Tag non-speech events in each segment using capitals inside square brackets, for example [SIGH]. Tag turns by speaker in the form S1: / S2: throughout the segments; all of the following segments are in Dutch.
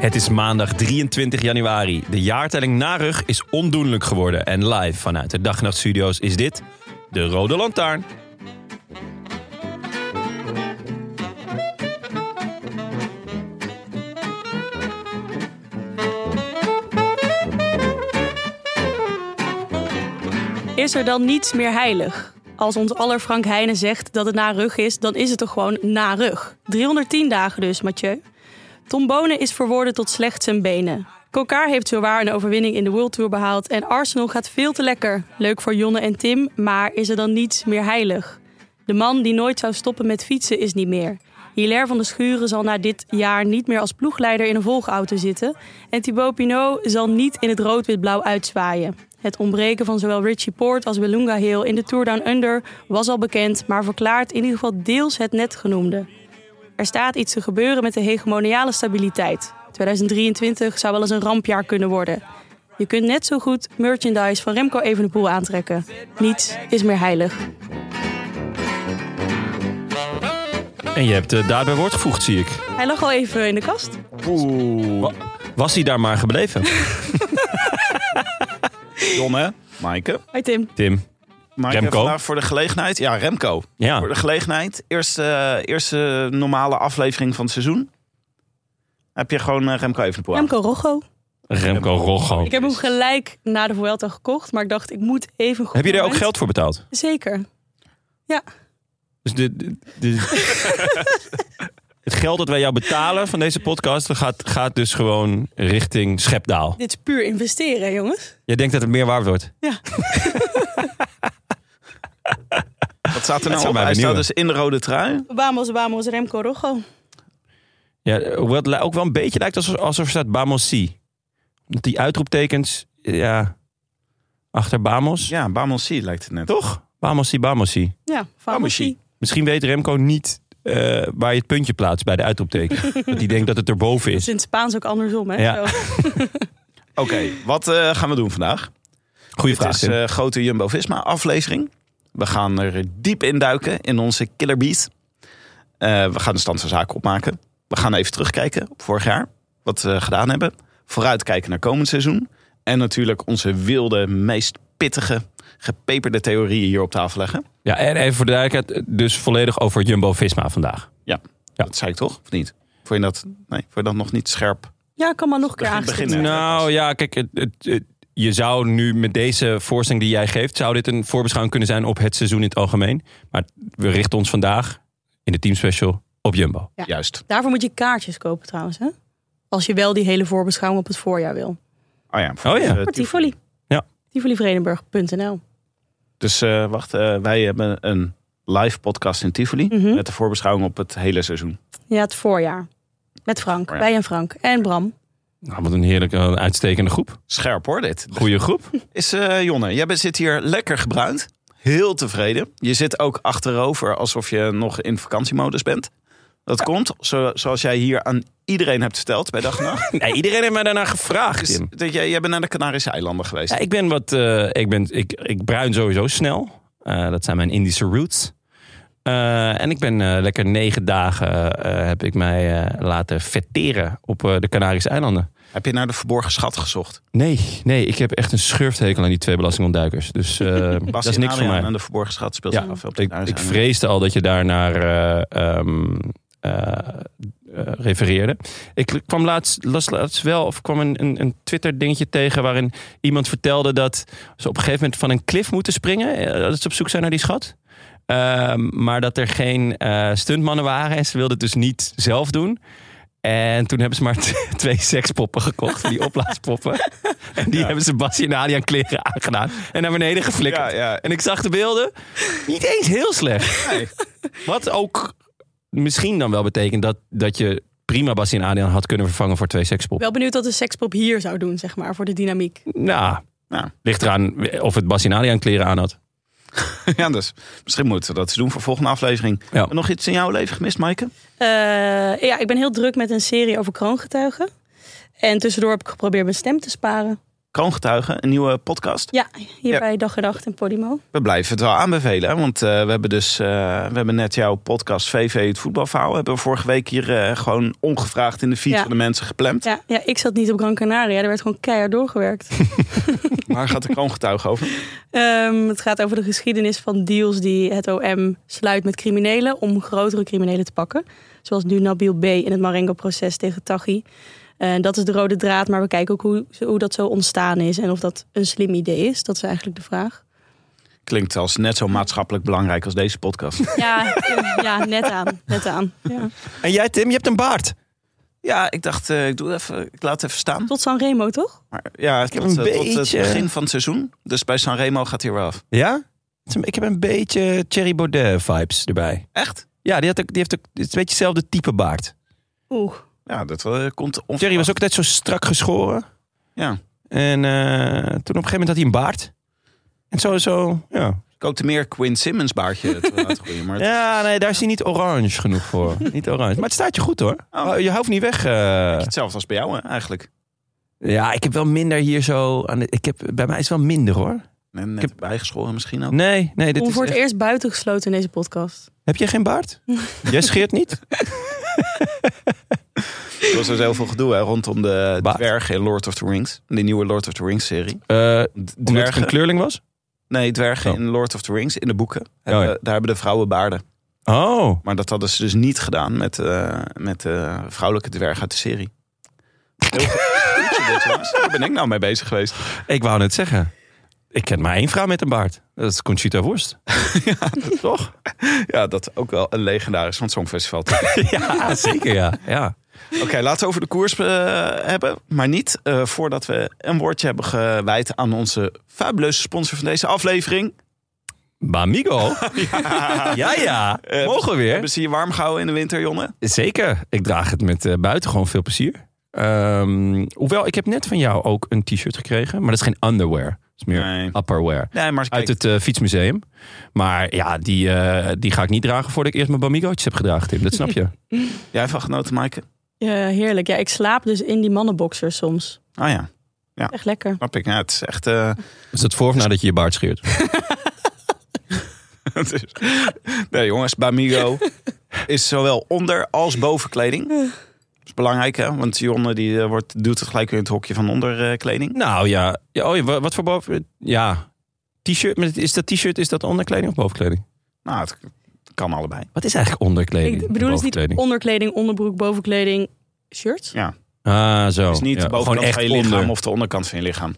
S1: Het is maandag 23 januari. De jaartelling Narug is ondoenlijk geworden. En live vanuit de Dag en Nacht Studio's is dit... De Rode Lantaarn.
S2: Is er dan niets meer heilig? Als ons aller Frank Heijnen zegt dat het na rug is, dan is het toch gewoon na rug. 310 dagen dus, Mathieu. Tombone is verworden tot slechts zijn benen. Kokaar heeft zowaar een overwinning in de World Tour behaald. En Arsenal gaat veel te lekker. Leuk voor Jonne en Tim, maar is er dan niets meer heilig? De man die nooit zou stoppen met fietsen is niet meer. Hilaire van de Schuren zal na dit jaar niet meer als ploegleider in een volgauto zitten. En Thibaut Pinot zal niet in het rood-wit-blauw uitzwaaien. Het ontbreken van zowel Richie Poort als Belunga Hill in de Tour Down Under was al bekend, maar verklaart in ieder geval deels het net genoemde. Er staat iets te gebeuren met de hegemoniale stabiliteit. 2023 zou wel eens een rampjaar kunnen worden. Je kunt net zo goed merchandise van Remco Evenepoel aantrekken. Niets is meer heilig.
S1: En je hebt eh, daarbij woord gevoegd, zie ik.
S2: Hij lag al even in de kast.
S1: Wa- Was hij daar maar [LAUGHS] gebleven?
S3: Jonne, Maaike.
S2: Hi Tim.
S1: Tim.
S3: Maaike,
S1: Remco.
S3: vandaag voor de gelegenheid. Ja, Remco.
S1: Ja.
S3: Voor de gelegenheid. Eerste, eerste normale aflevering van het seizoen. Heb je gewoon eh, Remco Evenepoel aan.
S2: Remco Rocco.
S1: Remco Rocco.
S2: Ik heb hem gelijk na de Vuelta gekocht, maar ik dacht ik moet even goed
S1: Heb je daar ook
S2: moment-
S1: geld voor betaald?
S2: Zeker.
S1: Dus de, de- de- [LAUGHS] het geld dat wij jou betalen van deze podcast... gaat, gaat dus gewoon richting Schepdaal.
S2: Dit is puur investeren, hè, jongens.
S1: Jij denkt dat het meer waard wordt?
S3: Wat
S1: Dat
S3: staat er nou
S1: zou
S3: op?
S1: mij
S3: Hij staat
S1: benieuwen.
S3: dus in de rode trui.
S2: Vamos, vamos, Remco Rocco.
S1: Ja, wat li- ook wel een beetje lijkt alsof, alsof er staat Bamos Si. Omdat die uitroeptekens, ja, achter Bamos.
S3: Ja, Bamon C lijkt het net.
S1: Toch? Bamos Si, Bamos Si.
S2: Ja, Famoshi.
S1: Misschien weet Remco niet eh, waar je het puntje plaatst bij de [LAUGHS] uitroepteken. dat hij denkt dat het erboven
S2: Dat is
S1: is.
S2: in het Spaans ook andersom, hè?
S1: Ja.
S2: Zo.
S3: Oké, wat eh, gaan we doen vandaag?
S1: Goeie
S3: Het
S1: vraag,
S3: is
S1: Tim.
S3: eh, grote Jumbo-Visma aflevering. We gaan er diep in duiken in onze killer beat. Eh, we gaan de stand van zaken opmaken. We gaan even terugkijken op vorig jaar. Wat we gedaan hebben. Vooruitkijken naar komend seizoen. En natuurlijk onze wilde, meest pittige, gepeperde theorieën hier op tafel leggen.
S1: Ja, en even voor de duidelijkheid, dus volledig over Jumbo-Visma vandaag.
S3: Ja,
S1: Ja.
S3: dat zei ik toch? Of niet? Vond je dat, nee, vond je dat nog niet scherp?
S2: Ja, kan maar nog een keer
S3: Begin-
S2: aangestipt.
S3: beginnen.
S1: Nou ja, kijk, het, het- het- je zou nu met deze voorstelling die jij geeft, zou dit een voorbeschouwing kunnen zijn op het seizoen in het algemeen. Maar we richten ons vandaag in de teamspecial op Jumbo.
S2: Ja.
S3: Juist.
S2: Daarvoor moet je kaartjes kopen trouwens, hè? Als je wel die hele voorbeschouwing op het voorjaar wil.
S3: Oh ja.
S1: Oh ja.
S3: eh,
S2: Voor Tivoli.
S1: Ja.
S2: TivoliVredenburg.nl
S3: Dus eh, wacht, eh, wij hebben een live podcast in Tivoli.
S2: Mhm.
S3: Met de voorbeschouwing op het hele seizoen.
S2: Ja, het voorjaar. Met
S1: Oh
S2: Frank.
S3: Voorjaar.
S2: Wij en Frank. En Bram.
S1: Nou, wat een heerlijke, eh, uitstekende groep.
S3: Scherp hoor dit.
S1: Goeie groep.
S3: Is eh, Jonne, jij bent, zit hier lekker gebruind. Heel tevreden. Je zit ook achterover alsof je nog in vakantiemodus bent. Dat komt, zo, zoals jij hier aan iedereen hebt verteld bij dag
S1: [LAUGHS]
S3: en nacht.
S1: Nee, iedereen heeft mij daarna gevraagd,
S3: is
S1: Tim.
S3: dat jij, jij bent naar de Canarische eilanden geweest.
S1: Ja, ik ben wat, eh, ik ben, ik, ik bruin sowieso snel. Eh, dat zijn mijn Indische roots. Eh, Eh, en ik ben eh, lekker negen dagen eh, heb ik mij eh, laten vetteren op eh, de Canarische eilanden.
S3: Heb je naar de verborgen schat gezocht?
S1: Nee, nee, ik heb echt een schurfthekel aan die twee belastingontduikers. Dus eh, dat
S3: Bas
S1: is
S3: en
S1: niks voor
S3: Adriaan
S1: mij.
S3: en de verborgen schat speelt
S1: Ja,
S3: zich af op de
S1: Ik,
S3: Canarische
S1: ik
S3: eilanden.
S1: vreesde al dat je daar naar eh, ehm, eh, eh, refereerde. Ik kwam laatst, las laatst wel, of kwam een, een, een Twitter-dingetje tegen waarin iemand vertelde dat ze op een gegeven moment van een klif moeten springen. eh, Dat ze op zoek zijn naar die schat. Ehm, maar dat er geen eh, stuntmannen waren en ze wilden het dus niet zelf doen. En toen hebben ze maar t- [LAUGHS] twee sekspoppen gekocht,
S3: [LAUGHS]
S1: van die opblaaspoppen. En die hebben ze Bassie en Adriaan kleren aangedaan en naar beneden geflikkerd.
S3: Ja, ja.
S1: En ik zag de beelden. Niet eens heel slecht. Wat ook misschien dan wel betekent dat, dat je prima Bassie en Adriaan had kunnen vervangen voor twee sekspop.
S2: Wel benieuwd wat de sekspop hier zou doen, zeg maar, voor de dynamiek.
S1: Nou,
S3: Nou.
S1: ligt eraan of het Bassie en Adriaan kleren aan had.
S3: [LAUGHS] Ja, dus misschien moeten we dat eens doen voor volgende aflevering.
S1: Ja.
S3: Nog iets in jouw leven gemist, Maaike?
S2: Eh, ja, ik ben heel druk met een serie over kroongetuigen. En tussendoor heb ik geprobeerd mijn stem te sparen.
S3: Kroongetuigen, een nieuwe podcast.
S2: Ja, hier
S3: Ja.
S2: bij Dag en Nacht en Podimo.
S3: We blijven het wel aanbevelen, hè, want eh, we hebben dus eh, we hebben net jouw podcast VV het voetbalverhaal. Hebben we vorige week hier eh, gewoon ongevraagd in de fiets
S2: Ja.
S3: van de
S1: [LAUGHS]
S3: mensen gepland.
S2: Ja, ja, ik zat niet op Gran Canaria, er werd gewoon keihard doorgewerkt.
S3: Waar gaat de kroongetuige over?
S2: Ehm, het gaat over de geschiedenis van deals die het OM sluit met criminelen om grotere criminelen te pakken. Zoals nu Nabil B. in het Marengo-proces tegen Taghi. En dat is de rode draad, maar we kijken ook hoe, hoe dat zo ontstaan is en of dat een slim idee is. Dat is eigenlijk de vraag.
S3: Klinkt als net zo maatschappelijk belangrijk als deze podcast.
S2: Ja, [LAUGHS] ja net aan. Net aan. Ja.
S1: En jij Tim, je hebt een baard.
S3: ja, ik dacht, eh, ik, doe even, ik laat het even staan.
S2: Tot Sanremo, toch?
S3: Maar ja,
S1: heb
S3: tot,
S1: een
S3: eh, tot
S1: beetje-
S3: het begin van het seizoen. Dus bij Sanremo gaat hier wel af.
S1: Ja? Ik heb een beetje Thierry Baudet vibes erbij.
S3: Echt?
S1: Ja, die, had ook, die heeft ook het is een beetje hetzelfde type baard.
S2: Oeh.
S3: Ja, dat eh, komt onverwacht.
S1: Thierry was ook net zo strak geschoren.
S3: Ja.
S1: En eh, toen op een gegeven moment had hij een baard. En zo, zo ja.
S3: Ik hoopte meer Quinn Simmons baardje te laten groeien. Maar het-
S1: [LAUGHS] Ja, nee, daar is hij niet orange genoeg [LAUGHS] voor. niet orange. Maar het staat je goed hoor.
S3: Oh.
S1: Je hoeft niet weg. eh.
S3: hetzelfde als bij jou hè, eigenlijk.
S1: Ja, ik heb wel minder hier zo. Aan de, ik heb, bij mij is het wel minder hoor.
S3: En net
S1: Ik
S3: bijgeschoren misschien ook.
S1: Oh. Nee, nee. Dit
S2: Om
S1: is
S2: voor het
S1: echt-
S2: eerst buiten gesloten in deze podcast.
S1: Heb je geen baard? Jij scheert niet?
S3: Er was dus heel veel gedoe hè, rondom de
S1: Baard.
S3: dwergen in Lord of the Rings. De nieuwe Lord of the Rings serie.
S1: Eh omdat ik
S3: Dwergen.
S1: een kleurling was?
S3: Nee, dwergen
S1: Oh.
S3: in Lord of the Rings, in de boeken. Hebben-
S1: ja.
S3: Daar hebben de vrouwen baarden.
S1: Oh.
S3: Maar dat hadden ze dus niet gedaan met, eh, met de vrouwelijke dwerg uit de serie. Heel goed. Daar ben ik nou mee bezig geweest.
S1: Ik wou net zeggen. Ik ken maar één vrouw met een baard. Dat is Conchita Worst. Toch?
S3: Ja, dat ook wel een legendarisch van het Songfestival.
S1: [LAUGHS] Ja, zeker ja. ja.
S3: Oké, laten we over de koers eh, hebben. Maar niet eh, voordat we een woordje hebben gewijd aan onze fabuleuze sponsor van deze aflevering.
S1: [LAUGHS] Bamigo? ja, ja.
S3: Eh,
S1: Mogen weer.
S3: Hebben ze je warm gehouden in de winter, Jonne?
S1: Zeker. Ik draag het met eh, buitengewoon veel plezier. Ehm, hoewel, ik heb net van jou ook een t-shirt gekregen. Maar dat is geen underwear. Dat is meer
S3: Nee.
S1: upperwear.
S3: Nee, maar
S1: Uit het eh, fietsmuseum. Maar ja, die, eh, die ga ik niet dragen voordat ik eerst mijn Bamigootjes heb gedragen, Tim. Dat snap je.
S3: Jij hebt van genoten, Maaike?
S2: Ja, heerlijk. Ja, ik slaap dus in die mannenboxers soms.
S3: Ah ja,
S2: Echt lekker.
S3: snap ik. Ja, het is echt... eh,
S1: [LAUGHS]
S3: [LAUGHS]
S1: Is dat voor of nadat je je baard scheert?
S3: het is- nee, jongens, Bamigo [LAUGHS] is zowel onder- als bovenkleding. Dat is belangrijk, hè? Want Jonne die eh, wordt, doet het gelijk weer in het hokje van eh, onderkleding.
S1: Nou ja. ja oh, ja, wa- wat voor boven... Ja. T-shirt. maar Is dat t-shirt, is dat onderkleding of bovenkleding?
S3: Nou, het kan allebei.
S1: Wat is eigenlijk onderkleding?
S2: Ik bedoel dus niet
S1: Bovenkleding?
S2: onderkleding, onderbroek, bovenkleding, shirts.
S3: Ja,
S1: Ah, zo.
S3: het is niet
S1: Ja,
S3: de bovenkant van je lichaam
S1: onder.
S3: of de onderkant van je lichaam.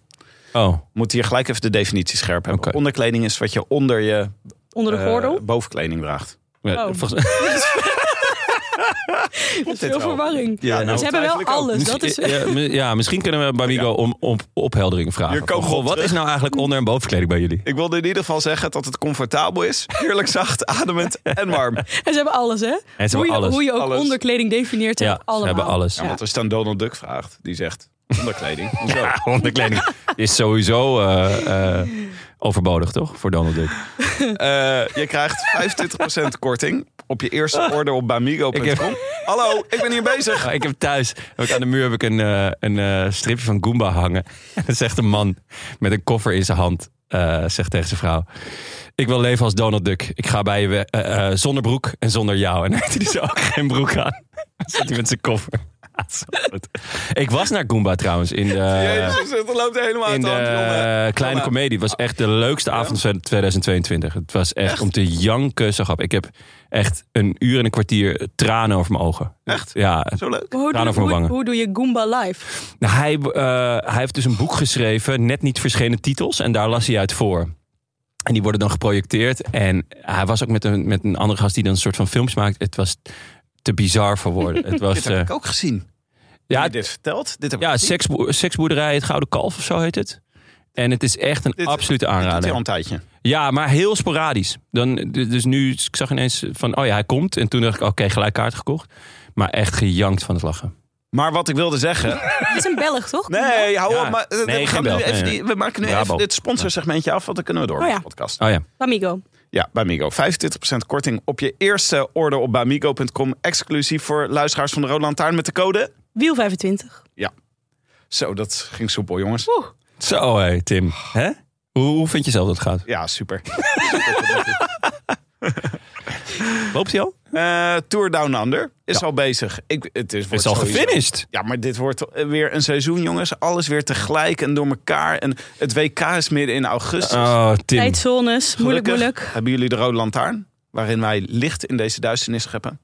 S1: Oh,
S3: moet hier gelijk even de definitie scherp hebben.
S1: Oké.
S3: Onderkleding is wat je onder je
S2: Onder de
S3: eh,
S2: gordel.
S1: [LAUGHS]
S3: bovenkleding draagt.
S1: Ja,
S2: Oh.
S1: volgens-
S2: Dat is
S3: dit
S2: veel
S3: wel?
S2: verwarring.
S3: Ja, nou,
S2: Ze hebben wel
S3: eigenlijk ook.
S1: [LAUGHS]
S2: alles. dus Dat is,
S1: Misschien- ja, mi- ja, misschien kunnen we bij Migo om, om opheldering vragen.
S3: Hier komen we
S1: Goh,
S3: op
S1: wat
S3: terug.
S1: is nou eigenlijk onder- en bovenkleding bij jullie?
S3: Ik wilde in ieder geval zeggen dat het comfortabel is. Heerlijk zacht, ademend en warm.
S2: en [LAUGHS] ze hebben alles, hè?
S1: hebben
S2: hoe, je,
S1: alles.
S2: hoe je ook
S3: Alles.
S2: onderkleding definieert, ze
S1: Ja,
S2: hebben allemaal.
S1: ze hebben alles.
S3: Ja, want als je dan Donald Duck vraagt, die zegt onderkleding.
S1: [LAUGHS]
S3: Hoezo?
S1: Ja, onderkleding is sowieso eh, eh, overbodig, toch? Voor Donald Duck.
S3: Eh, je krijgt 25% korting op je eerste order op bamigo.com.
S1: Ah. Ik heb-
S3: Hallo, ik
S1: [LAUGHS]
S3: ben hier bezig.
S1: Maar Oh, ik heb thuis, heb ik aan de muur [LAUGHS] heb ik een, eh, een eh, stripje van Goomba hangen. En dan zegt een man met een koffer in zijn hand. eh, zegt tegen zijn vrouw: Ik wil leven als Donald Duck. Ik ga bij je we- eh, eh, zonder broek en zonder jou. En dan heeft hij dus ook geen broek aan. [LAUGHS] Dan zit hij met zijn koffer. [LAUGHS] Zo goed. Ik was naar Goomba trouwens in de,
S3: Jezus, het loopt helemaal
S1: in
S3: uit de hand, jongen.
S1: de Kleine
S3: Jongen.
S1: Comedie. Het was echt de leukste avond van 2022. Het was echt, om te janken zo grappig. Ik heb echt een uur en een kwartier tranen over mijn ogen.
S3: Echt?
S1: Ja, het-
S3: Zo leuk.
S2: Maar Hoe
S1: Tranen
S2: doe,
S1: voor mijn wangen.
S2: hoe, hoe doe je Goomba live?
S1: [LAUGHS] Nou, hij, eh, hij heeft dus een boek geschreven, net niet verschenen titels, en daar las hij uit voor. En die worden dan geprojecteerd. En hij was ook met een, met een andere gast die dan een soort van films maakt. Het was te bizar voor woorden. Het was,
S3: Dit heb
S1: eh,
S3: [LAUGHS] ik ook gezien. Ja,
S1: ja,
S3: dit verteld. Dit heb
S1: ja
S3: ik gezien.
S1: seksbo- seksboerderij, het Gouden Kalf of zo heet het. En het is echt een
S3: Dit-
S1: absolute
S3: Dit doet hij
S1: aanrader.
S3: al een tijdje.
S1: Ja, maar heel sporadisch. Dan, dus nu, ik zag ineens van, oh ja, hij komt. En toen dacht ik, oké, gelijk kaart gekocht. Maar echt gejankt van het lachen.
S3: Maar wat ik wilde zeggen,
S1: [LAUGHS]
S2: Het is een Belg, toch?
S3: Nee, hou
S1: Ja.
S3: op. Maar, eh,
S1: Nee,
S3: we,
S1: geen
S3: gaan nu
S1: bel.
S3: even
S1: Nee, nee.
S3: die- we maken nu
S1: Bravo.
S3: even dit sponsorsegmentje af, want dan kunnen we door
S2: Oh
S3: met
S2: ja.
S3: de podcast.
S1: Oh ja,
S2: Amigo.
S3: Ja, Bamigo. 25% korting op je eerste order op bamigo.com. Exclusief voor luisteraars van de Roland Lantaarn met de code.
S2: Wiel 25.
S3: Zo, dat ging soepel, jongens.
S1: zo hé, Tim. Hè? Hoe, hoe vind je zelf dat het gaat?
S3: Ja, super.
S1: Loopt hij al?
S3: Eh, Tour Down Under is al bezig. Ik, het is, wordt
S1: Is al
S3: sowieso-
S1: gefinished.
S3: Ja, maar dit wordt eh, weer een seizoen, jongens. Alles weer tegelijk en door elkaar. En het WK is midden in augustus.
S1: Oh, Tim.
S2: Tijdzones. Moeilijk,
S3: Gelukkig
S2: moeilijk.
S3: Hebben jullie de Rode Lantaarn? Waarin wij licht in deze duisternis scheppen.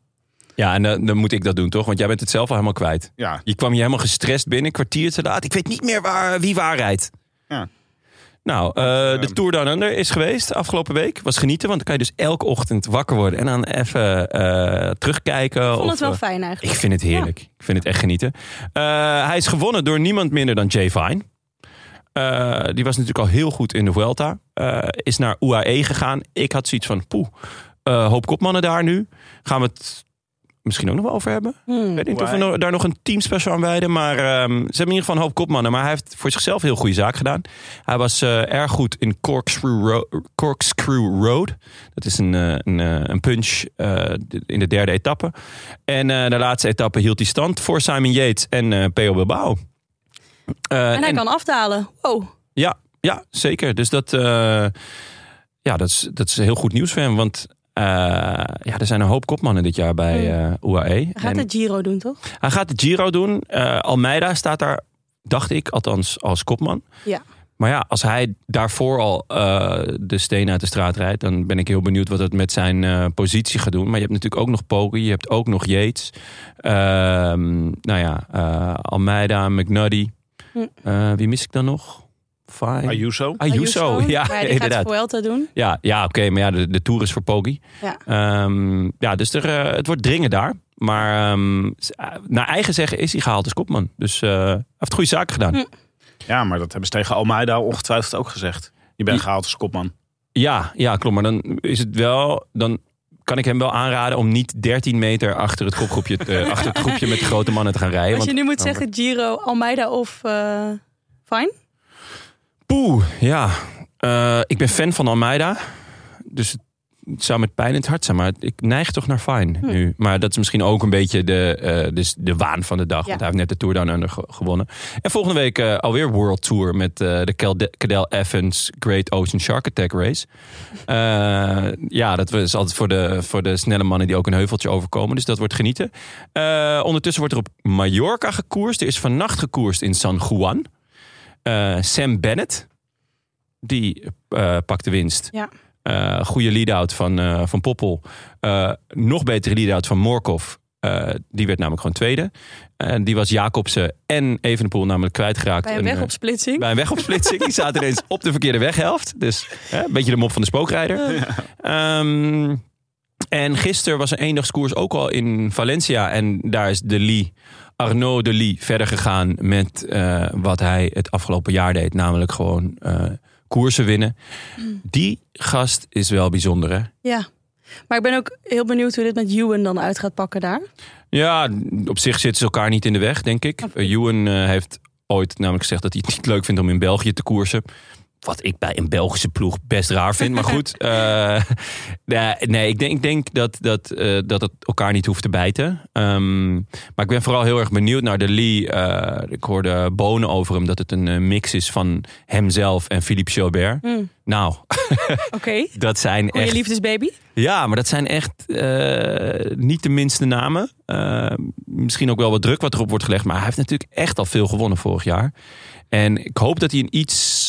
S1: Ja, en eh, dan, dan moet ik dat doen, toch? Want jij bent het zelf al helemaal kwijt.
S3: Ja,
S1: Je kwam hier helemaal gestrest binnen, kwartier te laat. Ik weet niet meer waar, wie waar rijdt.
S3: Ja.
S1: Nou, eh,
S3: Ehm.
S1: de Tour Down Under is geweest afgelopen week. Was genieten, want dan kan je dus elke ochtend wakker worden... en dan even eh, terugkijken.
S2: Ik vond
S1: of,
S2: het wel
S1: eh,
S2: fijn eigenlijk.
S1: Ik vind het heerlijk. Ik vind het echt genieten. Eh, hij is gewonnen door niemand minder dan Jay Vine. Eh, die was natuurlijk al heel goed in de Vuelta. Eh, is naar UAE gegaan. Ik had zoiets van, poeh, eh, hoop kopmannen daar nu. Gaan we het misschien ook nog wel over hebben?
S2: Hmm.
S1: Ik weet niet of we no- daar nog een teamspecial aan wijden. Maar ehm, ze hebben in ieder geval een hoop kopmannen. Maar hij heeft voor zichzelf heel goede zaak gedaan. Hij was eh, erg goed in Corkscrew, Ro- Corkscrew Road. Dat is een, eh, een, eh, een punch eh, in de derde etappe. En eh, de laatste etappe hield hij stand voor Simon Yates en eh P.O. Bilbao. Eh,
S2: En hij kan afdalen. Wow.
S1: ja, ja, zeker. Dus dat, eh, ja, dat, is, dat is heel goed nieuws voor hem. Want eh, ja, er zijn een hoop kopmannen dit jaar bij eh UAE.
S2: Hij Hmm. gaat
S1: En-
S2: de Giro doen, toch?
S1: hij gaat de Giro doen. Eh, Almeida staat daar, dacht ik, althans als kopman.
S2: Ja.
S1: Maar ja, als hij daarvoor al eh, de steen uit de straat rijdt, dan ben ik heel benieuwd wat het met zijn eh, positie gaat doen. Maar je hebt natuurlijk ook nog Poggi, je hebt ook nog Yates. Ehm, nou ja, eh, Almeida, McNuddy.
S2: Hm.
S1: Eh, wie mis ik dan nog? Fine.
S3: Ayuso.
S1: Ayuso, ja,
S2: hij gaat
S1: inderdaad.
S2: de Vuelta doen.
S1: Ja, ja oké, maar ja, de, de Tour is voor Poggi.
S2: Ja.
S1: Ehm, ja, dus er, eh, het wordt dringen daar. Maar ehm, s- eh, naar eigen zeggen is hij gehaald als kopman. Dus eh, hij heeft goede zaken gedaan.
S2: Hm.
S3: Ja, maar dat hebben ze tegen Almeida ongetwijfeld ook gezegd. Je bent gehaald als kopman.
S1: Ja, ja, klopt. Maar dan is het wel... Dan kan ik hem wel aanraden om niet 13 meter achter het kopgroepje... te-
S2: [LAUGHS]
S1: eh, achter het groepje met de grote mannen te gaan rijden.
S2: Als je
S1: Want, Oh,
S2: nu moet
S1: dan
S2: zeggen Giro, Almeida of eh Fine.
S1: poeh, ja. Eh, ik ben fan van Almeida. Dus het het zou met pijn in het hart zijn. Maar ik neig toch naar Fine
S2: Hm.
S1: nu. Maar dat is misschien ook een beetje de, eh, dus de waan van de dag.
S2: Ja.
S1: Want hij heeft net de Tour Down Under ge- gewonnen. En volgende week eh, alweer World Tour met eh, de Cal- Cadel Evans Great Ocean Shark Attack Race. Eh, ja, dat is altijd voor de, voor de snelle mannen die ook een heuveltje overkomen. Dus dat wordt genieten. Eh, ondertussen wordt er op Mallorca gekoerst. Er is vannacht gekoerst in San Juan. Eh, Sam Bennett, die eh, pakt de winst.
S2: Ja.
S1: Eh, goede lead-out van, eh, van Poppel. Eh, nog betere lead-out van Morkov. Eh, die werd namelijk gewoon tweede. En die was Jacobsen en Evenepoel namelijk kwijtgeraakt.
S2: Bij een
S1: En, eh,
S2: wegopsplitsing.
S1: bij een wegopsplitsing. Die zaten ineens op de verkeerde weghelft. Dus hè, een beetje de mop van de spookrijder. Ehm, en gisteren was een eendagskoers ook al in Valencia. En daar is de Lee, Arnaud de Lee, verder gegaan met eh, wat hij het afgelopen jaar deed. Namelijk gewoon eh, koersen winnen. Die gast is wel bijzonder, hè?
S2: Ja. Maar ik ben ook heel benieuwd hoe dit met Ewan dan uit gaat pakken daar.
S1: Ja, op zich zitten ze elkaar niet in de weg, denk ik. Eh, Ewan eh, heeft ooit namelijk gezegd dat hij het niet leuk vindt om in België te koersen. Wat ik bij een Belgische ploeg best raar vind. Maar
S2: [LAUGHS]
S1: goed, eh, nee, nee, ik denk, ik denk dat, dat, eh, dat het elkaar niet hoeft te bijten. Ehm, maar ik ben vooral heel erg benieuwd naar de Lee. Eh, ik hoorde bonen over hem dat het een eh, mix is van hemzelf en Philippe Gilbert.
S2: Hmm,
S1: Nou, [LAUGHS]
S2: Oké,
S1: dat zijn
S2: goeie
S1: echt
S2: liefdesbaby.
S1: ja, maar dat zijn echt eh, niet de minste namen. Eh, misschien ook wel wat druk wat erop wordt gelegd. Maar hij heeft natuurlijk echt al veel gewonnen vorig jaar. En ik hoop dat hij een iets,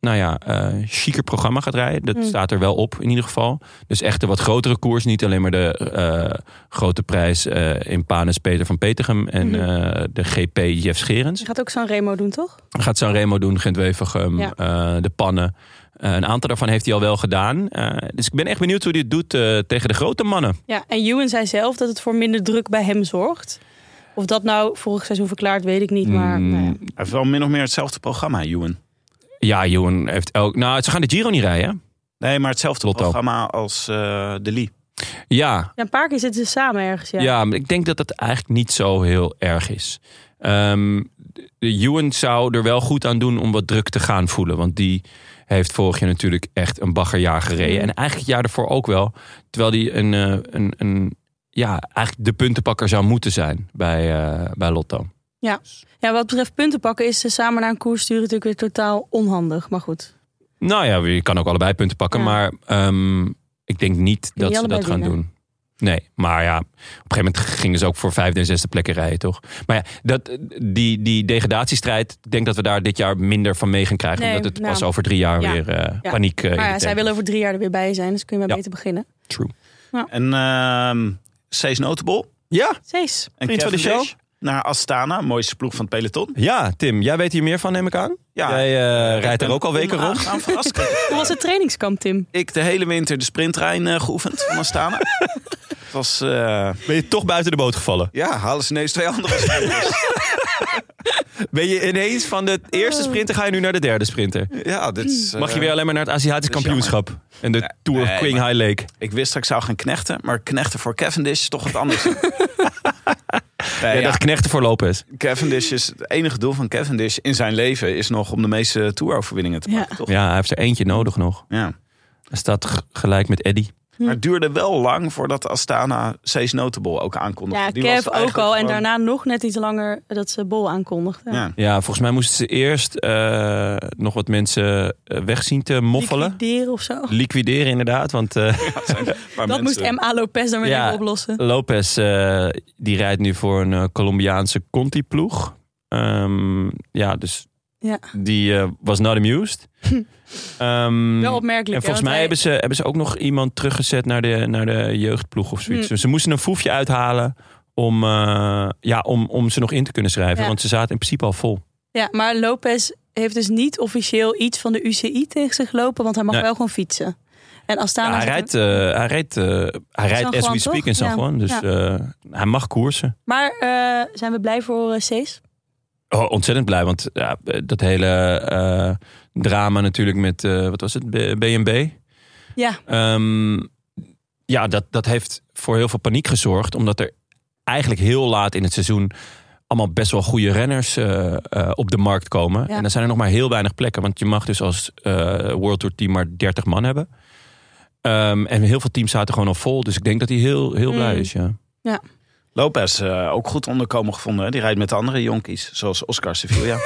S1: nou ja, eh chiquer programma gaat rijden. Dat
S2: Mm.
S1: staat er wel op in ieder geval. Dus echt de wat grotere koers. Niet alleen maar de eh, grote prijs eh, in Panis Peter van Petergem. En
S2: Mhm.
S1: eh, de GP Jeff Scherens.
S2: Ze gaat ook zo'n Remo doen, toch?
S1: Gaat Sanremo doen, Gent-Wevergem,
S2: Ja.
S1: eh, de pannen. Eh, een aantal daarvan heeft hij al wel gedaan. Eh, dus ik ben echt benieuwd hoe hij het doet eh, tegen de grote mannen.
S2: Ja, en Ewan zei zelf dat het voor minder druk bij hem zorgt. Of dat nou vorig seizoen verklaart, weet ik niet. Maar
S1: Mm,
S2: nou ja.
S3: Hij heeft wel min of meer hetzelfde programma, Ewan.
S1: Ja, Johan heeft elk... Nou, ze gaan de Giro niet rijden.
S3: Nee, maar hetzelfde
S1: Lotto.
S3: programma als eh, De Lee.
S1: hè? Ja,
S2: Ja, een paar keer zitten ze samen ergens. Ja.
S1: ja. maar ik denk dat dat eigenlijk niet zo heel erg is. Ehm de- de Ewan zou er wel goed aan doen om wat druk te gaan voelen. Want die heeft vorig jaar natuurlijk echt een baggerjaar gereden.
S2: Mm.
S1: En eigenlijk het jaar daarvoor ook wel. Terwijl die een, eh, een, een, ja, eigenlijk de puntenpakker zou moeten zijn bij, eh, bij Lotto.
S2: Ja, wat betreft punten pakken is ze samen naar een koers sturen natuurlijk weer totaal onhandig. Maar goed,
S1: Nou ja, je kan ook allebei punten pakken.
S2: Ja.
S1: Maar ehm, ik denk niet
S2: Kun je
S1: dat ze
S2: allebei
S1: dat gaan
S2: winnen?
S1: doen. Nee, maar ja, op een gegeven moment gingen ze ook voor vijfde en zesde plekken rijden, toch? Maar ja, dat, die, die degradatiestrijd, ik denk dat we daar dit jaar minder van mee gaan krijgen.
S2: Nee,
S1: omdat het
S2: nou,
S1: pas over drie jaar
S2: ja,
S1: weer eh,
S2: ja.
S1: paniek eh, in
S2: maar
S1: de
S2: ja, zij
S1: tent
S2: willen
S1: is.
S2: over drie jaar er weer bij zijn. Dus kun je maar
S1: Ja.
S2: beter beginnen.
S1: True.
S3: En ehm Sees Notable.
S1: Ja,
S2: Cees.
S3: En
S1: Vriend van de
S3: Cavendish
S1: show.
S3: Naar Astana, mooiste ploeg van het peloton.
S1: ja, Tim, jij weet hier meer van, neem ik aan.
S3: Ja.
S1: jij eh, rijdt er ook al weken rond.
S3: Aan verrast.
S2: [LAUGHS] Hoe was het trainingskamp, Tim?
S3: Ik de hele winter de sprinttrein eh, geoefend van Astana. het was, eh,
S1: Ben je toch buiten de boot gevallen?
S3: ja, halen ze ineens twee andere sprinters.
S1: Ben je ineens van de eerste sprinter ga je nu naar de derde sprinter?
S3: ja, dit is, eh,
S1: Mag je weer alleen maar naar het Aziatisch
S3: dat is
S1: kampioenschap? En de Tour of
S3: nee,
S1: Queen High Lake?
S3: Ik wist dat ik zou gaan knechten, maar knechten voor Cavendish is toch wat
S1: [LAUGHS]
S3: anders. Nee,
S1: Ja,
S3: ja,
S1: dat knechten voor Lopez.
S3: Cavendish is het enige doel van Cavendish in zijn leven is nog om de meeste toeroverwinningen te
S2: Ja.
S3: pakken, toch?
S1: Ja, hij heeft er eentje nodig nog.
S3: Ja.
S1: Hij staat g- gelijk met Eddy.
S2: Hm.
S3: Maar het duurde wel lang voordat Astana Sees Notable ook aankondigde.
S2: Ja,
S3: Die
S2: Kev
S3: was
S2: ook
S3: eigenlijk
S2: al. En
S3: gewoon-
S2: daarna nog net iets langer dat ze Bol aankondigde.
S3: Ja.
S1: Ja, volgens mij moesten ze eerst eh, nog wat mensen eh, weg zien te moffelen.
S2: Liquideren of zo.
S1: Liquideren inderdaad, want [LAUGHS] eh,
S3: Maar
S2: Dat moest
S3: mensen- Mm.
S2: M.A. Lopez dan weer
S1: Ja.
S2: even oplossen.
S1: Lopez eh, die rijdt nu voor een eh, Colombiaanse Conti-ploeg. Ehm, ja, dus
S2: Ja.
S1: die eh, was not amused. Ehm,
S2: Wel opmerkelijk.
S1: en volgens
S2: hè, want
S1: mij
S2: hij-
S1: hebben, ze, hebben ze ook nog iemand teruggezet naar de, naar de jeugdploeg of zoiets.
S2: Hmm.
S1: Dus ze moesten een foefje uithalen om, eh, ja, om, om ze nog in te kunnen schrijven.
S2: Ja.
S1: Want ze zaten in principe al vol.
S2: Ja, maar Lopez heeft dus niet officieel iets van de UCI tegen zich lopen, want hij mag
S1: Nee.
S2: wel gewoon fietsen. En Astana
S1: Ja, hij
S2: zegt-
S1: rijdt, eh, hij rijdt, eh, hij rijdt as
S2: Juan,
S1: we speak
S2: toch?
S1: in San
S2: Ja.
S1: Juan. Dus
S2: Ja.
S1: eh, hij mag koersen.
S2: Maar eh, zijn we blij voor eh, Cees?
S1: Oh, ontzettend blij, want ja, dat hele eh, drama natuurlijk met, eh, wat was het, B- BNB?
S2: Ja,
S1: Ehm, ja, dat, dat heeft voor heel veel paniek gezorgd. Omdat er eigenlijk heel laat in het seizoen allemaal best wel goede renners eh, eh, op de markt komen.
S2: Ja.
S1: En dan zijn er nog maar heel weinig plekken. Want je mag dus als eh, World Tour team maar 30 man hebben. Ehm, en heel veel teams zaten gewoon al vol. Dus ik denk dat hij heel, heel blij
S2: Mm.
S1: is, ja.
S3: Lopez eh, ook goed onderkomen gevonden. hè? Die rijdt met de andere jonkies, zoals Oscar Sevilla.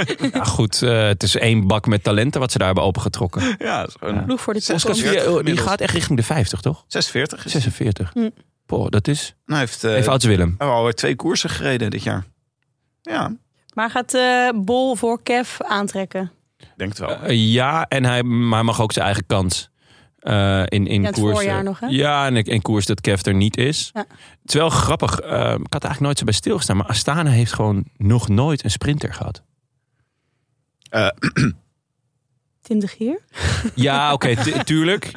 S2: [LAUGHS]
S1: Ja, goed, eh, het is één bak met talenten wat ze daar hebben opengetrokken.
S3: ja, dat is gewoon,
S2: ploeg voor de
S3: Zes
S2: toekomst.
S3: keer-
S1: Ja, oh, die
S3: inmiddels.
S1: gaat echt richting de 50, toch?
S3: 46 is.
S1: 46.
S2: Mm.
S1: Boah, dat is...
S3: Nou, hij heeft eh,
S1: Even als Willem.
S3: hij heeft alweer twee koersen gereden dit jaar. Ja,
S2: Maar gaat eh, Bol voor Kev aantrekken?
S3: ik denk het wel.
S1: Eh, ja, en hij, maar hij mag ook zijn eigen kans. eh, in, in
S2: Ja, het
S1: koers,
S2: voorjaar nog, hè?
S1: Ja, en in koers dat Kev er niet is.
S2: Ja.
S1: Het is wel grappig. eh, ik had er eigenlijk nooit zo bij stilgestaan. Maar Astana heeft gewoon nog nooit een sprinter gehad.
S3: Eh,
S1: eh,
S2: Tim de Gier?
S1: [LAUGHS] Ja, oké, tu- tuurlijk. [LAUGHS]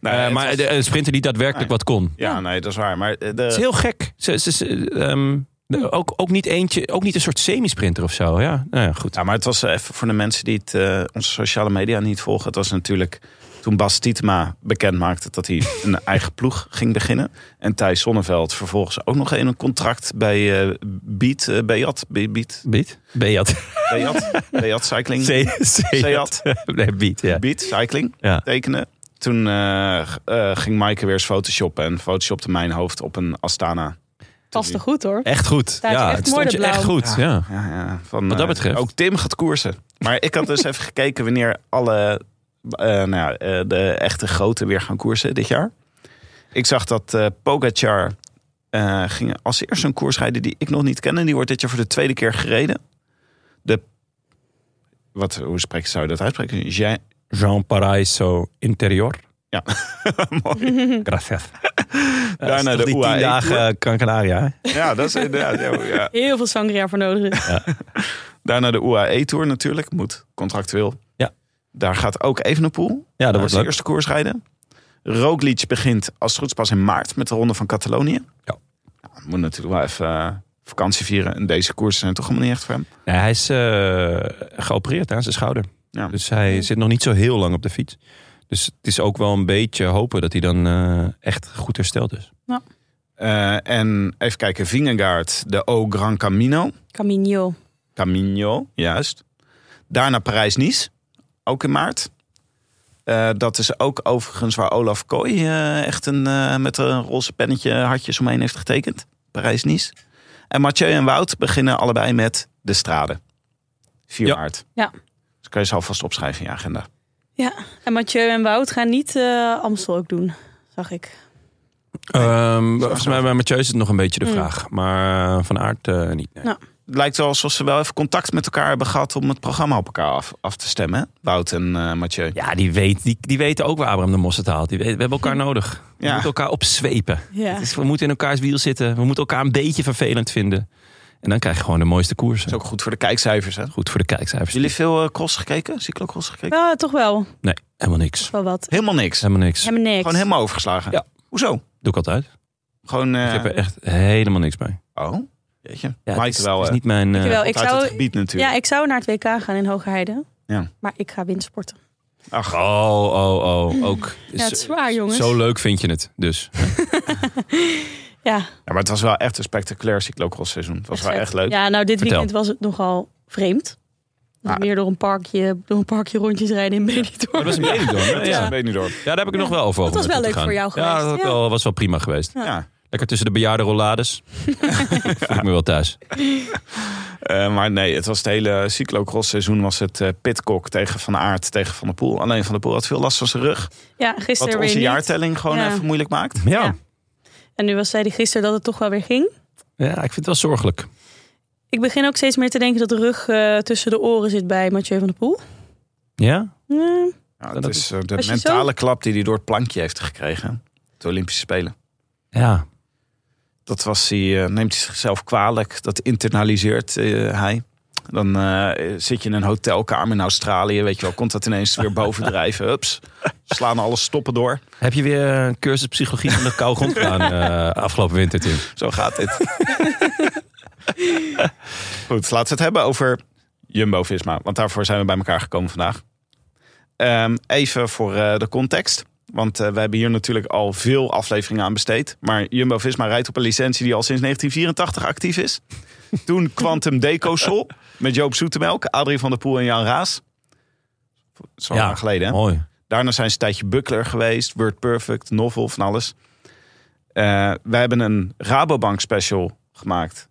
S3: Nou,
S1: Eh,
S3: het
S1: maar
S3: was-
S1: de- een sprinter die daadwerkelijk
S3: Nee.
S1: wat kon.
S3: ja, nee, dat is waar. Maar eh,
S1: Het is
S3: de,
S1: heel gek. Ze, ze, ze- ehm, de- ook, ook niet eentje, ook niet een soort semi-sprinter of zo. Ja, nou ja, goed.
S3: ja, maar het was eh, even voor de mensen die het, eh, onze sociale media niet volgen. Het was natuurlijk Toen Bas Tietema bekend maakte
S1: [LAUGHS]
S3: dat hij een eigen ploeg ging beginnen. En Thijs Sonneveld vervolgens ook nog in een contract bij eh Beat, eh, Beat, Be- Beat,
S1: Beat? Beat. [LAUGHS]
S3: Beat, Beat Cycling.
S1: Seat.
S3: Seat.
S1: [LAUGHS] Nee, Beat, ja.
S3: Beat Cycling
S1: Ja.
S3: tekenen. Toen eh, g- eh, ging Maaike weer eens photoshoppen. En photoshopte mijn hoofd op een Astana.
S2: Paste goed hoor.
S1: Echt goed.
S2: Staat je
S1: ja,
S2: echt
S1: het stond je
S2: moordenblauw.
S1: echt goed. Ja.
S3: Ja, ja, van,
S1: Wat dat
S3: eh,
S1: betreft.
S3: ook Tim gaat koersen. Maar ik had
S1: [LAUGHS]
S3: dus even gekeken wanneer alle eh, nou, ja, eh, de echte grote weer gaan koersen dit jaar. Ik zag dat eh Pogacar eh, ging als eerste een koers rijden die ik nog niet ken. En die wordt dit jaar voor de tweede keer gereden. De, wat, hoe spreek, zou je dat uitspreken? Jean, [LAUGHS]
S1: Jean Paraiso Interior.
S3: ja,
S1: Gracias.
S3: Daarna
S1: Daarna
S3: de
S1: de die
S3: UAE
S1: tien dagen eh, Gran Canaria. hè?
S3: ja, dat is inderdaad. Ja, ja.
S2: Heel veel sangria voor nodig.
S3: [LAUGHS]
S2: is.
S3: Daarna de UAE-tour natuurlijk. Moet, contractueel.
S1: Ja.
S3: Daar gaat ook Evenepoel.
S1: Ja, Nou, dat
S3: Dat
S1: wordt
S3: de
S1: leuk.
S3: eerste koers rijden. Roglic begint als het goed is pas in maart met de Ronde van Catalonië.
S1: Ja.
S3: Nou, moet natuurlijk wel even eh, vakantie vieren. En deze koersen zijn toch helemaal niet echt voor hem.
S1: Nee, hij is eh, geopereerd aan zijn schouder.
S3: Ja.
S1: Dus hij zit nog niet zo heel lang op de fiets. Dus het is ook wel een beetje hopen dat hij dan eh, echt goed hersteld is.
S3: Eh, en even kijken, Vingegaard, de O Gran Camino.
S2: Camino.
S3: Camino, juist. Daarna Parijs-Nice, ook in maart. Eh, dat is ook overigens waar Olaf Kooi eh, echt een, eh, met een roze pennetje hartjes omheen heeft getekend. Parijs-Nice. En Mathieu en Wout beginnen allebei met de strade. 4
S1: Ja.
S3: maart.
S2: Ja.
S3: Dus kan je ze alvast opschrijven in je agenda.
S2: En Mathieu en Wout gaan niet eh, Amstel ook doen, zag ik.
S1: Ehm, volgens mij bij Mathieu is het nog een beetje de
S2: Hmm.
S1: vraag. Maar eh, van aard niet. nee.
S2: Nou.
S3: Het lijkt wel alsof ze wel even contact met elkaar hebben gehad om het programma op elkaar af, af te stemmen. hè? Wout en eh, Mathieu.
S1: Ja, die, weet, die, die weten ook waar Abraham de Mos het haalt. Die weten- we hebben elkaar nodig. We
S3: Ja.
S1: moeten elkaar opzwepen.
S2: Ja.
S1: Het is- we moeten in elkaars wiel zitten. We moeten elkaar een beetje vervelend vinden. En dan krijg je gewoon de mooiste koersen.
S3: is ook goed voor de kijkcijfers. Hè?
S1: Goed voor de kijkcijfers.
S3: Jullie veel eh, cross gekeken? Cyclocross gekeken?
S2: Nou, toch wel.
S1: Nee, helemaal niks.
S2: Wel wat.
S3: Helemaal niks.
S1: Helemaal niks.
S2: Helemaal niks.
S3: Gewoon helemaal overgeslagen.
S1: Ja.
S3: Hoezo?
S1: Doe ik altijd.
S3: Gewoon. eh,
S1: Ik heb er echt helemaal niks mee.
S3: Oh, jeetje.
S1: Ja,
S3: Mike
S1: het is,
S3: wel.
S1: het is
S3: eh,
S1: niet mijn... eh,
S2: Dankjewel.
S3: komt
S2: Nou, Ik
S3: uit
S2: zou-
S3: het gebied natuurlijk.
S2: Ja, ik zou naar het WK gaan in Hogerheide.
S3: Ja.
S2: Maar ik ga windsporten.
S3: Ach,
S1: Oh, oh, oh. Ook.
S2: Ja, het is zwaar, jongens.
S1: Zo leuk vind je het, dus.
S2: Ja,
S3: ja, maar het was wel echt een spectaculair cyclocross seizoen. Het was wel
S2: vet.
S3: echt leuk.
S2: Ja, nou, dit
S1: Vertel.
S2: weekend was het nogal vreemd.
S3: Ah.
S2: Meer door een, parkje, door een parkje rondjes rijden in Benidorm.
S3: Oh,
S1: Dat was een mening
S3: Ja,
S1: Ja.
S3: ja.
S1: ja,
S3: weet niet door.
S1: daar heb ik er nog wel over.
S2: Dat was
S1: om
S2: wel
S1: naartoe te
S2: leuk
S1: gaan.
S2: voor jou
S1: Ja,
S2: geweest,
S1: dat
S2: ja.
S1: was wel- was wel prima geweest.
S3: Ja.
S1: Lekker tussen de bejaarde
S2: [LAUGHS]
S1: rollades. ik voel me wel thuis.
S3: Eh, maar nee, het was het hele cyclocross seizoen was het eh Pitcock tegen Van Aert tegen Van der Poel. Alleen Van der Poel had veel last van zijn rug.
S2: Ja,
S3: Wat
S2: gisteren weer
S3: onze
S2: niet.
S3: jaartelling gewoon
S2: Ja.
S3: even moeilijk maakt.
S1: Ja.
S2: En nu was zij die gisteren dat het toch wel weer ging.
S1: ja, ik vind het wel zorgelijk.
S2: Ik begin ook steeds meer te denken dat de rug eh, tussen de oren zit bij Mathieu van der Poel.
S1: Ja?
S2: Ja,
S3: Ja,
S1: dat
S3: dat is eh, de
S2: Als je
S3: mentale klap die hij door het plankje heeft gekregen. De Olympische Spelen.
S1: Ja.
S3: Dat was hij, eh, neemt hij zichzelf kwalijk. Dat internaliseert eh, hij. Dan eh, zit je in een hotelkamer in Australië. Weet je wel, komt dat ineens weer bovendrijven. Hups, slaan alle stoppen door.
S1: Heb je weer een cursus psychologie van de koude grond
S3: [LAUGHS]
S1: gedaan eh, afgelopen winter, Tim?
S3: Zo gaat dit. [LAUGHS] Goed, laten we het hebben over Jumbo-Visma. Want daarvoor zijn we bij elkaar gekomen vandaag. Ehm, even voor eh, de context. Want eh, we hebben hier natuurlijk al veel afleveringen aan besteed. Maar Jumbo-Visma rijdt op een licentie die al sinds 1984 actief is. Toen Quantum Deco Sol met Joop Zoetemelk, Adrie van der Poel en Jan Raas. Zo lang geleden, hè?
S1: Mooi.
S3: Daarna zijn ze een tijdje Buckler geweest, Word Perfect, Novel, van alles. Eh wij hebben een Rabobank special gemaakt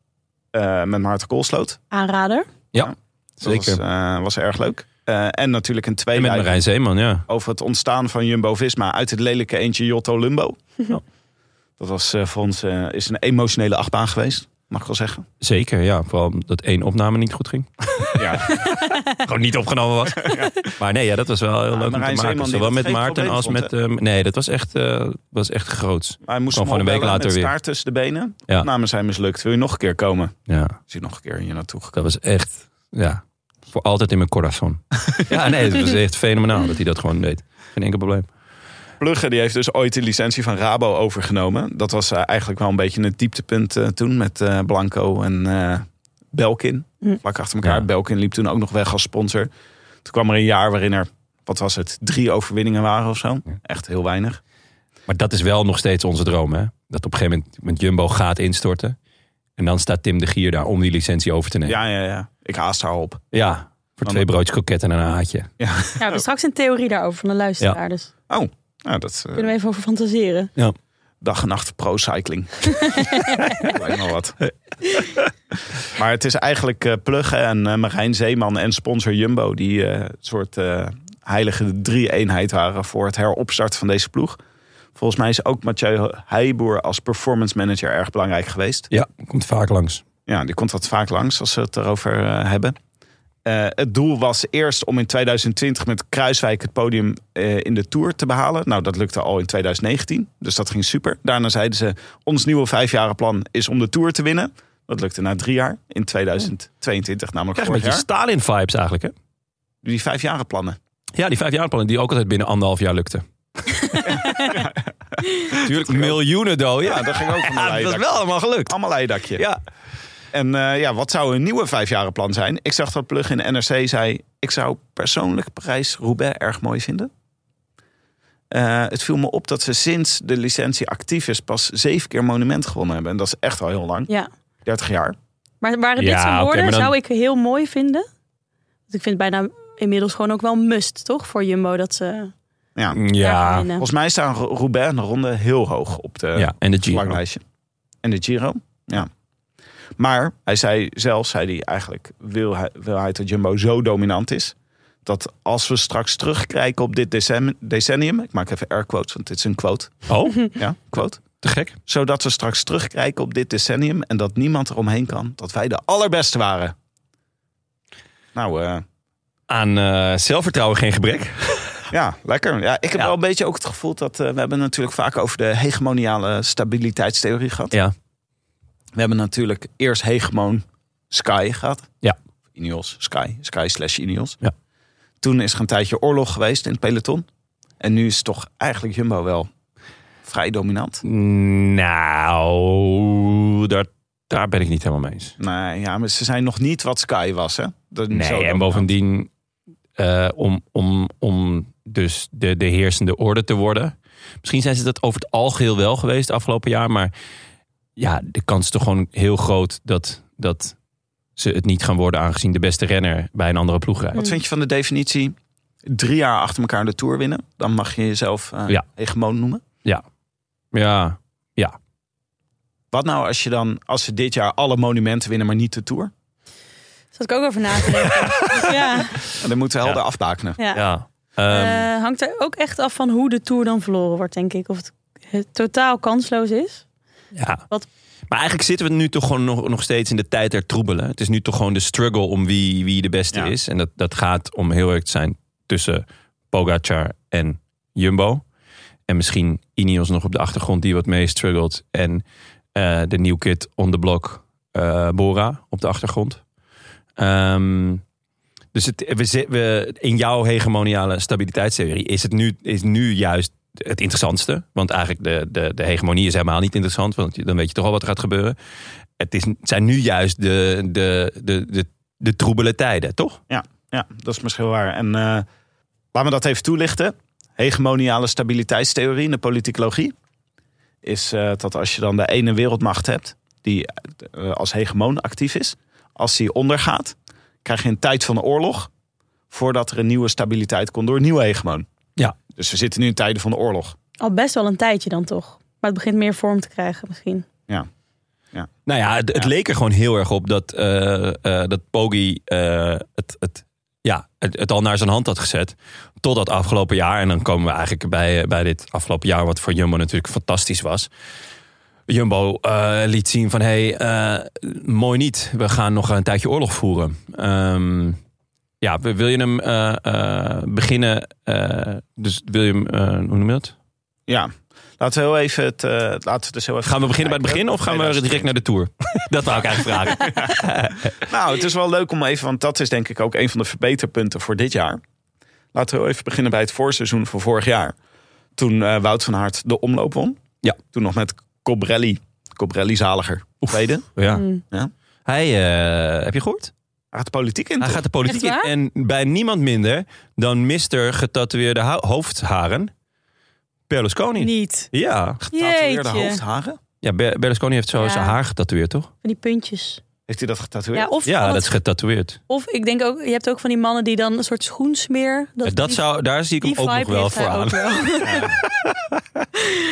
S3: eh, met Maarten Koolsloot.
S2: aanrader.
S3: Dat
S1: Zeker.
S3: Was, eh, was erg leuk. Eh, en natuurlijk een
S1: En met
S3: tweede
S1: Marijn Zeeman, ja.
S3: over het ontstaan van Jumbo-Visma uit het lelijke eentje Jotto Lumbo. Dat was eh, voor ons eh, is een emotionele achtbaan geweest, mag ik wel zeggen.
S1: Zeker, ja. Vooral dat één opname niet goed
S3: [LAUGHS]
S1: ging.
S3: Ja.
S1: Gewoon niet opgenomen was. [LAUGHS] Maar nee, ja, dat was wel heel
S3: Ja,
S1: leuk om te
S3: Marijn Zeeman
S1: maken.
S3: die
S1: Zowel
S3: dat
S1: met
S3: geen
S1: Maarten
S3: probleem
S1: als
S3: vond,
S1: met... ehm, nee, dat was echt, eh, was echt groots.
S3: Wij moesten
S1: Kwam gewoon een week later
S3: met
S1: weer.
S3: staart tussen de benen.
S1: Ja.
S3: Opnames zijn mislukt. Wil je nog een keer komen?
S1: Ja,
S3: Is hij nog een keer hier naartoe gekomen?
S1: dat was echt... Ja, voor altijd in mijn
S3: [LAUGHS]
S1: corazon. ja, nee, dat was echt fenomenaal dat hij dat gewoon deed. Geen enkel probleem.
S3: Plugge die heeft dus ooit de licentie van Rabo overgenomen. Dat was eh, eigenlijk wel een beetje het dieptepunt eh, toen met eh, Blanco en eh, Belkin.
S2: Hm.
S3: Vlak achter elkaar.
S1: Ja.
S3: Belkin liep toen ook nog weg als sponsor. Toen kwam er een jaar waarin er wat was het, drie overwinningen waren of zo. Echt heel weinig.
S1: Maar dat is wel nog steeds onze droom, hè? Dat op een gegeven moment met Jumbo gaat instorten. En dan staat Tim de Gier daar om die licentie over te nemen. Ja,
S3: Ja, ja, ja. Ik haast haar op.
S1: voor twee broodjes koketten en een haatje.
S2: Ja, we hebben straks een theorie daarover van de luisteraar.
S1: Ja.
S2: Dus daar
S3: Nou, dat eh,
S2: kunnen we even over fantaseren.
S3: dag en nacht pro-cycling. Lijkt me wat. maar het is eigenlijk eh Plugge en eh, Marijn Zeeman en sponsor Jumbo... die eh, een soort eh, heilige drie-eenheid waren voor het heropstart van deze ploeg. Volgens mij is ook Mathieu Heijboer als performance manager erg belangrijk geweest.
S1: Ja, komt vaak langs.
S3: Ja, die komt wat vaak langs als we het erover eh, hebben. Eh, het doel was eerst om in 2020 met Kruiswijk het podium eh, in de Tour te behalen. Nou, dat lukte al in 2019, dus dat ging super. Daarna zeiden ze, ons nieuwe vijfjarenplan is om de Tour te winnen. Dat lukte na drie jaar, in 2022
S1: Ik krijg
S3: namelijk
S1: een
S3: vorig
S1: beetje
S3: jaar.
S1: Stalin-vibes eigenlijk, hè?
S3: Die vijfjarenplannen.
S1: Ja, die vijfjaarplannen die ook altijd binnen anderhalf jaar [LAUGHS] lukte. Tuurlijk, miljoenen doden.
S3: [LAUGHS] Ja,
S1: Ja,
S3: dat ging ook van de
S1: ja, Ah, dat is
S3: leidakje.
S1: wel allemaal gelukt.
S3: Allemaal leidakje.
S1: Ja,
S3: En eh, ja, wat zou een nieuwe vijfjarenplan zijn? Ik zag dat Plug in NRC zei... ik zou persoonlijk Parijs-Roubaix erg mooi vinden. Eh, het viel me op dat ze sinds de licentie actief is... pas zeven keer monument gewonnen hebben. En dat is echt al heel lang.
S2: Ja.
S3: 30 jaar.
S2: Maar waren
S1: Ja,
S2: dit zijn
S1: oké,
S2: woorden,
S1: maar dan-
S2: zou ik heel mooi vinden. Want ik vind het bijna inmiddels gewoon ook wel must, toch? Voor Jumbo dat ze
S3: Ja.
S1: Mm.
S2: daar gaan
S1: ja. eh,
S2: winnen.
S3: Volgens mij staan Rou- Roubaix en de Ronde heel hoog op de
S1: ja en de Giro.
S3: slanglijstje. En de Giro, ja. Maar hij zei zelf, zei hij eigenlijk... wil hij, wil hij dat Jumbo zo dominant is... dat als we straks terugkijken op dit decem- decennium... ik maak even air quotes, want dit is een
S1: [LAUGHS]
S3: quote.
S1: Oh,
S3: Ja, quote.
S1: te gek.
S3: Zodat we straks terugkijken op dit decennium... en dat niemand eromheen kan dat wij de allerbeste waren. Nou, eh,
S1: Aan eh, zelfvertrouwen geen gebrek.
S3: ja, lekker. Ja, ik heb
S1: Ja.
S3: wel een beetje ook het gevoel dat... eh, we hebben natuurlijk vaak over de hegemoniale stabiliteitstheorie gehad.
S1: Ja.
S3: We hebben natuurlijk eerst hegemoon Sky gehad.
S1: Ja.
S3: Ineos, Sky, Sky slash Ineos.
S1: Ja.
S3: Toen is er een tijdje oorlog geweest in het peloton. En nu is toch eigenlijk Jumbo wel vrij dominant.
S1: Nou, daar, daar ben ik niet helemaal mee eens.
S3: Nou ja, maar ze zijn nog niet wat Sky was, hè? Dat is zo
S1: Nee, en
S3: dominant.
S1: bovendien, eh, om, om, om dus de, de heersende orde te worden. Misschien zijn ze dat over het algeheel wel geweest de afgelopen jaar. Maar ja, de kans is toch gewoon heel groot dat, dat ze het niet gaan worden. Aangezien de beste renner bij een andere ploeg rijdt.
S3: Wat vind je van de definitie? Drie jaar achter elkaar de Tour winnen. Dan mag je jezelf eh,
S1: Ja.
S3: hegemoon noemen.
S1: Ja,
S3: Wat nou als je dan, als ze dit jaar alle monumenten winnen, maar niet de Tour?
S2: Zat ik ook over na te [LAUGHS] denken. ja.
S3: En Dan moeten we helder
S1: Ja.
S3: afbakenen.
S2: ja.
S1: ja. Ehm,
S2: Eh, hangt er ook echt af van hoe de Tour dan verloren wordt, denk ik. Of het, eh, totaal kansloos is.
S1: Ja.
S2: Wat-
S1: Maar eigenlijk zitten we nu toch gewoon nog, nog steeds in de tijd der troebelen. Het is nu toch gewoon de struggle om wie, wie de beste
S3: Ja.
S1: is. En dat, dat gaat om heel erg te zijn tussen Pogacar en Jumbo. En misschien Ineos nog op de achtergrond die wat mee struggelt. En eh, de new kid on the block eh, Bora op de achtergrond. Ehm, dus het, we, zi- we, in jouw hegemoniale stabiliteitstheorie is het nu, is nu juist het interessantste. Want eigenlijk de, de, de hegemonie is helemaal niet interessant. Want dan weet je toch al wat er gaat gebeuren. Het, is, het zijn nu juist de, de, de, de, de troebele tijden, toch?
S3: Ja, dat is misschien waar. En eh laat me dat even toelichten. Hegemoniale stabiliteitstheorie in de politicologie is eh, dat als je dan de ene wereldmacht hebt die eh, als hegemoon actief is, als die ondergaat, krijg je een tijd van oorlog voordat er een nieuwe stabiliteit komt door een nieuwe hegemoon.
S1: Ja.
S3: Dus we zitten nu in tijden van de oorlog.
S2: Al best wel een tijdje dan toch. Maar het begint meer vorm te krijgen misschien.
S1: Nou ja, het, het
S3: Ja.
S1: leek er gewoon heel erg op dat, eh eh, dat Poggi eh, het, het, ja, het, het al naar zijn hand had gezet. Tot dat afgelopen jaar. En dan komen we eigenlijk bij, eh, bij dit afgelopen jaar, wat voor Jumbo natuurlijk fantastisch was. Jumbo eh, liet zien van, hé, hey, eh, mooi niet. We gaan nog een tijdje oorlog voeren. Ehm, ja, wil wil je hem eh, eh, beginnen? eh, dus wil je hem, eh, hoe noem je dat?
S3: Ja, laten we heel even het. eh, laten we dus heel even
S1: Gaan we beginnen bij het begin of gaan we direct naar de Tour? [LAUGHS] Dat wou ik eigenlijk vragen.
S3: Nou, het is wel leuk om even, want dat is denk ik ook een van de verbeterpunten voor dit jaar. Laten we even beginnen bij het voorseizoen van vorig jaar. Toen eh, Wout van Aert de omloop won.
S1: Ja.
S3: Toen nog met Cobrelli. Cobrelli zaliger. Tweede.
S1: Ja.
S2: Hmm.
S3: Ja.
S1: Hij, eh, heb je gehoord?
S3: gaat de politiek in.
S1: Hij
S3: toch?
S1: gaat de politiek
S2: Echt
S1: in.
S2: waar?
S1: En bij niemand minder dan Mr. getatoeëerde ho- hoofdharen. Berlusconi.
S2: Niet.
S1: Ja.
S3: Getatoeëerde
S2: Jeetje.
S3: hoofdharen?
S1: ja, Ber- Berlusconi heeft zo
S2: Ja.
S1: zijn haar getatoeëerd, toch?
S2: Van die puntjes.
S3: Heeft hij dat getatoeëerd?
S2: Ja, of,
S1: Ja,
S2: van
S1: dat
S2: het-
S1: is getatoeëerd.
S2: of ik denk ook, je hebt ook van die mannen die dan een soort schoensmeer.
S1: Dat,
S2: die-
S1: zou, daar zie ik
S2: die
S1: hem ook nog
S2: vibe
S1: wel
S2: heeft
S1: voor
S2: hij
S1: aan.
S2: ook
S1: [LAUGHS]
S2: wel.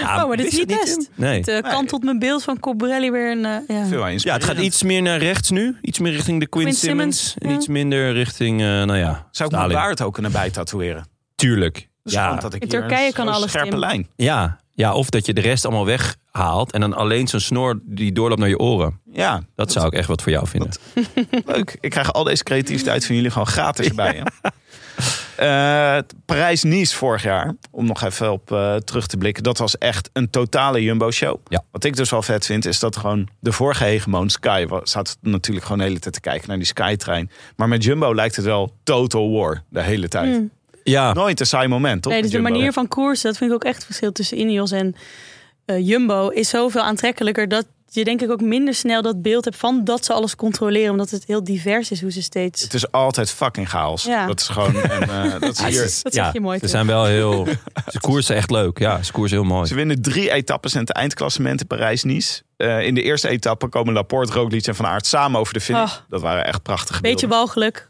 S1: Ja,
S2: Oh, maar dit is niet best.
S1: Nee.
S2: Het eh, kantelt mijn beeld van Cobrelli weer een... eh, ja.
S3: Veel aan
S1: Ja, het gaat iets meer naar rechts nu. Iets meer richting de Quinn
S2: Quinn
S1: Simmons.
S2: Simmons,
S1: En
S2: ja.
S1: iets minder richting, eh, nou ja,
S3: Zou ik
S1: Stalin.
S3: mijn baard ook kunnen bijtatoeëren?
S1: Tuurlijk.
S3: Dus
S1: Ja.
S3: gewoon dat ik
S2: In
S3: hier
S2: Turkije
S3: een
S2: kan
S3: zo'n
S2: alles,
S3: scherpe
S2: Tim.
S3: lijn.
S1: Ja. ja, of dat je de rest allemaal weghaalt. En dan alleen zo'n snor die doorloopt naar je oren.
S3: Ja,
S1: Dat zou ik echt wat voor jou vinden.
S3: Leuk. Ik krijg al deze creativiteit van jullie gewoon gratis erbij. hè? Eh, Parijs-Nice vorig jaar, om nog even op eh, terug te blikken. Dat was echt een totale Jumbo-show.
S1: Ja.
S3: Wat ik dus wel vet vind, is dat gewoon de vorige hegemoon Sky... wa- zat natuurlijk gewoon de hele tijd te kijken naar die Skytrein. Maar met Jumbo lijkt het wel total war de hele tijd.
S1: Ja,
S3: Nooit een saai moment, toch?
S2: Hmm. Nee, dus
S3: met
S2: de
S3: Jumbo?
S2: manier van koersen, dat vind ik ook echt het verschil tussen Ineos en eh, Jumbo, is zoveel aantrekkelijker dat je denk ik ook minder snel dat beeld hebt van dat ze alles controleren, omdat het heel divers is hoe ze steeds.
S3: Het is altijd fucking chaos.
S2: Ja.
S3: Dat is gewoon... En, eh, dat is
S1: Ja,
S3: hier-
S1: ze-
S2: Dat zeg
S1: ja,
S2: je mooi,
S1: Ze
S2: Tim.
S1: zijn wel
S2: [LAUGHS]
S1: heel. Ze koersen echt leuk. Ja, ze koersen heel mooi.
S3: Ze winnen drie etappes in het eindklassement in Parijs-Nice. Eh, in de eerste etappe komen Laporte, Roglic en Van Aert samen over de finish.
S2: Ah.
S3: Dat waren echt prachtige
S2: Beetje
S3: beelden.
S2: walgelijk.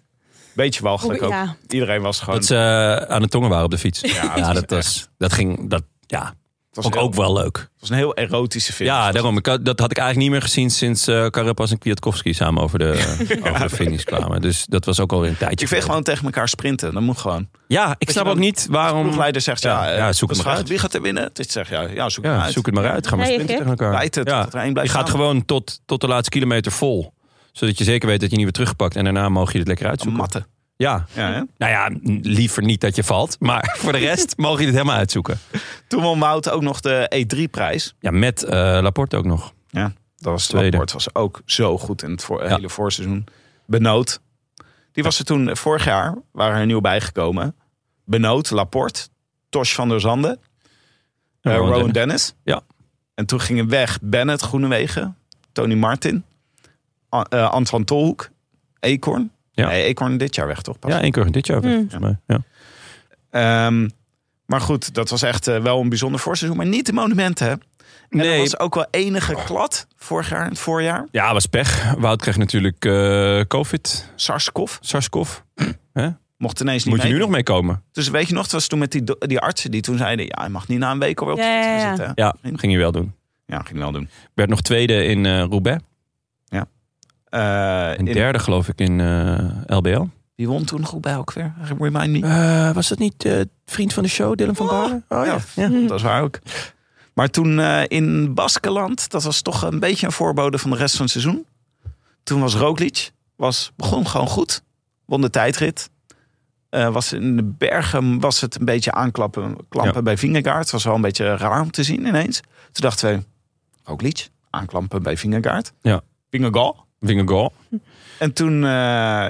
S3: Beetje walgelijk ook.
S2: Ja.
S3: Iedereen was gewoon...
S1: Dat ze eh, aan de tongen waren op de fiets. Ja, dat, was, dat ging. Dat, ja,
S3: het was
S1: vond ik
S3: heel-
S1: ook wel leuk.
S3: Het was een heel erotische finish.
S1: Ja, daarom. Ik had- dat had ik eigenlijk niet meer gezien sinds eh Carapaz en Kwiatkowski samen over de,
S3: [LAUGHS]
S1: over de finish kwamen. Dus dat was ook al een tijdje.
S3: Je vindt
S1: geleden.
S3: gewoon tegen elkaar sprinten. Dat moet gewoon.
S1: Ja, ik snap
S3: je
S1: ook
S3: wel-
S1: niet waarom.
S3: Ploegleider zegt ja,
S1: Ja,
S3: eh,
S1: ja, zoek
S3: dat
S1: het
S3: is
S1: maar
S3: vraag,
S1: uit.
S3: Wie gaat er winnen? Dit zegt ja, ja zoek het maar
S1: Ja,
S3: uit.
S1: zoek het maar uit. Ga maar
S2: Nee,
S1: sprinten
S2: gek.
S1: tegen elkaar.
S3: Bijt het
S1: ja.
S3: tot er één blijft
S1: je gaat
S3: hangen.
S1: gewoon tot, tot de laatste kilometer vol. Zodat je zeker weet dat je niet weer teruggepakt. En daarna mag je het lekker
S3: Een
S1: uitzoeken.
S3: matte.
S1: Ja,
S3: Ja, hè?
S1: Nou ja, n- liever niet dat je valt. Maar [LAUGHS] voor de rest mogen je dit helemaal uitzoeken.
S3: Toen won Mout ook nog de E E3-prijs.
S1: Ja, met eh, Laporte ook nog.
S3: Ja, dat was het
S1: Tweede.
S3: rapport. was ook zo goed in het voor,
S1: Ja.
S3: hele voorseizoen. Benoot. Die was er toen, eh, vorig jaar, waren er nieuw bijgekomen. Benoot, Laporte, Tosh van der Zande, eh,
S1: Rowan
S3: Rowan
S1: Dennis.
S3: Dennis.
S1: Ja.
S3: En toen gingen weg Bennett, Groenewegen, Tony Martin, A- eh, Antoine Tolhoek, Eekhoorn.
S1: Ja.
S3: Nee, Eekhoorn dit jaar weg toch? Pas.
S1: Ja, één keer dit jaar. weer,
S2: Mm.
S1: Volgens mij. Ja.
S3: Ehm, maar goed, dat was echt eh, wel een bijzonder voorseizoen. Maar niet de monumenten, hè? En
S1: Nee.
S3: er was ook wel enige klad vorig jaar, in het voorjaar.
S1: ja, was pech. Wout kreeg natuurlijk eh, COVID,
S3: Sarskov.
S1: SARS-CoV.
S3: Mocht ineens niet
S1: Moet je
S3: mee.
S1: nu nog meekomen?
S3: Dus weet je nog, het was toen met die, do- die artsen die toen zeiden... ja, hij mag niet na een week alweer op de
S2: Ja,
S3: fiets gaan
S2: ja, ja.
S3: zitten. hè?
S1: Ja, ging je wel doen.
S3: Ja, ging wel doen.
S1: Werd nog tweede in eh Roubaix.
S3: Eh,
S1: En
S3: in-
S1: derde geloof ik in eh, LBL.
S3: Wie won toen goed bij elk weer? Remind me.
S1: Eh, was dat niet eh, vriend van de show, Dylan van Baarden? Oh,
S3: ja.
S2: Mm.
S3: Mm. Dat is waar ook. Maar toen eh, in Baskeland, dat was toch een beetje een voorbode van de rest van het seizoen. Toen was Roglic, was, begon gewoon goed. Won de tijdrit. Eh, was in de bergen was het een beetje aanklappen klampen
S1: Ja.
S3: bij Vingegaard. Het was wel een beetje raar om te zien ineens. Toen dachten we, Roglic, aanklampen bij Vingegaard.
S1: Ja.
S3: Vingegaard.
S1: Vingegaard.
S3: En toen, eh,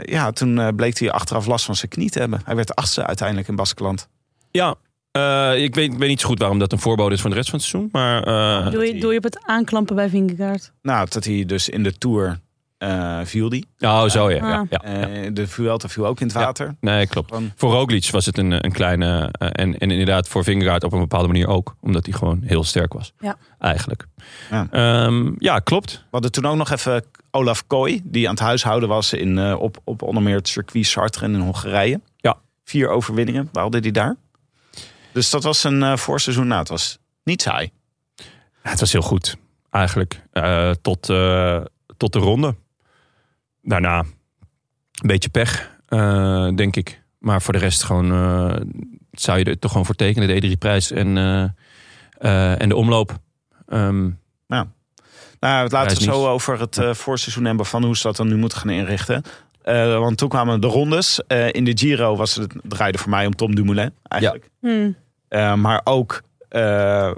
S3: ja, toen eh, bleek hij achteraf last van zijn knie te hebben. Hij werd de achtste uiteindelijk in Baskeland.
S1: Ja, eh, ik, weet, ik weet niet zo goed waarom dat een voorbode is van de rest van het seizoen. Maar eh,
S2: Doe je,
S3: die-
S2: doe je op het aanklampen bij Vingegaard.
S3: Nou, dat hij dus in de Tour eh, viel die.
S1: oh, zo ja. ja,
S2: Ah.
S1: ja, ja.
S3: Eh, de Vuelta viel ook in het water.
S1: Nee, klopt.
S3: Gewoon-
S1: Voor Roglic was het een, een kleine... eh, en, en inderdaad voor Vingegaard op een bepaalde manier ook. Omdat hij gewoon heel sterk was.
S2: Ja.
S1: Eigenlijk.
S3: Ja.
S1: Ehm, ja, klopt.
S3: We hadden toen ook nog even Olaf Kooi, die aan het huishouden was in, eh, op, op onder meer het circuit Sartre in Hongarije.
S1: Ja.
S3: Vier overwinningen behaalde hij daar. Dus dat was een eh, voorseizoen. Nou, het was niet saai.
S1: Ja, het was heel goed. Eigenlijk. Eh, tot, eh, tot de ronde. Daarna een beetje pech. eh, denk ik. Maar voor de rest gewoon... eh, zou je er toch gewoon voor tekenen. De E3-prijs en, eh, eh, en de omloop. Ehm,
S3: Nou, het
S1: Hij
S3: laten
S1: is
S3: we zo
S1: niet-
S3: over het eh, voorseizoen hebben van hoe ze dat dan nu moeten gaan inrichten. Eh, want toen kwamen de rondes. Eh, in de Giro was het, het draaide voor mij om Tom Dumoulin eigenlijk.
S2: Hm.
S3: Eh, maar ook, eh,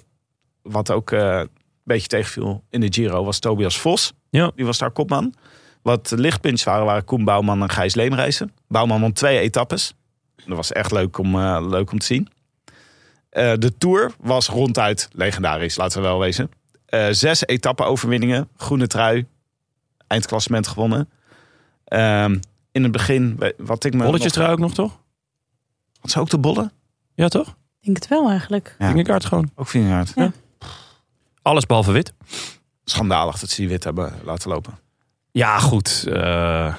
S3: wat ook eh, een beetje tegenviel in de Giro, was Tobias Vos.
S1: Ja.
S3: Die was daar kopman. Wat de lichtpunts waren, waren Koen Bouwman en Gijs Leemreizen. Bouwman won twee etappes. Dat was echt leuk om, eh, leuk om te zien. Eh, de Tour was ronduit legendarisch, laten we wel wezen. Eh, zes etappe overwinningen, groene trui, eindklassement gewonnen. Ehm, in het begin, we- wat ik me...
S1: Bolletjes
S3: nog-
S1: er ook nog, toch?
S3: Had ze ook de bollen?
S1: Ja, toch?
S2: Ik denk het wel eigenlijk.
S3: Ja.
S1: Vingerkaart gewoon.
S3: Ook vingerhard.
S2: Ja.
S1: Alles behalve wit.
S3: Schandalig dat ze die wit hebben laten
S1: [LAUGHS]
S3: lopen.
S1: Ja, goed. eh,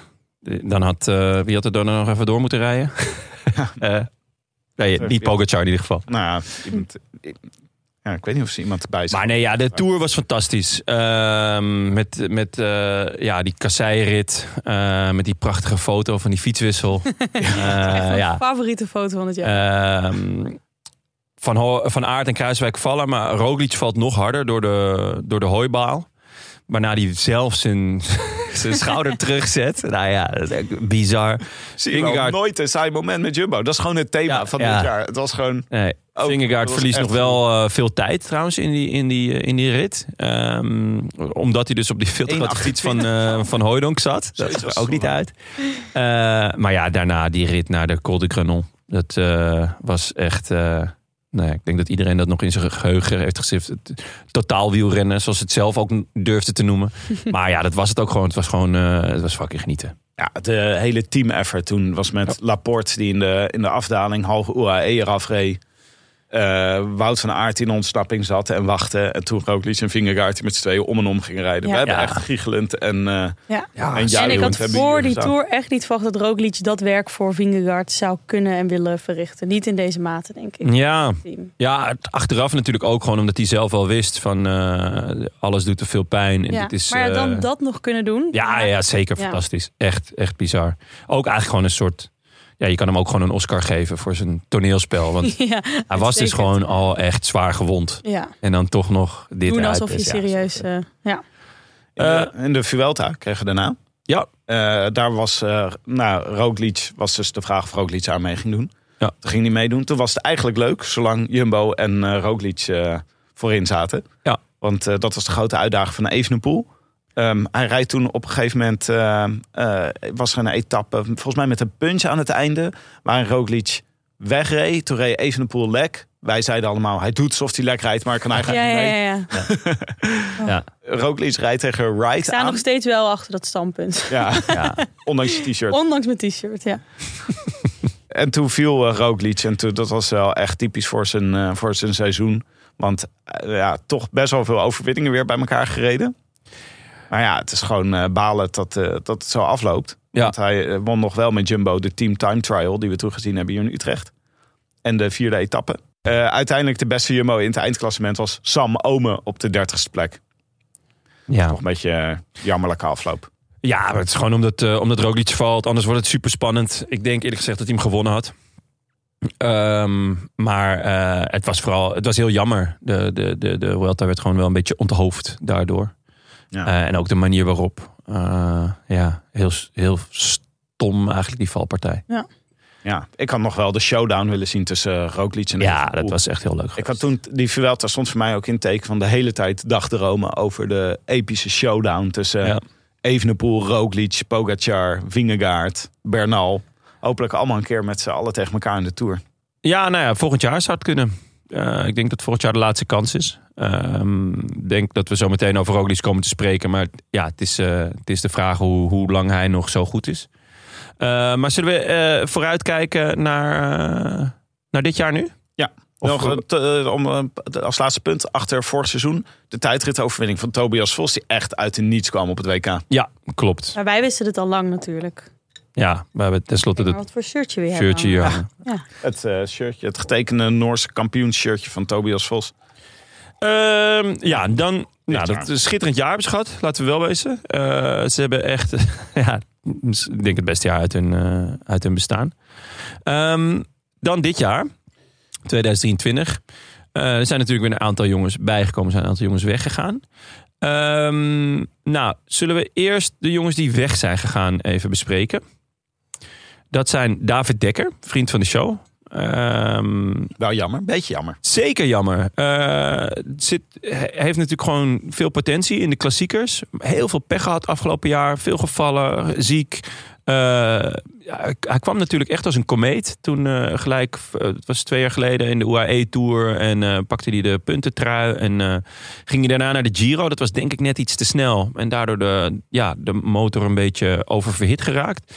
S1: dan had, eh, wie had er dan nog even door moeten rijden? [LAUGHS] Eh, nee, niet Pogacar in ieder geval.
S3: Nou ja, iemand, ik, ja, ik weet niet of ze iemand erbij zijn.
S1: Maar nee, ja, de Tour was fantastisch. Ehm, met met eh, ja, die kasseirit. eh, met die prachtige foto van die [LAUGHS] fietswissel.
S2: Echt
S1: Eh,
S2: mijn
S1: ja.
S2: favoriete foto van het jaar.
S1: Ehm, van, Ho- van Aert en Kruiswijk vallen. Maar Roglic valt nog harder door de, door de hooibaal. Waarna hij zelf zijn, [LAUGHS] zijn [LAUGHS] schouder terugzet. Nou ja, dat is echt bizar.
S3: Zie je wel,
S1: Vingegaard-
S3: nooit een saai moment met Jumbo. Dat is gewoon het thema
S1: Ja,
S3: van
S1: ja.
S3: dit jaar. Het was gewoon...
S1: Nee.
S3: Oh, dat
S1: Vingegaard
S3: was
S1: verliest
S3: echt
S1: nog wel eh, veel tijd trouwens in die, in die, eh, in die rit. Ehm, omdat hij dus op die veel te grote fiets van, eh van Hooijdonk zat.
S3: [LAUGHS]
S1: Dat
S3: Zoiets
S1: is er
S3: was
S1: ook
S3: het
S1: niet
S3: wel.
S1: uit. Eh, maar ja, daarna die rit naar de Col de Granon. Dat eh, was echt... eh, nou ja, ik denk dat iedereen dat nog in zijn geheugen heeft gezift. Het Totaal wielrennen, zoals het zelf ook durfde te
S2: [LAUGHS]
S1: noemen. Maar ja, dat was het ook gewoon. Het was gewoon eh, het was fucking genieten.
S3: Ja, de hele team effort toen was met Laporte die in de, in de afdaling half UAE eraf reed. Eh, Wout van Aert die in ontsnapping zat en wachtte. En toen Roglic en Vingegaard die met z'n tweeën om en om gingen rijden.
S2: Ja.
S3: We hebben
S1: Ja.
S3: echt giechelend en... eh
S2: ja.
S1: Ja,
S3: en
S2: en ik
S3: juichend
S2: had
S3: hebben
S2: voor
S3: hier
S2: die
S3: gestaan.
S2: tour echt niet verwacht dat Roglic dat werk voor Vingegaard zou kunnen en willen verrichten. Niet in deze mate, denk ik.
S1: ja.
S2: Team.
S1: Ja, het- achteraf natuurlijk ook gewoon omdat hij zelf wel wist van eh, alles doet te veel pijn. En
S2: Ja.
S1: dit is,
S2: maar ja, dan
S1: eh,
S2: dat nog kunnen doen.
S1: ja, ja, zeker
S2: Ja.
S1: fantastisch. Echt, echt bizar. Ook eigenlijk gewoon een soort... Ja, je kan hem ook gewoon een Oscar geven voor zijn toneelspel.
S2: [LAUGHS]
S1: Want
S2: Ja,
S1: hij was dus
S2: uitstekend.
S1: gewoon al echt zwaar gewond.
S2: Ja,
S1: En dan toch nog dit
S2: doen
S1: eruit
S2: alsof je
S1: is. Ja,
S2: serieus... eh, ja.
S3: in, de, Eh, in de Vuelta kregen we daarna.
S1: Ja.
S3: Eh, daar was, eh nou, Roglic was dus de vraag of Roglic aan mee ging doen.
S1: Ja.
S3: Toen ging hij meedoen. Toen was het eigenlijk leuk, zolang Jumbo en eh Roglic eh, voorin zaten.
S1: Ja.
S3: Want eh, dat was de grote uitdaging van Evenepoel. Ehm, hij rijdt toen op een gegeven moment, eh, eh, was er een etappe, volgens mij met een punch aan het einde, waarin Roglic wegreed. Toen reed Evenepoel lek. Wij zeiden allemaal, hij doet alsof hij lek rijdt, maar hij
S2: Ja,
S3: kan eigenlijk
S2: ja,
S3: niet mee.
S2: ja, ja.
S3: Roglic rijdt tegen Wright
S2: Ik sta
S3: aan.
S2: nog steeds wel achter dat standpunt.
S3: Ja,
S1: Ja.
S3: ondanks je t-shirt.
S2: Ondanks mijn t-shirt, ja.
S3: En toen viel eh, Roglic. En toen, dat was wel echt typisch voor zijn, eh, voor zijn seizoen. Want eh, ja, toch best wel veel overwinningen weer bij elkaar gereden. Maar ja, het is gewoon eh, balen dat, eh, dat het zo afloopt.
S1: Ja.
S3: Want hij eh, won nog wel met Jumbo de Team Time Trial... die we toen gezien hebben hier in Utrecht. En de vierde etappe. Eh, uiteindelijk de beste Jumbo in het eindklassement was Sam Ome op de dertigste plek.
S1: Ja.
S3: Een beetje eh, jammerlijke afloop.
S1: Ja, maar het is gewoon omdat, eh omdat Roglic valt. Anders wordt het super spannend. Ik denk eerlijk gezegd dat hij hem gewonnen had. Ehm, maar eh, het was vooral het was heel jammer. De, de, de, de Vuelta werd gewoon wel een beetje onthoofd daardoor.
S3: Ja.
S1: Eh, en ook de manier waarop. Eh, ja, heel, s- heel stom eigenlijk die valpartij.
S3: Ja, ik had nog wel de showdown willen zien tussen eh, Roglic en
S1: Ja,
S3: Evenepoel.
S1: dat was echt heel leuk.
S3: Ik
S1: geweest.
S3: had toen die Vuelta stond voor mij ook in het teken van de hele tijd dagdromen over de epische showdown tussen
S1: Ja.
S3: Evenepoel, Roglic, Pogacar, Vingegaard, Bernal. Hopelijk allemaal een keer met z'n allen tegen elkaar in de Tour.
S1: Ja, nou ja, volgend jaar zou het kunnen. Eh, ik denk dat volgend jaar de laatste kans is. Ehm, Ik denk dat we zo meteen over Roglic komen te spreken. Maar ja, het is, eh, het is de vraag hoe, hoe lang hij nog zo goed is. Eh, maar zullen we eh, vooruitkijken naar, eh, naar dit jaar nu?
S3: Ja.
S1: Of-
S3: Nog, eh, te- eh, om, eh, te- als laatste punt, achter vorig seizoen de tijdritoverwinning van Tobias Vos... die echt uit de niets kwam op het WK.
S1: Ja, eh, klopt.
S2: Maar wij wisten het al lang natuurlijk.
S1: Ja, we hebben tenslotte
S2: Maar
S1: het
S2: wat voor shirtje weer hebben.
S1: shirtje hier hangen.
S3: Het eh, shirtje, het getekende Noorse kampioensshirtje van Tobias Vos.
S1: Ehm, ja, dan. Nou,
S3: jaar.
S1: dat is een schitterend jaar hebben ze gehad, laten we wel wezen. Eh, ze hebben echt, [LAUGHS] ja, ik denk het beste jaar uit hun, eh, uit hun bestaan. Ehm, dan dit jaar, 2023. Eh, er zijn natuurlijk weer een aantal jongens bijgekomen, er zijn een aantal jongens weggegaan. Ehm, nou, zullen we eerst de jongens die weg zijn gegaan even bespreken? Dat zijn David Dekker, vriend van de show. Ehm,
S3: Wel jammer, beetje jammer.
S1: Zeker jammer. Eh, zit, he- heeft natuurlijk gewoon veel potentie in de klassiekers. Heel veel pech gehad afgelopen jaar. Veel gevallen, ziek. Eh, ja, hij- hij kwam natuurlijk echt als een komeet. Toen eh, gelijk, eh, het was twee jaar geleden in de UAE-tour. En eh, pakte hij de puntentrui. En eh, ging hij daarna naar de Giro. Dat was denk ik net iets te snel. En daardoor de, ja, de motor een beetje oververhit geraakt.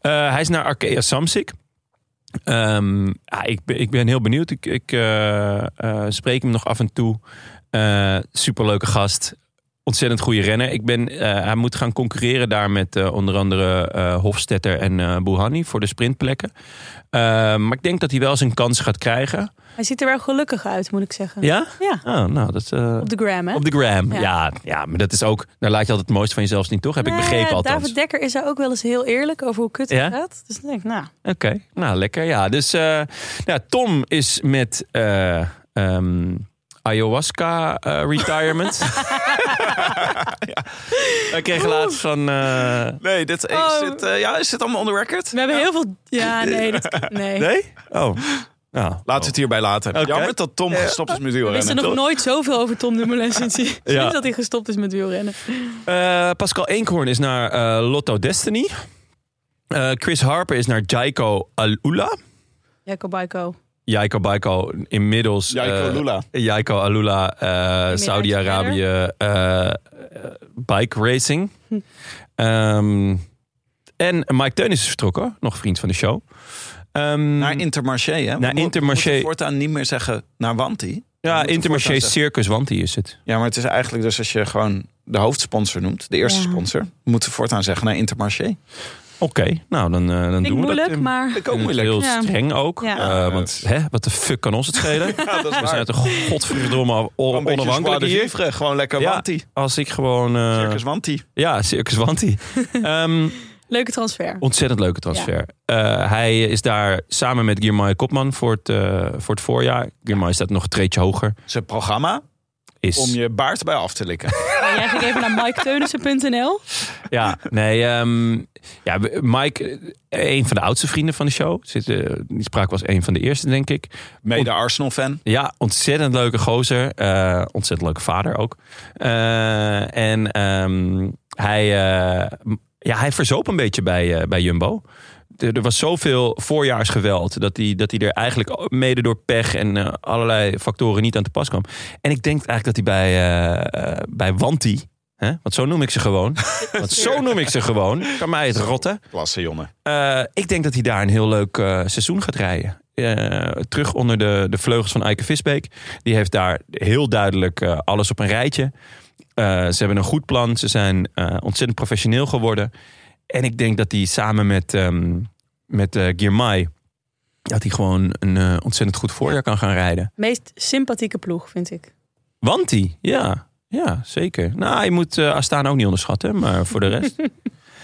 S1: Eh, hij is naar Arkea Samsic. Ehm, ja, ik, ben, ik ben heel benieuwd. Ik, ik eh, eh, spreek hem nog af en toe. Eh, superleuke gast. Ontzettend goede renner. Ik ben, eh, hij moet gaan concurreren daar met eh, onder andere eh Hofstetter en eh Bouhanni voor de sprintplekken. Eh, maar ik denk dat hij wel zijn kans gaat krijgen.
S2: Hij ziet er wel gelukkig uit, moet ik zeggen.
S1: Ja?
S2: Ja,
S1: Oh, nou, dat, eh,
S2: op de gram, hè?
S1: op de gram. Ja.
S2: Ja.
S1: Ja, maar dat is ook... Daar laat je altijd het mooiste van jezelf zien, toch? Heb ik
S2: Nee,
S1: begrepen althans.
S2: Eh, David Dekker is daar ook wel eens heel eerlijk over hoe kut het
S1: Ja?
S2: gaat. Dus dan denk ik, nou,
S1: Oké, nou lekker. Ja, dus eh, nou, Tom is met eh, ehm, ayahuasca eh, retirement. ja. Wij kregen laatst van. eh,
S3: Nee, dit, is,
S2: Oh.
S3: dit, eh, ja, is dit allemaal on the record?
S2: we hebben heel veel... Ja, nee, dat,
S1: [LAUGHS]
S2: nee.
S1: nee? Oh. Nou,
S3: Laten we het hierbij laten.
S1: Oké.
S3: Jammer dat Tom gestopt is met
S2: We wisten
S3: wielrennen.
S2: nog
S3: Toch?
S2: nooit zoveel over Tom Dumoulin sinds, hij,
S1: [LAUGHS]
S2: sinds dat hij gestopt is met wielrennen.
S1: Eh, Pascal Eenkhoorn is naar eh, Lotto Destiny. Eh, Chris Harper is naar Jaiko Alula.
S2: Jacob Baiko.
S1: Jaiko Baiko inmiddels.
S3: Jaiko
S1: eh,
S3: Lula.
S1: Jaiko Alula, eh, Saudi-Arabië, eh, eh, bike racing.
S2: Hm.
S1: Ehm, en Mike Teun is vertrokken, nog vriend van de show. Ehm,
S3: Naar Intermarché, hè?
S1: Naar Intermarché.
S3: We moeten voortaan niet meer zeggen naar Wanti.
S1: ja,
S3: moeten
S1: Intermarché
S3: voortaan
S1: Circus, want die is het.
S3: Ja, maar het is eigenlijk dus als je gewoon de hoofdsponsor noemt, de eerste
S2: Ja.
S3: sponsor, moeten we voortaan zeggen naar Intermarché.
S1: Oké, nou dan, eh, dan
S2: Vind
S1: doen
S2: ik
S1: we dat.
S2: moeilijk,
S1: Tim.
S2: maar...
S3: Ik ook
S1: En het is
S3: moeilijk.
S1: Mm,
S3: [LAUGHS]
S1: Heel
S2: Ja.
S1: streng ook.
S2: Ja.
S1: eh,
S3: Ja.
S1: want hè, wat de fuck kan ons het
S3: [LAUGHS]
S1: schelen? We zijn toch godverdomme
S3: Gewoon een beetje
S1: onafhankelijk
S3: Zwaarder
S1: hier.
S3: Vivre, gewoon lekker
S1: Ja.
S3: Wanti.
S1: Als ik gewoon... eh,
S3: Circus Wanti.
S1: Ja, Circus
S2: [LAUGHS]
S1: Wanti. Ehm,
S2: Leuke transfer.
S1: Ontzettend leuke transfer. Eh, hij is daar samen met Girmay Kopman voor het, eh, voor het voorjaar. Girmay staat nog een treetje hoger.
S3: Zijn programma
S1: Is,
S3: om je baard bij af te likken.
S2: En jij ging even naar MikeTeunissen.nl.
S1: Ja, nee. ehm, ja, we- Mike, eh, een van de oudste vrienden van de show. Zit, eh, die spraak was een van de eerste, denk ik.
S3: Mede Arsenal-fan.
S1: Ja, ontzettend leuke gozer. Eh, ontzettend leuke vader ook. Eh, en ehm, hij, eh, m- ja, hij verzoop een beetje bij, eh, bij Jumbo. Er, er was zoveel voorjaarsgeweld dat hij, dat hij er eigenlijk mede door pech en eh, allerlei factoren niet aan te pas kwam. En ik denk eigenlijk dat hij bij, eh, eh, bij Wanti, hè, want zo noem ik ze gewoon, want zo noem ik ze gewoon, kan mij het rotten.
S3: Klasse jongen.
S1: Eh, ik denk dat hij daar een heel leuk eh, seizoen gaat rijden. Eh, terug onder de, de vleugels van Eike Visbeek. Die heeft daar heel duidelijk eh, alles op een rijtje. Eh, ze hebben een goed plan. Ze zijn eh, ontzettend professioneel geworden. En ik denk dat hij samen met, ehm met eh, Girmay... dat hij gewoon een eh, ontzettend goed voorjaar kan gaan rijden.
S2: Meest sympathieke ploeg, vind ik.
S1: Want hij, ja... Ja, zeker. Nou, je moet eh Astana ook niet onderschatten, maar voor de rest.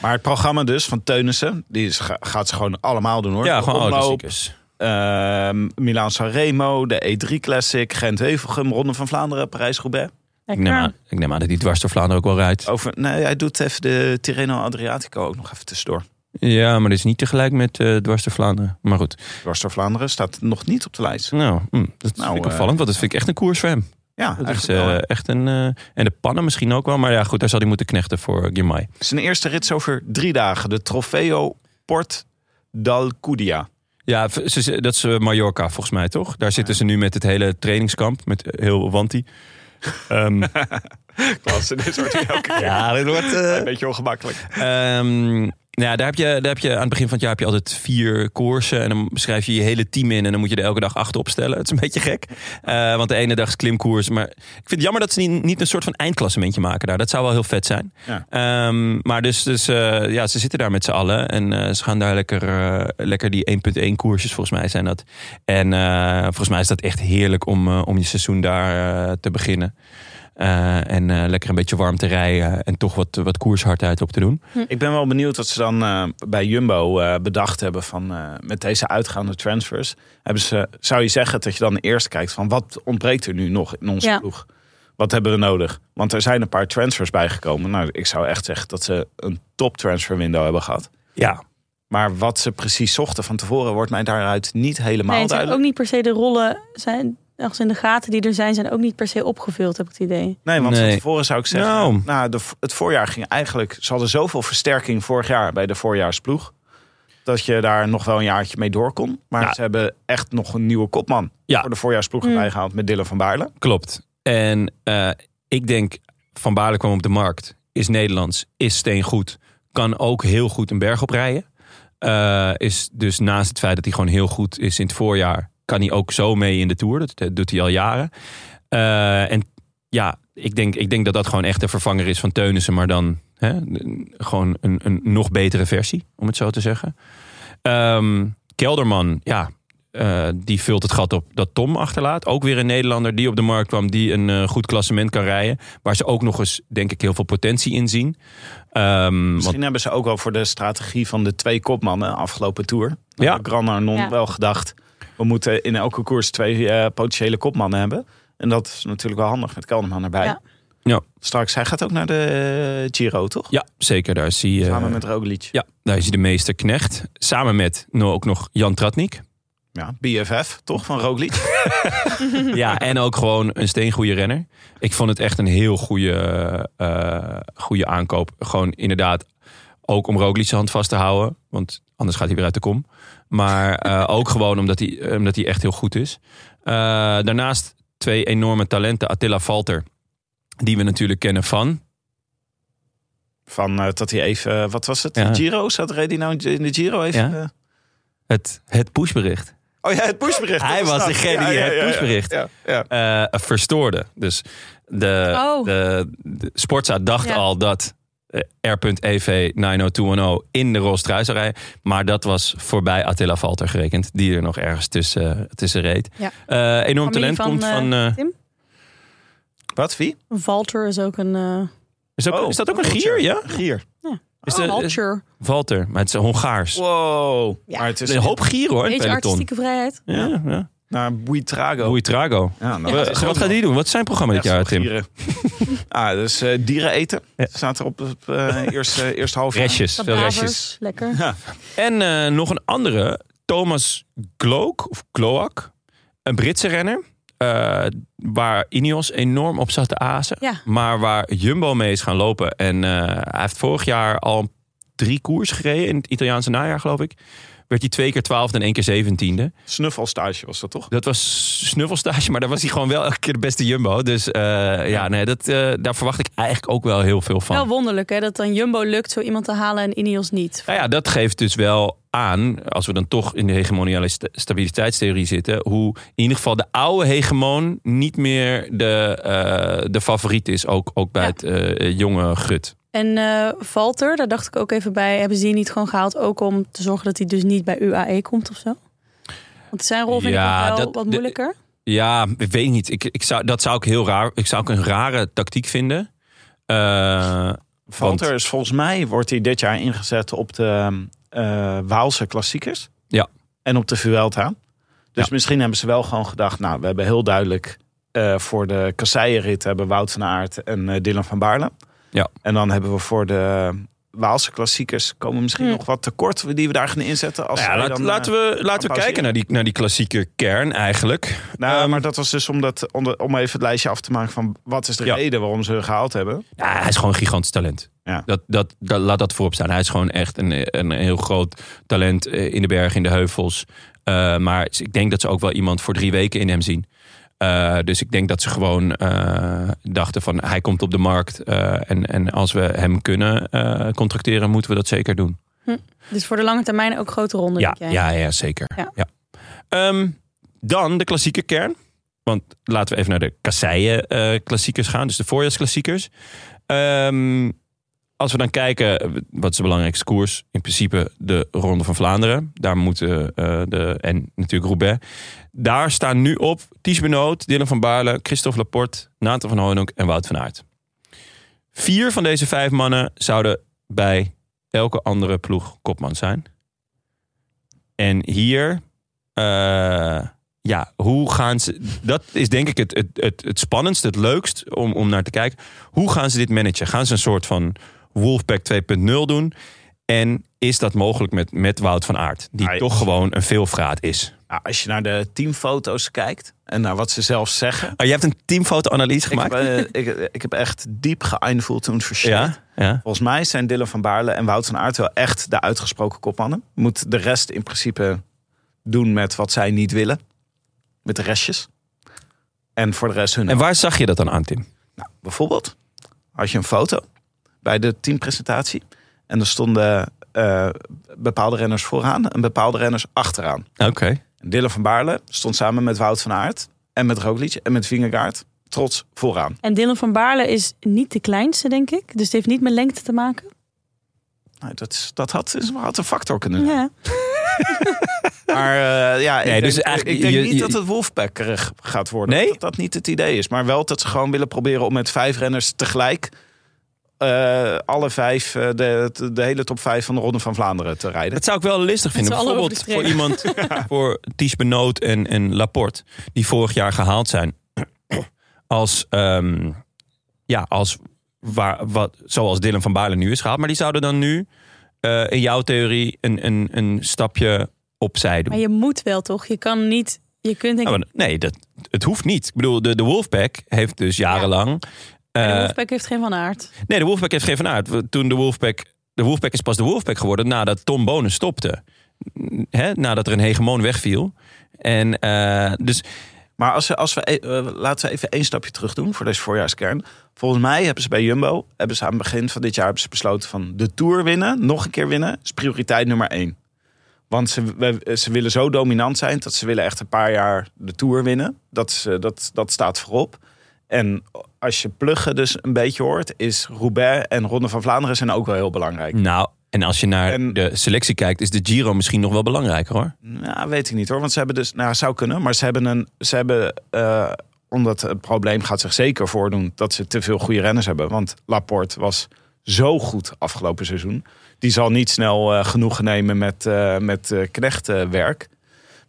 S3: Maar het programma dus van Teunissen, die is, ga- gaat ze gewoon allemaal doen hoor.
S1: ja, gewoon oude
S3: Omloop,
S1: klassiekers.
S3: Ehm Milaan Sanremo, de E3 Classic, Gent Heuvelgem, Ronde van Vlaanderen, Parijs-Roubaix.
S1: Ik neem, aan, ik neem aan dat hij dwars door Vlaanderen ook wel rijdt.
S3: Over, nee, hij doet even de Tirreno Adriatico ook nog even tussendoor.
S1: Ja, maar dit is niet tegelijk met eh Dwars door Vlaanderen. Maar goed.
S3: Dwars door Vlaanderen staat nog niet op de lijst.
S1: Nou, hm, dat
S3: Nou,
S1: vind ik
S3: eh,
S1: opvallend, want dat vind ik echt een koers voor hem.
S3: Ja,
S1: Dat is
S3: eigenlijk wel, hè.
S1: eh, echt een... eh, en de pannen misschien ook wel. Maar ja, goed, daar zal hij moeten knechten voor Girmay.
S3: Zijn eerste rit is over drie dagen. De Trofeo Port d'Alcudia.
S1: Ja, v- ze- ze- dat is eh, Mallorca volgens mij, toch? Daar zitten ze nu met het hele trainingskamp. Met heel [LAUGHS] Wanti. Ehm,
S3: [LAUGHS] Klasse, dit wordt elke keer
S1: ja, dit wordt... eh,
S3: [LAUGHS] een beetje ongemakkelijk.
S1: Ehm, nou ja, daar heb, je, daar heb je aan het begin van het jaar heb je altijd vier koersen. En dan schrijf je je hele team in. En dan moet je er elke dag acht opstellen. Het is een beetje gek. Eh, want de ene dag is klimkoers. Maar ik vind het jammer dat ze niet, niet een soort van eindklassementje maken daar. Dat zou wel heel vet zijn.
S3: Ja.
S1: Ehm, maar dus, dus eh, ja, ze zitten daar met z'n allen. En eh, ze gaan daar lekker, eh, lekker die 1.1 koersjes, volgens mij zijn dat. En eh, volgens mij is dat echt heerlijk om, eh, om je seizoen daar eh, te beginnen. Eh, en eh, lekker een beetje warm te rijden. En toch wat, wat koershardheid op te doen.
S3: Ik ben wel benieuwd wat ze dan eh, bij Jumbo eh, bedacht hebben van eh, met deze uitgaande transfers. Hebben ze, zou je zeggen dat je dan eerst kijkt van wat ontbreekt er nu nog in onze
S2: Ja.
S3: ploeg? Wat hebben we nodig? Want er zijn een paar transfers bijgekomen. Nou, ik zou echt zeggen dat ze een top transfer window hebben gehad.
S1: Ja,
S3: Maar wat ze precies zochten van tevoren wordt mij daaruit niet helemaal
S2: Nee, het zijn
S3: duidelijk.
S2: ook niet per se de rollen zijn ergens in de gaten die er zijn, zijn ook niet per se opgevuld, heb ik het idee.
S3: Nee, want
S1: Nee.
S3: van tevoren zou ik zeggen...
S1: Nou.
S3: Nou, de, het voorjaar ging eigenlijk... Ze hadden zoveel versterking vorig jaar bij de voorjaarsploeg... dat je daar nog wel een jaartje mee door kon. Maar
S1: Ja.
S3: ze hebben echt nog een nieuwe kopman...
S1: Ja.
S3: voor de voorjaarsploeg
S2: Mm.
S3: erbij gehaald met Dylan van Baarle.
S1: Klopt. En eh, ik denk, Van Baarle kwam op de markt. Is Nederlands, is steengoed. Kan ook heel goed een berg oprijden. Eh, is dus naast het feit dat hij gewoon heel goed is in het voorjaar... kan hij ook zo mee in de Tour. Dat, dat doet hij al jaren. Eh, en ja, ik denk, ik denk dat dat gewoon echt de vervanger is van Teunissen. Maar dan hè, een- gewoon een, een nog betere versie, om het zo te zeggen. Ehm, Kelderman, ja, eh, die vult het gat op dat Tom achterlaat. Ook weer een Nederlander die op de markt kwam, die een eh, goed klassement kan rijden. Waar ze ook nog eens, denk ik, heel veel potentie in zien. Ehm, want-
S3: Misschien hebben ze ook wel voor de strategie van de twee kopmannen afgelopen tour.
S1: Ja.
S3: Ja. Gran Arnon
S2: Ja.
S3: wel gedacht. We moeten in elke koers twee eh, potentiële kopmannen hebben. En dat is natuurlijk wel handig met Kelderman erbij.
S2: Ja.
S1: Ja.
S3: Straks, hij gaat ook naar de eh, Giro, toch?
S1: ja, zeker, daar is hij. eh,
S3: Samen met Roglic.
S1: Ja, daar is hij de meester knecht. Samen met nou, ook nog Jan Tratnik.
S3: Ja, BFF, toch? Van Roglic.
S1: Ja, en ook gewoon een steengoede renner. Ik vond het echt een heel goede, eh, goede aankoop. Gewoon inderdaad ook om Roglic zijn hand vast te houden. Want anders gaat hij weer uit de kom. Maar eh, ook gewoon omdat hij, omdat hij echt heel goed is. Eh, daarnaast twee enorme talenten. Attila Valter, die we natuurlijk kennen van...
S3: Van eh, dat hij even, eh, wat was het?
S1: Ja.
S3: Giro? Zat reed hij nou in de Giro even?
S1: Ja.
S3: eh?
S1: Het, het pushbericht.
S3: Oh ja, het pushbericht.
S1: Hij
S3: Dat
S1: was
S3: dat.
S1: degene die het pushbericht.
S3: Ja, ja.
S1: eh, verstoorde. Dus de,
S2: Oh.
S1: de, de Sportza dacht
S2: Ja.
S1: al dat eh, R.EV 90210 in de rolstrui zou rijden. Maar dat was voorbij Attila Valter gerekend. Die er nog ergens tussen, tussen reed.
S2: Ja.
S1: Eh, enorm talent
S2: Familie van,
S1: komt
S2: eh,
S1: van... eh,
S2: Tim?
S3: Wat, wie?
S2: Walter is ook een... eh
S1: is, ook,
S3: Oh,
S1: is dat ook een
S3: Valter.
S1: gier, ja?
S3: Gier.
S1: Is
S2: oh,
S1: de-
S2: Walter.
S1: Valter, maar het is Hongaars.
S3: Wow.
S2: Ja.
S3: Maar het is
S1: Een hoop gier hoor, in het
S2: Beetje
S1: peloton.
S2: artistieke vrijheid.
S1: Ja, ja.
S3: naar Buitrago.
S1: Trago.
S3: Ja, nou, dat is ook
S1: Wat gaat
S3: nog
S1: die doen? Wat is zijn programma dit
S3: echt
S1: jaar,
S3: nog
S1: Tim? [LAUGHS]
S3: gieren. ah, dus eh, dieren eten.
S1: Ja.
S3: Staat er op het eh, eerste, eerste half jaar.
S1: Restjes, veel restjes.
S2: Kadavers, lekker.
S1: En eh, nog een andere, Thomas Gloak, of Gloak, een Britse renner. eh, waar Ineos enorm op zat te azen.
S2: Ja.
S1: Maar waar Jumbo mee is gaan lopen. En eh, hij heeft vorig jaar al drie koers gereden. In het Italiaanse najaar, geloof ik. Werd hij twee keer twaalfde en één keer zeventiende.
S3: Snuffelstage was dat toch?
S1: Dat was snuffelstage, maar daar was hij gewoon wel elke keer de beste Jumbo. Dus eh, ja, nee, dat, eh, daar verwacht ik eigenlijk ook wel heel veel van.
S2: Wel wonderlijk hè, dat dan Jumbo lukt zo iemand te halen en Ineos niet.
S1: Nou ja, dat geeft dus wel aan, als we dan toch in de hegemoniale sta- stabiliteitstheorie zitten, hoe in ieder geval de oude hegemoon niet meer de, eh, de favoriet is, ook, ook bij
S2: Ja.
S1: het eh, jonge gut.
S2: En eh Valter, daar dacht ik ook even bij, hebben ze die niet gewoon gehaald? Ook om te zorgen dat hij dus niet bij UAE komt of zo? Want zijn rol vind
S1: Ja,
S2: ik ook wel
S1: dat-
S2: wat
S1: de-
S2: moeilijker.
S1: Ja, ik weet niet. Ik, ik zou, dat zou ik heel raar. Ik zou ook een rare tactiek vinden. Eh, want-
S3: Valter is volgens mij, wordt hij dit jaar ingezet op de eh, Waalse klassiekers.
S1: Ja.
S3: En op de Vuelta. Dus
S1: Ja.
S3: misschien hebben ze wel gewoon gedacht, nou, we hebben heel duidelijk eh, voor de kasseienrit hebben Wout van Aert en eh, Dylan van Baarle.
S1: Ja.
S3: En dan hebben we voor de Waalse klassiekers komen misschien
S2: Hm.
S3: nog wat tekort die we daar gaan inzetten. Als
S1: nou ja,
S3: wij
S1: laat-
S3: dan, eh,
S1: laten we, laten we
S3: pauzeren.
S1: kijken naar die, naar die klassieke kern eigenlijk.
S3: Nou,
S1: Ehm,
S3: maar dat was dus om, dat, om, de- om even het lijstje af te maken van wat is de
S1: Ja.
S3: reden waarom ze gehaald hebben.
S1: Ja, hij is gewoon een gigantisch talent.
S3: Ja.
S1: Dat, dat, dat, laat dat voorop staan. Hij is gewoon echt een, een heel groot talent eh, in de bergen, in de heuvels. Eh, maar ik denk dat ze ook wel iemand voor drie weken in hem zien. Eh, dus ik denk dat ze gewoon eh, dachten van hij komt op de markt. eh, en, en als we hem kunnen eh, contracteren, moeten we dat zeker doen.
S2: Dus voor de lange termijn ook grote ronde.
S1: Ja,
S2: denk jij?
S1: ja, ja zeker. Ja.
S2: Ja.
S1: Ehm, dan de klassieke kern. Want laten we even naar de kasseien eh, klassiekers gaan. Dus de voorjaarsklassiekers. Ehm, als we dan kijken, eh, wat is de belangrijkste koers? In principe de Ronde van Vlaanderen. Daar moeten eh, de, en natuurlijk Roubaix. Daar staan nu op Ties Benoot, Dylan van Baarle, Christophe Laporte, Nathan van Hoonhoek en Wout van Aert. Vier van deze vijf mannen zouden bij elke andere ploeg kopman zijn. En hier, eh, ja, hoe gaan ze. Dat is denk ik het, het, het, het spannendste, het leukst om, om naar te kijken. Hoe gaan ze dit managen? Gaan ze een soort van Wolfpack 2.0 doen? En is dat mogelijk met, met Wout van Aert, die
S3: Ah, ja.
S1: toch gewoon een veelvraat is?
S3: Nou, als je naar de teamfoto's kijkt, En naar wat ze zelf zeggen.
S1: Oh, je hebt een teamfoto-analyse
S3: Ik heb,
S1: gemaakt?
S3: eh, ik, ik heb echt diep geëindvoeld toen verschil.
S1: ja, ja.
S3: Volgens mij zijn Dylan van Baarle en Wout van Aert wel echt de uitgesproken kopmannen. Moet de rest in principe doen met wat zij niet willen. Met de restjes. En voor de rest hun.
S1: En waar zag je dat dan aan, Tim?
S3: Nou, bijvoorbeeld had je een foto bij de teampresentatie. En er stonden eh, bepaalde renners vooraan en bepaalde renners achteraan.
S1: Oké.
S3: En Dylan van Baarle stond samen met Wout van Aert en met Roglic en met Vingegaard trots vooraan.
S2: En Dylan van Baarle is niet de kleinste, denk ik. Dus het heeft niet met lengte te maken.
S3: Nou, dat, is- dat had, is- had een factor kunnen zijn.
S2: Ja.
S3: Maar eh, ja,
S1: Nee,
S3: ik,
S1: dus
S3: denk,
S1: eigenlijk
S3: ik denk
S1: je-
S3: niet
S1: je-
S3: dat het wolfpackerig gaat worden.
S1: Nee?
S3: Dat dat niet het idee is. Maar wel dat ze gewoon willen proberen om met vijf renners tegelijk... eh, alle vijf, eh, de, de- de hele top vijf van de Ronde van Vlaanderen te rijden.
S1: Dat zou ik wel listig vinden.
S2: z'n allen
S1: Bijvoorbeeld
S2: over de
S1: voor iemand, voor Ties Benoot en, en Laporte, die vorig jaar gehaald zijn. Als, ehm, ja, als waar, wat, zoals Dylan van Baarle nu is gehaald. Maar die zouden dan nu, eh, in jouw theorie, een, een, een stapje opzij doen.
S2: Maar je moet wel toch? Je kan niet. Je kunt denk ik.
S1: Nou, maar nee, dat, het hoeft niet. Ik bedoel, de, de Wolfpack heeft dus jarenlang...
S2: de
S1: eh,
S2: Wolfpack heeft geen van aard.
S1: Nee, de Wolfpack heeft geen van aard. We- Toen de Wolfpack... De Wolfpack is pas de Wolfpack geworden nadat Tom Bonen stopte. N- Hè, nadat er een hegemoon wegviel. En eh, dus...
S3: Maar als, ze- als we, e- eh, laten we even één stapje terug doen voor deze voorjaarskern. Volgens mij hebben ze bij Jumbo, hebben ze aan het begin van dit jaar hebben ze besloten van de Tour winnen, nog een keer winnen, is prioriteit nummer één. Want ze, we- ze willen zo dominant zijn dat ze willen echt een paar jaar de Tour winnen. Dat, ze, dat, dat staat voorop. En als je pluggen dus een beetje hoort, is Roubaix en Ronde van Vlaanderen zijn ook wel heel belangrijk.
S1: Nou, en als je naar
S3: En-
S1: de selectie kijkt... is de Giro misschien nog wel belangrijker, hoor.
S3: Nou, weet ik niet hoor. Want ze hebben dus, nou, zou kunnen, maar ze hebben een, ze hebben, eh, omdat het probleem gaat zich zeker voordoen dat ze te veel goede renners hebben. Want Laporte was zo goed afgelopen seizoen. Die zal niet snel eh genoegen nemen met, eh met eh, knechtenwerk.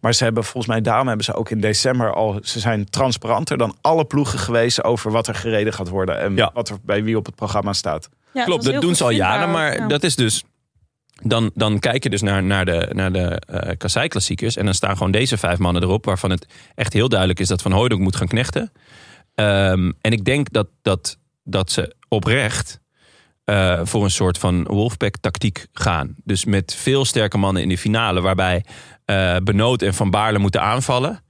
S3: Maar ze hebben volgens mij, daarom hebben ze ook in december al, ze zijn transparanter dan alle ploegen geweest over wat er gereden gaat worden en
S1: Ja.
S3: wat er bij wie op het programma staat.
S2: Ja, het was
S1: Klopt, dat
S2: heel
S1: doen
S2: goed
S1: ze al
S2: vindbaar
S1: jaren.
S2: ook,
S1: Maar
S2: ja.
S1: dat is dus... Dan, dan kijk je dus naar, naar de, naar de eh kasseiklassiekers. En dan staan gewoon deze vijf mannen erop. Waarvan het echt heel duidelijk is dat Van Hooydonk moet gaan knechten. Ehm, en ik denk dat, dat, dat ze oprecht eh, voor een soort van Wolfpack-tactiek gaan. Dus met veel sterke mannen in de finale. Waarbij eh, Benoot en Van Baarle moeten aanvallen.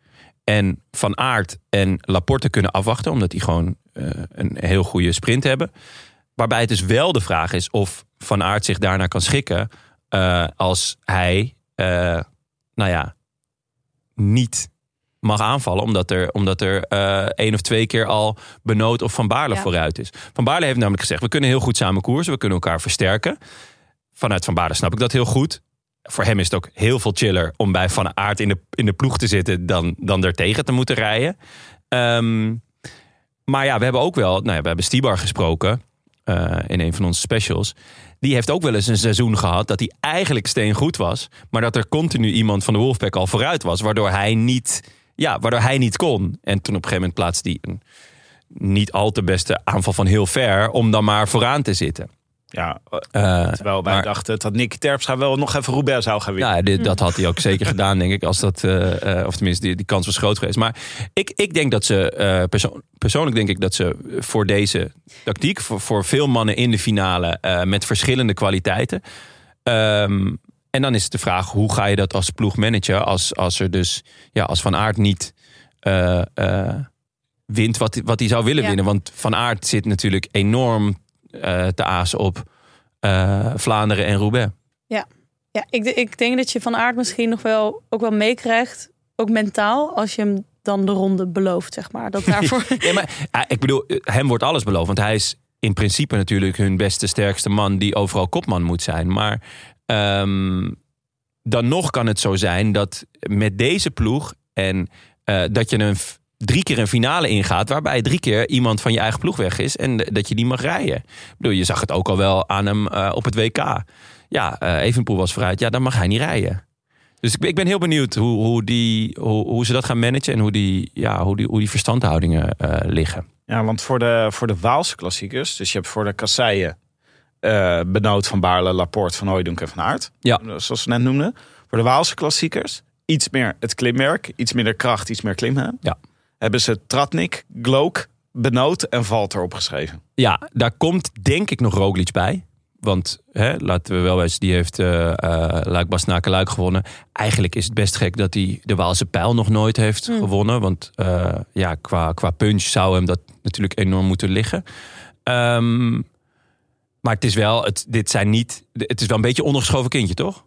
S1: En Van Aert en Laporte kunnen afwachten. Omdat die gewoon eh, een heel goede sprint hebben. Waarbij het dus wel de vraag is of Van Aert zich daarna kan schikken. eh, als hij, eh, nou ja, niet mag aanvallen. Omdat er, omdat er eh, één of twee keer al Benoot of Van Baarle
S2: Ja.
S1: vooruit is. Van Baarle heeft namelijk gezegd, we kunnen heel goed samen koersen. We kunnen elkaar versterken. Vanuit Van Baarle snap ik dat heel goed. Voor hem is het ook heel veel chiller om bij Van Aert in de, in de ploeg te zitten... dan, dan er tegen te moeten rijden. Ehm, maar ja, we hebben ook wel, nou ja, we hebben Stibar gesproken eh, in een van onze specials. Die heeft ook wel eens een seizoen gehad dat hij eigenlijk steengoed was, maar dat er continu iemand van de Wolfpack al vooruit was, waardoor hij niet, ja, waardoor hij niet kon. En toen op een gegeven moment plaatste hij een niet al te beste aanval van heel ver om dan maar vooraan te zitten.
S3: Ja,
S1: Eh,
S3: terwijl wij
S1: maar-
S3: dachten dat Nicky Terpstra wel nog even Roubaix zou gaan winnen.
S1: nou, ja, dit, dat had hij ook zeker gedaan, denk ik. Als dat, eh, eh, of tenminste, die, die kans was groot geweest. Maar ik, ik denk dat ze, eh, perso- persoonlijk denk ik dat ze voor deze tactiek, voor, voor veel mannen in de finale eh, met verschillende kwaliteiten. ehm, en dan is het de vraag, hoe ga je dat als ploegmanager, als, als er dus, ja, als Van Aert niet eh, eh, wint wat, wat hij zou willen
S2: Ja.
S1: winnen. Want Van Aert zit natuurlijk enorm eh, te aas op eh, Vlaanderen en Roubaix.
S2: Ja, ik, de- ik denk dat je van aard misschien nog wel ook wel meekrijgt. Ook mentaal, als je hem dan de ronde belooft, zeg
S1: [LAUGHS]
S2: maar. Dat daarvoor.
S1: Nee, maar eh, ik bedoel, eh, hem wordt alles beloofd. Want hij is in principe natuurlijk hun beste, sterkste man die overal kopman moet zijn. Maar ehm, dan nog kan het zo zijn dat met deze ploeg en eh, dat je een f- drie keer een finale ingaat, waarbij drie keer iemand van je eigen ploeg weg is en eh, dat je die mag rijden. Ik bedoel, je zag het ook al wel aan hem eh, op het WK. Ja, eh Evenpoel was vooruit. Ja, dan mag hij niet rijden. Dus ik ben, ik ben heel benieuwd hoe, hoe, die, hoe, hoe ze dat gaan managen en hoe die, ja, hoe die, hoe die verstandhoudingen eh, liggen.
S3: Ja, want voor de, voor de Waalse klassiekers, dus je hebt voor de kasseien eh Benoot van Baarle, Laporte, Van Hooijdonk en Van Aert.
S1: Ja.
S3: Zoals we net noemden. Voor de Waalse klassiekers iets meer het klimwerk, iets minder kracht, iets meer klimmen.
S1: Ja.
S3: hebben ze Tratnik, Gloak, Benoot en Valter opgeschreven.
S1: Ja, daar komt denk ik nog Roglic bij. Want hè, laten we wel wezen, die heeft eh eh Luik Bastenaken Luik gewonnen. Eigenlijk is het best gek dat hij de Waalse pijl nog nooit heeft gewonnen. Want eh, ja, qua, qua punch zou hem dat natuurlijk enorm moeten liggen. Ehm, maar het is wel, het, dit zijn niet, het is wel een beetje een ondergeschoven kindje, toch?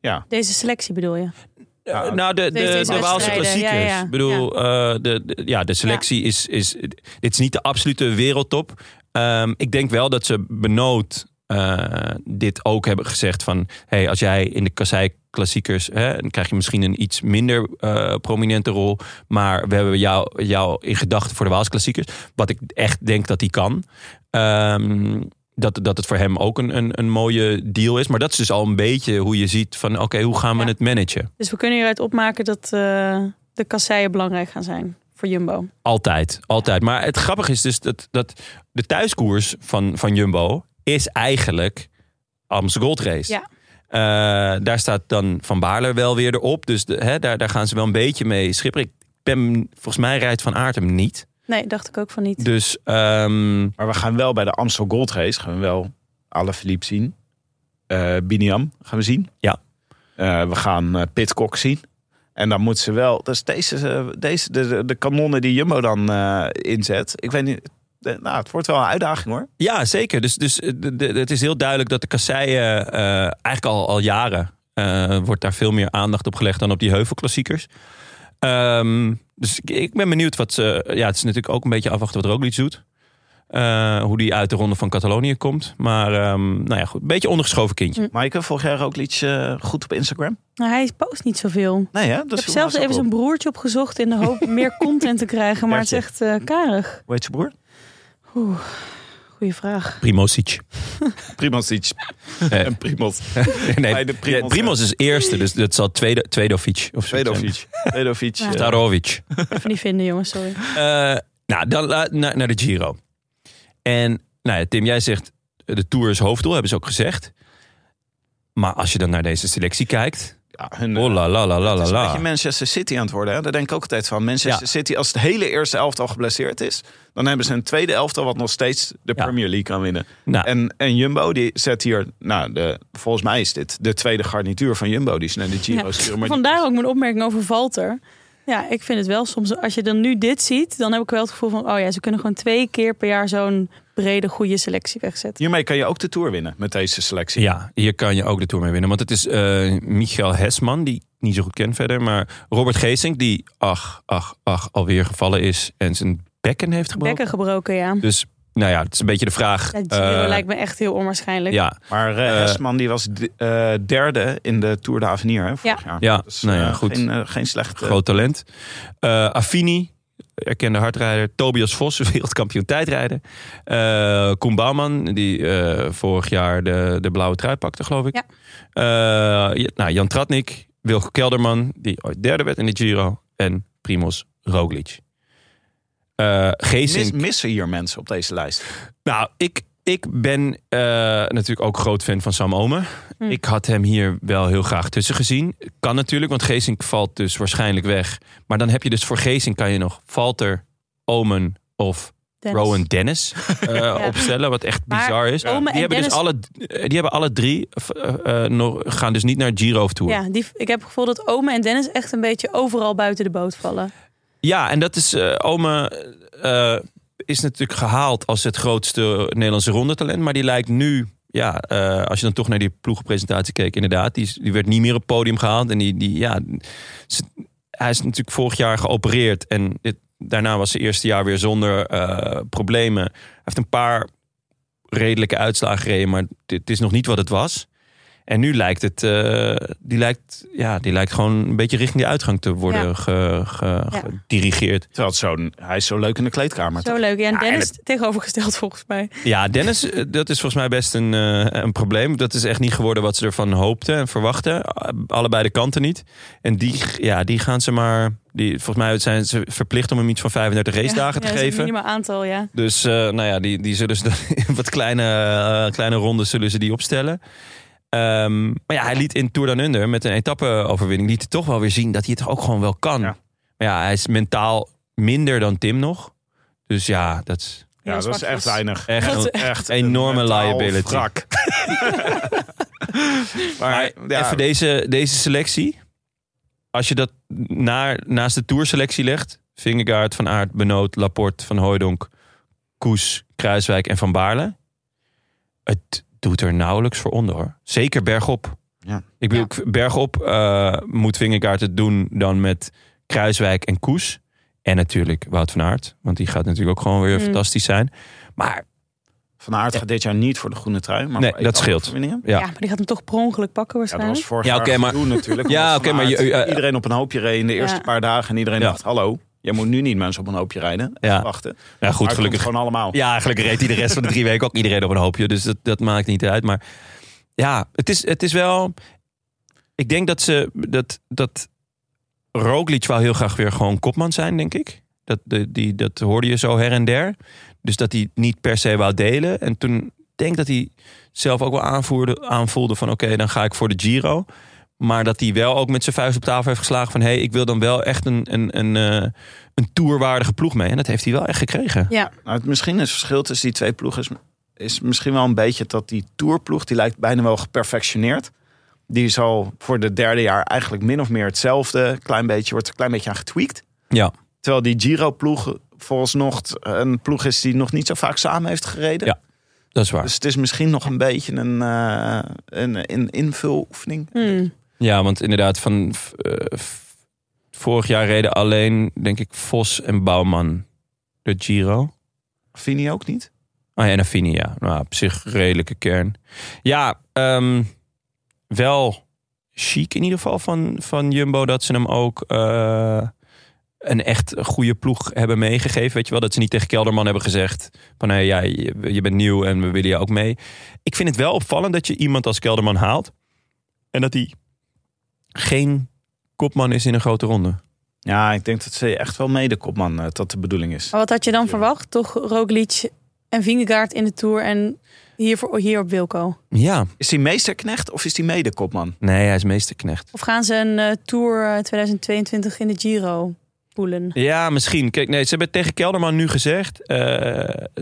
S3: Ja,
S2: Deze selectie bedoel je?
S3: Ja.
S1: Eh, nou, de, de,
S2: Deze
S1: de Waalse
S2: wedstrijden,
S1: klassiekers.
S2: ja, ja.
S1: Ik bedoel, eh, de, de- ja, de selectie is, is... Dit is niet de absolute wereldtop. Ehm, ik denk wel dat ze benood eh, dit ook hebben gezegd van... Hey, als jij in de kassei klassiekers... Hè, dan krijg je misschien een iets minder eh, prominente rol. Maar we hebben jou, jou in gedachten voor de Waalse klassiekers. Wat ik echt denk dat hij kan. Ehm, dat, dat het voor hem ook een, een, een mooie deal is. Maar dat is dus al een beetje hoe je ziet van... Oké, hoe gaan we
S2: Ja.
S1: het managen?
S2: Dus we kunnen hieruit opmaken dat eh, de kasseien belangrijk gaan zijn voor Jumbo.
S1: Altijd, altijd. Maar het grappige is dus dat, dat de thuiskoers van, van Jumbo is eigenlijk Amstel Gold Race.
S2: Ja.
S1: Eh, daar staat dan Van Baarle wel weer erop. Dus de, hè, daar, daar gaan ze wel een beetje mee schipperen. Ik ben, volgens mij rijdt Van Aert hem niet.
S2: Nee, dacht ik ook van niet.
S1: Dus ehm,
S3: maar we gaan wel bij de Amstel Gold Race gaan we wel Alaphilippe zien. Eh Biniam gaan we zien.
S1: Ja.
S3: Eh, we gaan eh, Pitcock zien. En dan moet ze wel... Dus deze, eh, deze de, de, de kanonnen die Jumbo dan eh, inzet. Ik weet niet... eh, nou, het wordt wel een uitdaging hoor.
S1: ja, zeker. Dus, dus eh, de- de- het is heel duidelijk dat de kasseien eh, eigenlijk al, al jaren eh, wordt daar veel meer aandacht op gelegd dan op die heuvelklassiekers. Ehm, dus ik, ik ben benieuwd wat ze. Ja, het is natuurlijk ook een beetje afwachten wat Roglic doet. Eh, hoe die uit de ronde van Catalonië komt. Maar ehm, nou ja, goed. Een beetje ondergeschoven kindje.
S3: Maaike, vorig jaar ook liedje eh, goed op Instagram?
S2: Nou, hij post niet zoveel.
S3: Nee hè? Dat
S2: ik heb zelfs even zijn broertje opgezocht in de
S1: [LAUGHS]
S2: hoop meer content te krijgen. Maar het is echt eh, karig.
S3: Hoe heet je broer?
S2: Goeie
S1: Mm.
S2: vraag.
S1: Primosic.
S3: Primozic.
S1: [LAUGHS] Eh,
S3: En Primoz.
S1: nee,
S3: bij de Primoz,
S1: Primoz, is eerste, dus dat zal tweede, Tweedovic. Of zo zijn.
S3: Vedovic. Vedovic.
S2: Ja.
S3: eh,
S1: Starovic.
S2: Even niet vinden, jongens. Sorry.
S1: Eh, nou, dan la- naar, naar de Giro. En nou ja, Tim, jij zegt eh, de Tour is hoofddoel, hebben ze ook gezegd. Maar als je dan naar deze selectie kijkt.
S3: ja, hun, eh,
S1: oh la la la la
S3: het
S1: la
S3: is een beetje
S1: la.
S3: Manchester City aan het worden. Hè? Daar denk ik ook altijd van. Manchester
S1: Ja.
S3: City, als het hele eerste elftal geblesseerd is... dan hebben ze een tweede elftal wat nog steeds de
S1: Ja.
S3: Premier League kan winnen.
S1: Nou,
S3: En, en Jumbo die zet hier... Nou, de, volgens mij is dit de tweede garnituur van Jumbo... die ze naar de Giro
S2: Ja.
S3: sturen. Maar die-
S2: Vandaar ook mijn opmerking over Valter. Ja, ik vind het wel soms. Als je dan nu dit ziet, dan heb ik wel het gevoel van: oh ja, ze kunnen gewoon twee keer per jaar zo'n brede, goede selectie wegzetten.
S3: Hiermee kan je ook de Tour winnen met deze selectie.
S1: ja, hier kan je ook de Tour mee winnen. Want het is eh Michael Hesman, die ik niet zo goed ken verder. Maar Robert Geesink, die ach, ach, ach, alweer gevallen is. En zijn bekken heeft gebroken.
S2: Bekken gebroken, ja.
S1: Dus nou ja, het is een beetje de vraag.
S2: Ja, Giro
S1: eh,
S2: lijkt me echt heel onwaarschijnlijk.
S1: ja,
S3: Maar eh
S1: Eh,
S3: Hesman die was d- eh, derde in de Tour de Avenir. Hè, vorig
S2: Ja.
S3: jaar.
S1: Ja, nou ja,
S3: eh,
S1: goed.
S3: Geen, eh, geen slecht. eh,
S1: groot talent. Eh Affini, erkende hardrijder. Tobias Vos, [LAUGHS] wereldkampioen tijdrijden. Eh Koen Bouwman, die eh, vorig jaar de, de blauwe trui pakte, geloof ik.
S2: Ja.
S1: Eh, ja, nou, Jan Tratnik, Wilco Kelderman, die ooit derde werd in de Giro. En Primoz Roglic. Eh
S3: mis,
S1: Geesink.
S3: missen hier mensen op deze lijst?
S1: Nou, ik, ik ben eh, natuurlijk ook groot fan van Sam Omen.
S2: Hm.
S1: Ik had hem hier wel heel graag tussen gezien. Kan natuurlijk, want Geesink valt dus waarschijnlijk weg. Maar dan heb je dus voor Geesink kan je nog Valter, Omen of
S2: Dennis.
S1: Rowan
S2: [LAUGHS]
S1: Dennis eh, opstellen. Wat echt
S2: Maar
S1: bizar is.
S2: Omen
S1: die,
S2: en
S1: hebben dus
S2: Dennis-
S1: alle, eh, die hebben alle drie, eh, eh, nog, gaan dus niet naar Giro of Tour.
S2: Ja, die, ik heb het gevoel dat Ome en Dennis echt een beetje overal buiten de boot vallen.
S1: Ja, en dat is. eh Ome eh, is natuurlijk gehaald als het grootste Nederlandse rondetalent. Maar die lijkt nu. Ja, eh, als je dan toch naar die ploegenpresentatie keek, inderdaad. Die, is- die werd niet meer op het podium gehaald. En die, die ja. ze- hij is natuurlijk vorig jaar geopereerd. En dit, daarna was zijn eerste jaar weer zonder eh, problemen. Hij heeft een paar redelijke uitslagen gereden. Maar dit is nog niet wat het was. En nu lijkt het. eh, die, lijkt, ja, die lijkt gewoon een beetje richting die uitgang te worden
S2: Ja.
S1: ge- ge-
S2: Ja.
S1: dirigeert.
S3: Terwijl het zo'n, hij is zo leuk in de kleedkamer.
S2: Zo leuk. Ja, en
S1: Ja, en
S2: Dennis tegenovergesteld [LAUGHS] volgens mij.
S1: Ja, Dennis, eh, dat is volgens mij best een, eh, een probleem. Dat is echt niet geworden wat ze ervan hoopten en verwachten. A- Allebei de kanten niet. En die, ja, die gaan ze maar. Die, volgens mij zijn ze verplicht om hem iets van 35 racedagen dagen te
S2: Ja, ja, dat is een
S1: geven.
S2: minimaal aantal, ja.
S1: Dus eh, nou ja, die, die zullen ze dan [LAUGHS] in wat kleine, eh, kleine rondes zullen ze die opstellen. Ehm, maar ja, hij liet in Tour Down Under met een etappe-overwinning... liet hij toch wel weer zien dat hij het ook gewoon wel kan.
S3: Ja.
S1: Maar ja, hij is mentaal minder dan Tim nog. Dus ja, dat is
S3: Ja, dat is echt weinig.
S1: echt
S2: Dat
S1: een
S2: is
S3: Echt
S1: enorme
S3: een mentaal
S1: liability.
S3: wrak. maar
S1: Maar
S3: ja,
S1: even deze, deze selectie. Als je dat naar, naast de tourselectie legt. Vingegaard, Van Aert, Benoot, Laporte, Van Hooijdonk, Koes, Kruiswijk en Van Baarle. Het doet er nauwelijks voor onder hoor. Zeker bergop.
S3: Ja.
S1: Ik bedoel, bergop eh, moet Vingegaard het doen dan met Kruiswijk en Koes. En natuurlijk Wout van Aert. Want die gaat natuurlijk ook gewoon weer
S2: Mm.
S1: fantastisch zijn. Maar
S3: Van Aert gaat dit jaar niet voor de groene trui.
S1: Nee,
S3: Maar voor
S1: dat
S3: etappe
S1: scheelt.
S3: overwinningen.
S1: Ja.
S2: Ja. maar die gaat hem toch per ongeluk pakken
S3: Ja, dat
S2: waarschijnlijk.
S3: was vorig
S1: Ja,
S3: jaar
S1: oké, maar-
S3: gedoe
S1: [LAUGHS]
S3: natuurlijk.
S1: Ja,
S3: omdat
S1: oké,
S3: Van
S1: maar je-
S3: Aert
S1: eh, eh,
S3: iedereen op een hoopje reed in de eerste
S2: Ja.
S3: paar dagen. En iedereen
S1: Ja.
S3: dacht, hallo, jij moet nu niet mensen op een hoopje rijden.
S1: Ja.
S3: Wachten.
S1: ja, goed,
S3: Maar het komt
S1: gelukkig
S3: gewoon allemaal.
S1: Ja, gelukkig reed hij de rest van de drie weken ook iedereen op een hoopje. Dus dat, dat maakt niet uit. Maar ja, het is, het is wel... Ik denk dat ze... Dat, dat Roglic wel heel graag weer gewoon kopman zijn, denk ik. Dat, de, die, dat hoorde je zo her en der. Dus dat hij niet per se wou delen. En toen denk ik dat hij zelf ook wel aanvoerde, aanvoelde van... Oké, dan ga ik voor de Giro. Maar dat hij wel ook met zijn vuist op tafel heeft geslagen van... Hé, hey, ik wil dan wel echt een, een, een, eh, een tourwaardige ploeg mee. En dat heeft hij wel echt gekregen.
S2: Ja,
S3: Nou, het, misschien het verschil tussen die twee ploegen is, is misschien wel een beetje dat die tourploeg, die lijkt bijna wel geperfectioneerd. Die is al voor het derde jaar eigenlijk min of meer hetzelfde. Klein beetje, wordt er een klein beetje aan getweakt.
S1: Ja.
S3: Terwijl die Giro-ploeg vooralsnog t- een ploeg is die nog niet zo vaak samen heeft gereden.
S1: Ja. Dat is waar.
S3: Dus het is misschien nog een beetje een, eh, een, een invuloefening.
S2: Hmm.
S1: Ja, want inderdaad, van v- eh, v- vorig jaar reden alleen, denk ik, Vos en Bouwman de Giro.
S3: Vini ook niet.
S1: Ah ja, en Affini, ja. Nou, op zich redelijke kern. Ja, ehm, wel chic in ieder geval van, van Jumbo dat ze hem ook eh, een echt goede ploeg hebben meegegeven. Weet je wel, dat ze niet tegen Kelderman hebben gezegd van hé, ja, je, je bent nieuw en we willen je ook mee. Ik vind het wel opvallend dat je iemand als Kelderman haalt en dat hij geen kopman is in een grote ronde.
S3: Ja, ik denk dat ze echt wel mede kopman eh, dat de bedoeling is.
S2: Maar wat had je dan verwacht? Toch Roglic en Vingegaard in de Tour en hier, voor, hier op Wilco?
S1: Ja,
S3: Is hij meesterknecht of is hij mede kopman?
S1: nee, hij is meesterknecht.
S2: Of gaan ze een eh, Tour eh, 2022 in de Giro poelen?
S1: Ja, misschien. Kijk, nee, ze hebben tegen Kelderman nu gezegd: eh,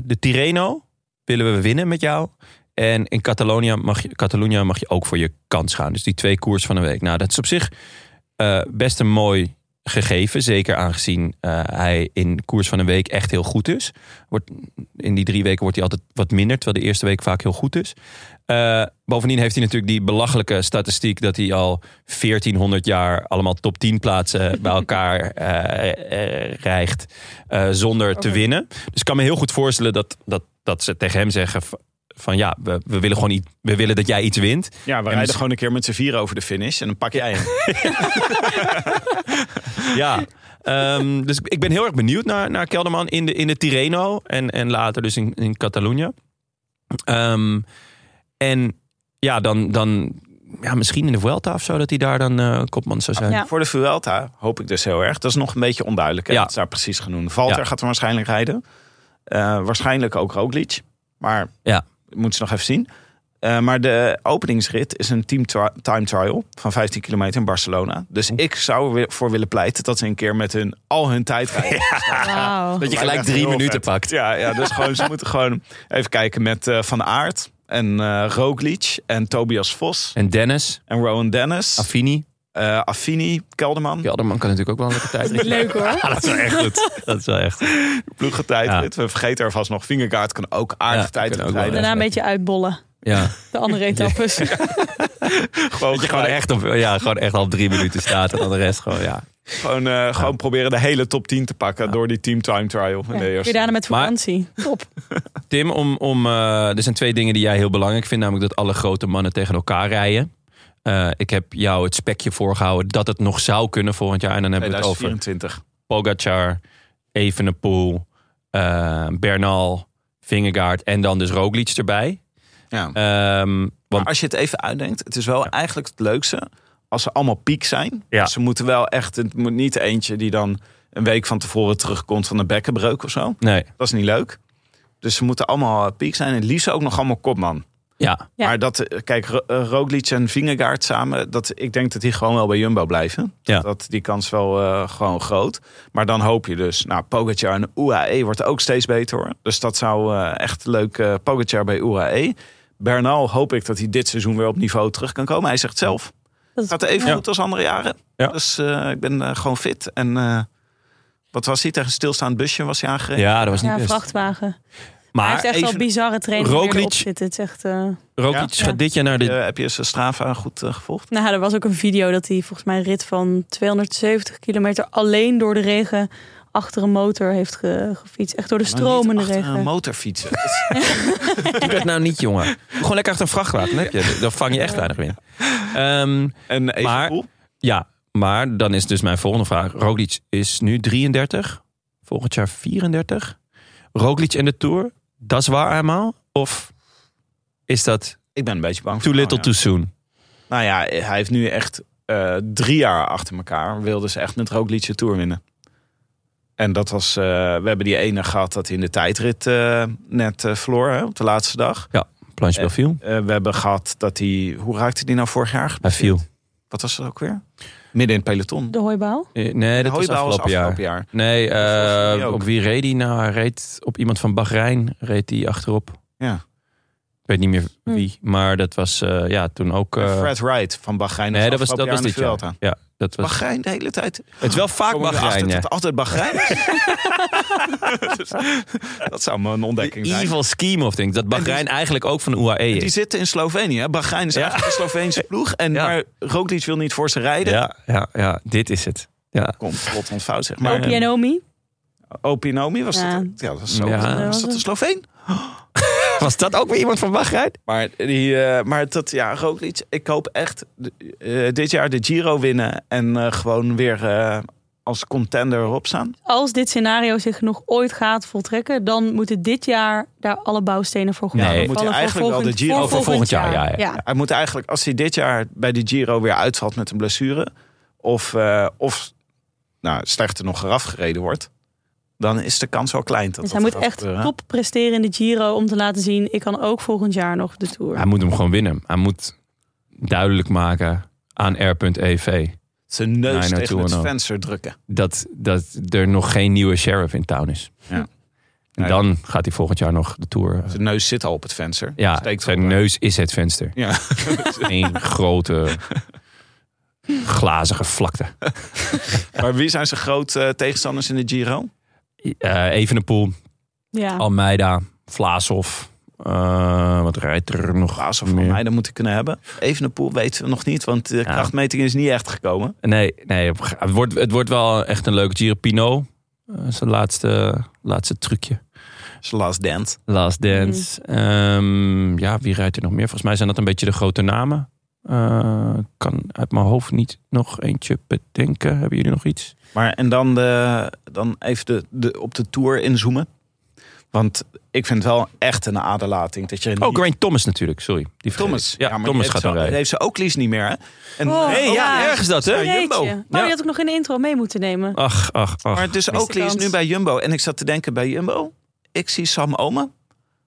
S1: de Tirreno willen we winnen met jou. En in Catalonia mag, je, Catalonia mag je ook voor je kans gaan. Dus die twee koers van een week. Nou, dat is op zich eh, best een mooi gegeven. Zeker aangezien eh, hij in koers van een week echt heel goed is. Wordt, in die drie weken wordt hij altijd wat minder. Terwijl de eerste week vaak heel goed is. Eh, bovendien heeft hij natuurlijk die belachelijke statistiek dat hij al 1400 jaar allemaal top 10 plaatsen bij elkaar eh, eh, rijgt eh, zonder te winnen. Dus ik kan me heel goed voorstellen dat, dat, dat ze tegen hem zeggen v- van ja, we, we willen gewoon iets, we willen dat jij iets wint.
S3: Ja, we rijden
S1: misschien-
S3: gewoon een keer met z'n vieren over de finish en dan pak jij hem.
S1: Ja. Ehm, dus ik- ik ben heel erg benieuwd naar, naar Kelderman in de, in de Tirreno en, en later dus in, in Catalonië. Ehm, en ja, dan, dan ja, misschien in de Vuelta of zo, dat hij daar dan eh, kopman zou zijn.
S2: Ja.
S3: Voor de Vuelta hoop ik dus heel erg. Dat is nog een beetje onduidelijk. Hè?
S1: Ja.
S3: Dat is daar precies genoemd. Valter
S1: Ja.
S3: gaat er waarschijnlijk rijden. Eh, waarschijnlijk ook Roglic. Maar
S1: Ja.
S3: moeten ze nog even zien. Eh, maar de openingsrit is een team tri- time trial van 15 kilometer in Barcelona. Dus ik zou er weer voor willen pleiten dat ze een keer met hun al hun
S1: [LAUGHS]
S3: tijd rijden.
S1: Dat je
S2: Wauw.
S3: Lijkt me
S1: gelijk
S3: echt
S1: drie
S3: heel
S1: minuten
S3: vet.
S1: pakt.
S3: Ja, ja dus gewoon,
S1: [LAUGHS]
S3: ze moeten gewoon even kijken met eh, Van Aert en eh Roglic en Tobias Vos
S1: En Dennis,
S3: en Rowan Dennis.
S1: Affini.
S3: eh Affini, Kelderman.
S1: Kelderman kan natuurlijk ook wel een lekker [LAUGHS] tijd rijden.
S2: Leuk hoor.
S1: Ja, dat is wel echt
S2: [LAUGHS]
S1: goed. Dat is wel echt.
S3: ploegentijdrit. We vergeten er vast nog. Vingergaard kan ook
S1: Ja,
S3: aardig
S1: kan
S3: tijdrit
S1: ook wel,
S3: rijden.
S2: Daarna een beetje uitbollen.
S1: Ja.
S2: De andere
S1: [LAUGHS]
S2: etappes.
S3: Gewoon,
S1: Dat je gewoon
S3: gelijk-
S1: echt, op, ja, gewoon echt al drie minuten staat en dan de rest gewoon, ja.
S3: gewoon, eh, gewoon proberen de hele top 10 te pakken door die team time trial. in
S2: Ja,
S3: de
S2: kun je
S3: eerste.
S2: daarna met
S1: Maar-
S2: vakantie. Top.
S1: Tim, om, om, eh, er zijn twee dingen die jij heel belangrijk vindt. Namelijk dat alle grote mannen tegen elkaar rijden. Eh, ik heb jou het spekje voorgehouden dat het nog zou kunnen volgend jaar. En dan hebben we het over
S3: 2024.
S1: Pogacar, Evenepoel, eh, Bernal, Vingegaard en dan dus Roglic erbij.
S3: Ja.
S1: Ehm,
S3: Maar
S1: want
S3: als je het even uitdenkt, het is wel eigenlijk het leukste als ze allemaal piek zijn.
S1: Ja.
S3: Ze moeten wel echt, het moet niet eentje die dan een week van tevoren terugkomt van een bekkenbreuk of zo.
S1: nee,
S3: Dat is niet leuk. Dus ze moeten allemaal eh, piek zijn. En het liefst ook nog allemaal kopman. Ja,
S2: Ja.
S3: maar dat, eh, kijk, Ro- eh, Roglic en Vingegaard samen, dat, ik denk dat die gewoon wel bij Jumbo blijven.
S1: Ja.
S3: Dat, die kans wel eh, gewoon groot. Maar dan hoop je dus, nou, Pogacar en UAE wordt ook steeds beter hoor. Dus dat zou eh, echt leuk, eh Pogacar bij UAE. Bernal hoop ik dat hij dit seizoen weer op niveau terug kan komen. Hij zegt zelf,
S2: Dat is-
S3: gaat even
S2: ja.
S3: goed als andere jaren.
S1: Ja.
S3: Dus eh, ik ben eh, gewoon fit. En eh, wat was hij, tegen een stilstaand busje was hij aangereden?
S1: Ja, dat was niet
S2: Ja,
S1: best.
S2: vrachtwagen.
S1: Maar
S2: hij heeft echt wel
S1: even,
S2: bizarre trainingen die
S1: Roglic-
S2: erop zitten. Het is echt, eh,
S1: Roglic
S3: Ja.
S1: gaat dit jaar naar de...
S3: Eh, heb je zijn Strava goed eh, gevolgd?
S2: Nou, er was ook een video dat hij volgens mij een rit van 270 kilometer alleen door de regen achter een motor heeft ge- gefietst. Echt door de stromende
S3: Maar niet achter
S2: regen.
S3: een motorfietsen. [LAUGHS]
S1: Doe dat nou niet, jongen. Gewoon lekker achter een vrachtwagen. Dan, heb je, dan vang je echt weinig wind. Ehm,
S3: En
S1: Maar-
S3: Evenepoel?
S1: ja, maar dan is dus mijn volgende vraag. Roglic is nu 33. Volgend jaar 34. Roglic en de Tour. Dat is waar eenmaal? Of is dat
S3: Ik ben een beetje bang
S1: too
S3: voor
S1: little
S3: Arno.
S1: too soon?
S3: Nou ja, hij heeft nu echt eh, drie jaar achter elkaar. Wilde ze echt met Roglic de Tour winnen. En dat was, eh, we hebben die ene gehad dat hij in de tijdrit eh, net eh, verloor hè, op de laatste dag.
S1: Planche
S3: Eh,
S1: Belfiel.
S3: Eh, we hebben gehad dat hij, hoe raakte die nou vorig jaar?
S1: Hij viel.
S3: Wat was dat ook weer? Midden in het peloton.
S2: De hooibaal.
S1: Eh, Nee, dat was
S3: Hooibaal
S1: afgelopen jaar.
S3: afgelopen jaar.
S1: Nee,
S3: volgens mij
S1: eh,
S3: ook.
S1: op wie reed hij nou? Hij reed op iemand van Bahrein, reed hij achterop.
S3: Ja.
S1: Ik weet niet meer
S2: Hmm.
S1: wie, maar dat was eh, ja, toen ook... eh,
S3: Fred Wright van Bahrein.
S1: nee, dat was, dat was
S3: afgelopen
S1: dit
S3: jaar in de
S1: jaar.
S3: Vuelta.
S1: Ja, dat was,
S3: Bahrein de hele tijd.
S1: het is wel vaak
S3: Komen we erachter
S1: Bahrein,
S3: dat
S1: ja.
S3: het altijd
S1: [LAUGHS]
S3: Bahrein [LAUGHS] is? Dus dat zou me een ontdekking
S1: Die
S3: zijn.
S1: evil scheme of things. Dat Bahrein eigenlijk ook van UAE
S3: Die
S1: E is.
S3: zitten in Slovenië. hè? Bahrein is eigenlijk een
S1: [LAUGHS]
S3: Sloveense ploeg. En
S1: Ja.
S3: maar Roglic wil niet voor ze rijden.
S1: Ja, ja, ja, dit is het. Ja.
S3: Komt plot ontfout, zeg maar. eh,
S2: Maar Opianomi.
S3: Opinomi was
S2: Ja.
S3: dat. Ja, dat was zo.
S1: Ja.
S3: Was dat een Sloveen?
S1: Was dat ook weer iemand van Bahrein?
S3: Maar, die, eh, maar dat, ja, Roglic, ik hoop echt eh, dit jaar de Giro winnen. En eh, gewoon weer eh, als contender erop staan.
S2: Als dit scenario zich nog ooit gaat voltrekken, dan moeten dit jaar daar alle bouwstenen voor
S1: Nee.
S2: gaan.
S1: Dan
S3: moet hij eigenlijk wel de Giro-
S1: Oh, voor volgend jaar, ja, ja.
S3: Hij moet eigenlijk, als hij dit jaar bij de Giro weer uitvalt met een blessure. Of, eh, of nou, slechter nog eraf gereden wordt. Dan is de kans wel klein. Dat
S2: Dus
S3: dat
S2: hij moet
S3: gaat
S2: echt
S3: gebeuren.
S2: top presteren in de Giro om te laten zien, ik kan ook volgend jaar nog de Tour.
S1: Hij moet hem gewoon winnen. Hij moet duidelijk maken aan R.EV
S3: zijn
S1: Nee,
S3: neus
S1: no
S3: tegen
S1: toe,
S3: het
S1: no.
S3: venster drukken.
S1: dat, dat er nog geen nieuwe sheriff in town is.
S3: Ja.
S1: En dan gaat hij volgend jaar nog de tour. eh,
S3: Zijn neus zit al op het venster.
S1: ja,
S3: Steekt
S1: zijn
S3: op, eh,
S1: neus is het venster.
S3: Ja.
S1: Eén
S3: [LAUGHS]
S1: grote glazige vlakte.
S3: maar wie zijn zijn grote eh, tegenstanders in de Giro?
S1: Eh Evenepoel,
S2: ja.
S1: Ah.
S3: Oh,
S1: Almeida, Vlaashoff. eh, wat rijdt er nog?
S3: Baas of van
S1: meer?
S3: mij, dat moet ik kunnen hebben. Even een poel weten we nog niet, want de krachtmeting is niet echt gekomen.
S1: Nee, nee op een gege- het, wordt, het wordt wel echt een leuke Giro. Pinot, eh, zijn laatste, laatste trucje.
S3: Zijn last dance.
S1: Last Dance. Ehm, ja, wie rijdt er nog meer? Volgens mij zijn dat een beetje de grote namen. Eh, kan uit mijn hoofd niet nog eentje bedenken. Hebben jullie nog iets?
S3: Maar en dan, de, dan even de, de, op de tour inzoomen. Want ik vind het wel echt een aderlating dat je niet-
S1: Oh, Grant Thomas natuurlijk. Sorry. Die vergeet
S3: Thomas.
S1: ik. Ja,
S3: maar
S1: Thomas
S3: die
S1: gaat
S3: heeft
S1: dan
S3: zo-
S1: rijden.
S3: heeft ze ook Lies niet meer, hè? En,
S2: Oh,
S1: Nee, ja,
S2: ja.
S1: ergens dat, hè?
S3: Ja. Jumbo.
S2: Jeetje. Oh, die
S1: Ja.
S2: had ik nog in de intro mee moeten nemen.
S1: Ach, ach, ach.
S3: Maar dus
S2: Miste
S3: Oakley is
S2: kans.
S3: nu bij Jumbo. En ik zat te denken bij Jumbo, ik zie Sam Ome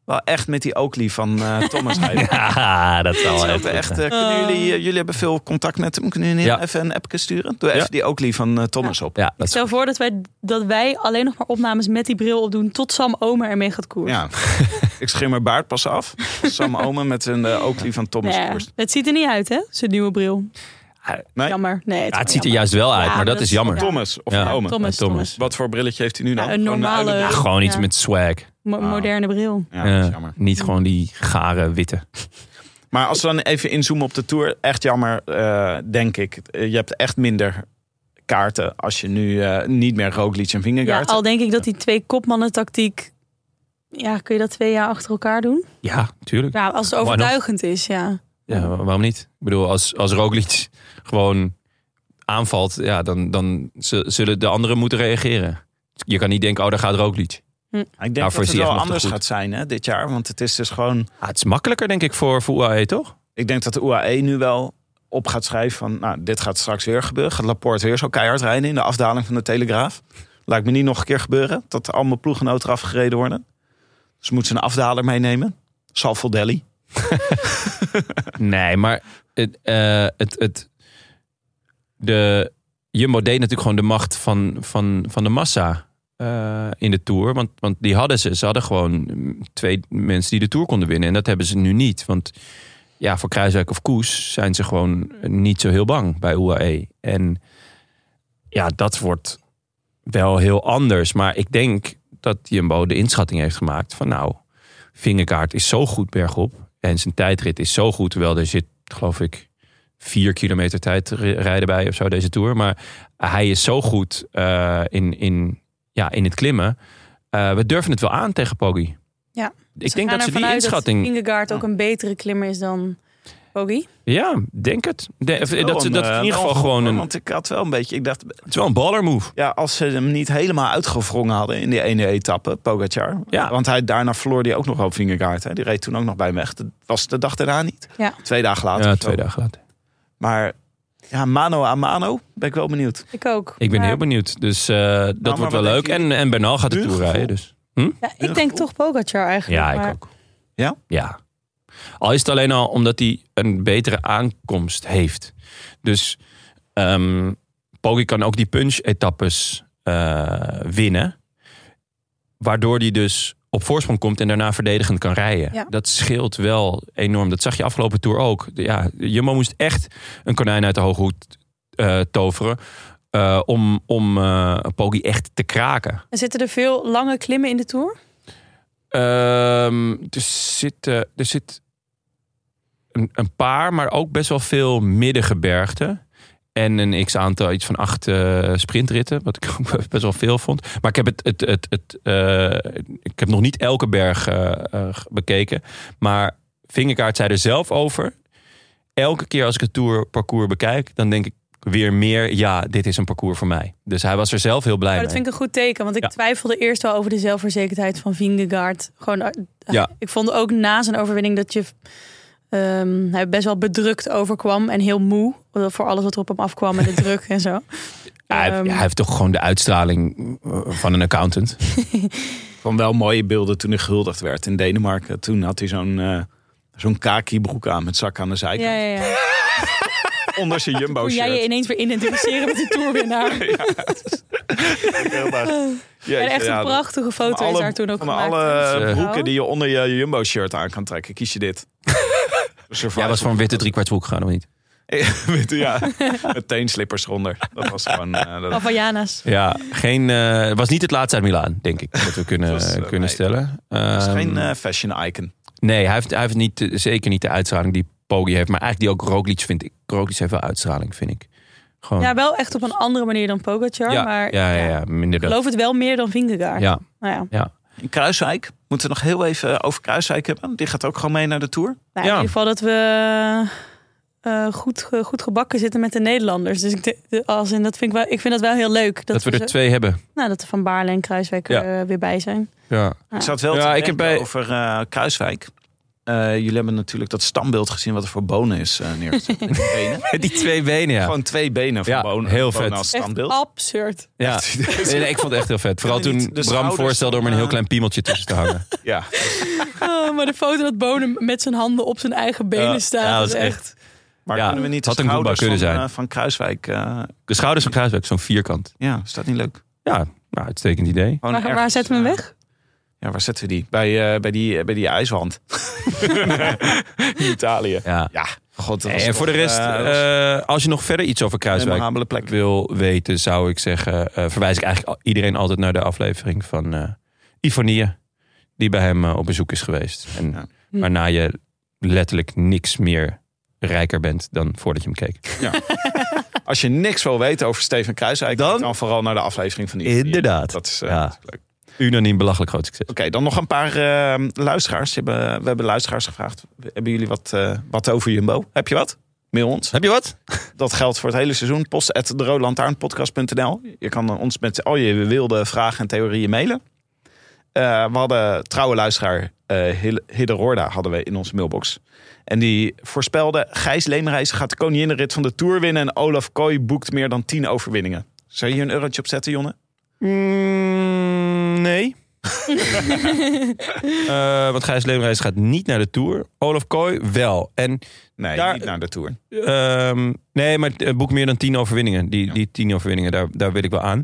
S3: wel echt met die Oakley van
S1: [LAUGHS]
S3: eh, Thomas rijden.
S1: Ja, dat
S3: Dat
S1: zal
S3: is ook
S1: even.
S3: echt, eh, kunnen
S2: Oh.
S3: jullie, eh, jullie hebben veel contact met hem. Kunnen jullie
S1: Ja.
S3: even een appje sturen? Doe even
S1: Ja.
S3: die Oakley van eh, Thomas op.
S1: Ja, dat is
S2: Stel voor dat wij, dat wij alleen nog maar opnames met die bril opdoen tot Sam Omer ermee gaat koersen.
S3: Ja. ik schim mijn baard
S1: [LAUGHS]
S3: pas af. Sam Omen met een eh, Oakley van Thomas
S2: Nee,
S3: koerst.
S2: het ziet er niet uit, hè? Zijn nieuwe bril.
S3: Nee?
S2: Jammer. Nee, het,
S1: Ah, Ja, het
S2: is wel
S1: ziet er
S2: jammer.
S1: juist wel uit,
S2: Ja,
S1: maar dat,
S2: dat
S1: is
S2: is-
S1: jammer.
S2: ja.
S3: Thomas of
S1: Ja.
S3: een Omen.
S2: Thomas,
S1: Thomas.
S2: Thomas.
S3: Wat voor brilletje heeft hij nu dan? Oh, nou,
S2: Ja, een
S3: Gewoon
S2: normale-
S3: uilenbril?
S1: Ja, gewoon iets
S2: Ja.
S1: met swag.
S2: Mo-
S3: Ah.
S2: moderne bril.
S3: Ja, dat is
S1: Eh,
S3: jammer.
S1: niet gewoon die gare witte.
S3: Maar als we dan even inzoomen op de Tour. Echt jammer, eh, denk ik. Eh, Je hebt echt minder kaarten als je nu eh, niet meer Roglic en
S2: Ja,
S3: Vingegaard...
S2: al denk ik dat die twee kopmannen tactiek... Ja, kun je dat twee jaar achter elkaar doen?
S1: Ja, tuurlijk.
S2: Ja, als het
S1: Why not?
S2: overtuigend is, ja. Dus
S1: Ja, wa- waarom niet? Ik bedoel, als, als Roglic gewoon aanvalt, ja, dan, dan z- zullen de anderen moeten reageren. Je kan niet denken, oh, daar gaat Roglic.
S3: ik denk
S1: Daarvoor
S3: dat
S1: is
S3: het
S1: hij echt
S3: wel
S1: nog te
S3: anders
S1: goed.
S3: gaat zijn hè, dit jaar. Want het is dus gewoon...
S1: Ah, het is makkelijker, denk ik, voor, voor UAE, toch?
S3: Ik denk dat de UAE nu wel op gaat schrijven van... Nou, dit gaat straks weer gebeuren. Gaat Laporte weer zo keihard rijden in de afdaling van de Telegraaf. Laat ik me niet nog een keer gebeuren. Dat allemaal ploeggenoten eraf gereden worden. Dus moeten ze een afdaler meenemen. Salvo Delhi.
S1: Nee, maar het, eh, het, het, de Jumbo deed natuurlijk gewoon de macht van, van, van de massa eh, in de Tour. Want, want die hadden ze. Ze hadden gewoon mm, twee mensen die de Tour konden winnen. En dat hebben ze nu niet. Want ja, voor Kruiswijk of Koes zijn ze gewoon niet zo heel bang bij UAE. En ja, dat wordt wel heel anders. Maar ik denk dat Jumbo de inschatting heeft gemaakt van nou... Vingerkaart is zo goed bergop. En zijn tijdrit is zo goed. Terwijl er zit, geloof ik, vier kilometer tijdrijden bij of zo deze Tour. Maar hij is zo goed eh, in, in, ja, in het klimmen. Eh, we durven het wel aan tegen Poggi.
S2: Ja.
S1: Ik denk dat ze die inschatting...
S2: Vingegaard ook een betere klimmer is dan Poggi.
S1: Ja, denk het. De- of, dat ze
S3: Wel
S1: dat
S3: een,
S1: in
S3: eh,
S1: ieder geval
S3: wel
S1: gewoon een...
S3: Want ik had wel een beetje... Ik dacht,
S1: Het is wel een baller move.
S3: ja, als ze hem niet helemaal uitgevrongen hadden in die ene etappe, Pogacar.
S1: Ja.
S3: Want hij, daarna verloor hij ook nog wel Vingegaard. Hè. Die reed toen ook nog bij hem weg. Dat was de dag daarna niet.
S2: Ja.
S3: Twee dagen later.
S1: Ja,
S3: of zo.
S1: twee dagen later.
S3: Maar ja, mano a mano ben ik wel benieuwd.
S2: Ik ook.
S1: Ik ben
S2: Maar-
S1: heel benieuwd. Dus eh, dat
S3: maar
S1: wordt wel
S3: wat
S1: leuk.
S3: denk je?
S1: En, en Bernal gaat de
S3: Nu
S1: Tour
S3: gevoel?
S1: rijden. Dus.
S2: Ja, ik
S3: Heel
S2: denk
S3: gevoel.
S2: toch Pogacar eigenlijk.
S1: Ja, ik
S2: maar-
S1: ook.
S3: Ja?
S1: Ja. Al is het alleen al omdat hij een betere aankomst heeft. Dus ehm Poggi kan ook die punch-etappes eh, winnen. Waardoor hij dus op voorsprong komt en daarna verdedigend kan rijden.
S2: Ja.
S1: Dat scheelt wel enorm. Dat zag je afgelopen Tour ook. Ja, Jumbo moest echt een konijn uit de hoge hoed eh, toveren... eh, om, om eh Poggi echt te kraken.
S2: En zitten er veel lange klimmen in de Tour?
S1: Ehm, er, zit, eh, er zit een, een paar, maar ook best wel veel middengebergten. En een x-aantal, iets van acht eh, sprintritten. Wat ik ook [LAUGHS] best wel veel vond. Maar ik heb, het, het, het, het, eh, ik heb nog niet elke berg eh, eh, bekeken. Maar Vingerkaart zei er zelf over. Elke keer als ik het tourparcours bekijk, dan denk ik weer meer... ja, dit is een parcours voor mij. Dus hij was er zelf heel blij
S2: Maar Oh, dat
S1: mee.
S2: vind ik een goed teken, want ik
S1: Ja.
S2: twijfelde eerst wel over de zelfverzekerdheid van Vingegaard. Gewoon, eh,
S1: Ja.
S2: [LAUGHS] Ik vond ook na zijn overwinning dat je ehm, hij best wel bedrukt overkwam en heel moe eh, voor alles wat er op hem afkwam en
S1: [LAUGHS]
S2: de druk en zo.
S1: Ja, hij,
S2: Ehm.
S1: hij heeft toch gewoon de uitstraling eh, van een accountant.
S3: Van wel mooie beelden toen hij gehuldigd werd in Denemarken. Toen had hij zo'n eh, zo'n kaki broek aan met zak aan de zijkant.
S2: Ja, ja, ja.
S3: Onder zijn jumbo
S1: Oh,
S2: Hoe jij je
S3: shirt.
S2: ineens weer identificeren
S1: [LAUGHS]
S2: met die toerwinnaar. en echt een prachtige foto is daar toen ook
S3: van
S2: gemaakt.
S3: alle
S1: eh,
S3: broeken die je onder je jumbo shirt aan kan trekken, kies je [LAUGHS] dit.
S1: Jij was van witte driekwartsbroek gegaan of niet?
S3: [LAUGHS] Witte, ja. Met teenslippers eronder. Dat was gewoon... eh, dat-
S2: Havaianas.
S1: Ja, geen, eh, het was niet het laatste uit Milaan, denk ik. Dat
S3: [LAUGHS]
S1: we kunnen,
S3: Het was, eh,
S1: kunnen
S3: nee.
S1: stellen.
S3: dat is
S1: Ehm,
S3: geen eh, fashion icon.
S1: nee, hij heeft, hij heeft niet, eh, zeker niet de uitstraling die Poggi heeft. Maar eigenlijk die ook Roglic vind ik. Roglic heeft wel uitstraling, vind ik. Gewoon,
S2: Ja, wel echt op een andere manier dan Pogacar, maar
S1: ja, ja, ja, minder
S2: ik
S1: dat.
S2: geloof het wel meer dan Vingegaard.
S1: Ja,
S2: Nou ja.
S1: ja.
S3: In Kruiswijk. Moeten we nog heel even over Kruiswijk hebben. Die gaat ook gewoon mee naar de Tour.
S2: Nou,
S1: Ja.
S2: In ieder geval dat we eh, goed, ge- goed gebakken zitten met de Nederlanders. Dus ik, de- de- als in, dat vind ik, wel, ik vind dat wel heel leuk. Dat,
S1: Dat, we er
S2: zo-
S1: twee hebben.
S2: nou, dat er Van Baarle en Kruiswijk
S1: Ja.
S2: er eh, weer bij zijn.
S1: Ja.
S3: Ik zat wel
S1: Ja,
S3: te
S1: ik
S3: denken
S1: heb bij-
S3: over eh, Kruiswijk. Eh, jullie hebben natuurlijk dat standbeeld gezien wat er voor bonen is eh
S1: [LAUGHS]
S3: neergezet. Met die benen.
S1: Die twee benen, ja.
S3: Gewoon twee benen van
S1: Ja,
S3: bonen.
S1: heel
S3: bonen
S1: vet.
S3: als
S2: Echt
S3: standbeeld.
S2: absurd.
S1: ja. Nee,
S3: [LAUGHS]
S1: nee, ik vond het echt heel vet. Vooral
S3: Kunnen
S1: toen
S3: niet de
S1: Bram
S3: schouders
S1: voorstelde om er een
S3: van,
S1: heel
S3: eh,
S1: klein piemeltje tussen te
S3: [LAUGHS]
S1: hangen.
S3: Ja.
S2: Oh, maar de foto dat Bonen met zijn handen op zijn eigen benen
S1: Ja,
S2: staat.
S1: ja,
S2: dat is echt...
S3: Maar
S1: Ja,
S3: kunnen we niet de
S1: had een voetbal
S3: schouders van,
S1: kunnen zijn.
S3: eh, van Kruiswijk... eh,
S1: De schouders van Kruiswijk, zo'n vierkant.
S3: ja, is dat niet leuk?
S1: Ja, nou, uitstekend idee.
S3: Gewoon
S2: Waar, waar
S3: ergens,
S2: zetten we hem
S3: eh,
S2: weg?
S3: Ja, waar zetten we die? Bij, eh, bij, die, eh, bij die
S1: [LAUGHS]
S3: ijswand. In Italië.
S1: Ja.
S3: Ja, god. dat
S1: Nee,
S3: was
S1: en voor de
S3: toch,
S1: rest,
S3: eh, dat was een
S1: eh, als je nog verder iets over Kruiswijk
S3: memorabele plek.
S1: wil weten, zou ik zeggen, eh, verwijs ik eigenlijk al- iedereen altijd naar de aflevering van eh Ivonie, die bij hem eh, op bezoek is geweest. En
S3: Ja.
S1: waarna je letterlijk niks meer rijker bent dan voordat je hem keek.
S3: Als je niks wil weten over Steven Kruiswijk... Dan, dan vooral naar de aflevering van die.
S1: Inderdaad.
S3: Dat is, eh,
S1: Ja.
S3: dat is leuk.
S1: Unaniem belachelijk groot succes.
S3: Oké, dan nog een paar eh, luisteraars. Die hebben, we hebben luisteraars gevraagd. Hebben jullie wat, eh, wat over Jumbo? Heb je wat? Mail ons.
S1: Heb je wat?
S3: Dat geldt voor het hele seizoen. Post at deroodlantaarnpodcast.nl. Je kan eh, ons met al je wilde vragen en theorieën mailen. Eh, we hadden trouwe luisteraar eh Hil- Hidde Rorda hadden we in onze mailbox. En die voorspelde... Gijs Leemreis gaat de koninginrit van de Tour winnen... en Olaf Kooi boekt meer dan tien overwinningen. Zou je hier een eurotje op zetten, Jonne?
S1: Mm, nee. Eh, want Gijs Leemreis gaat niet naar de Tour. Olaf Kooi wel. En
S3: Nee,
S1: Daar-
S3: niet naar de Tour.
S1: Ehm, nee, maar het boek meer dan tien overwinningen. Die, die tien overwinningen, daar, daar wil ik wel aan.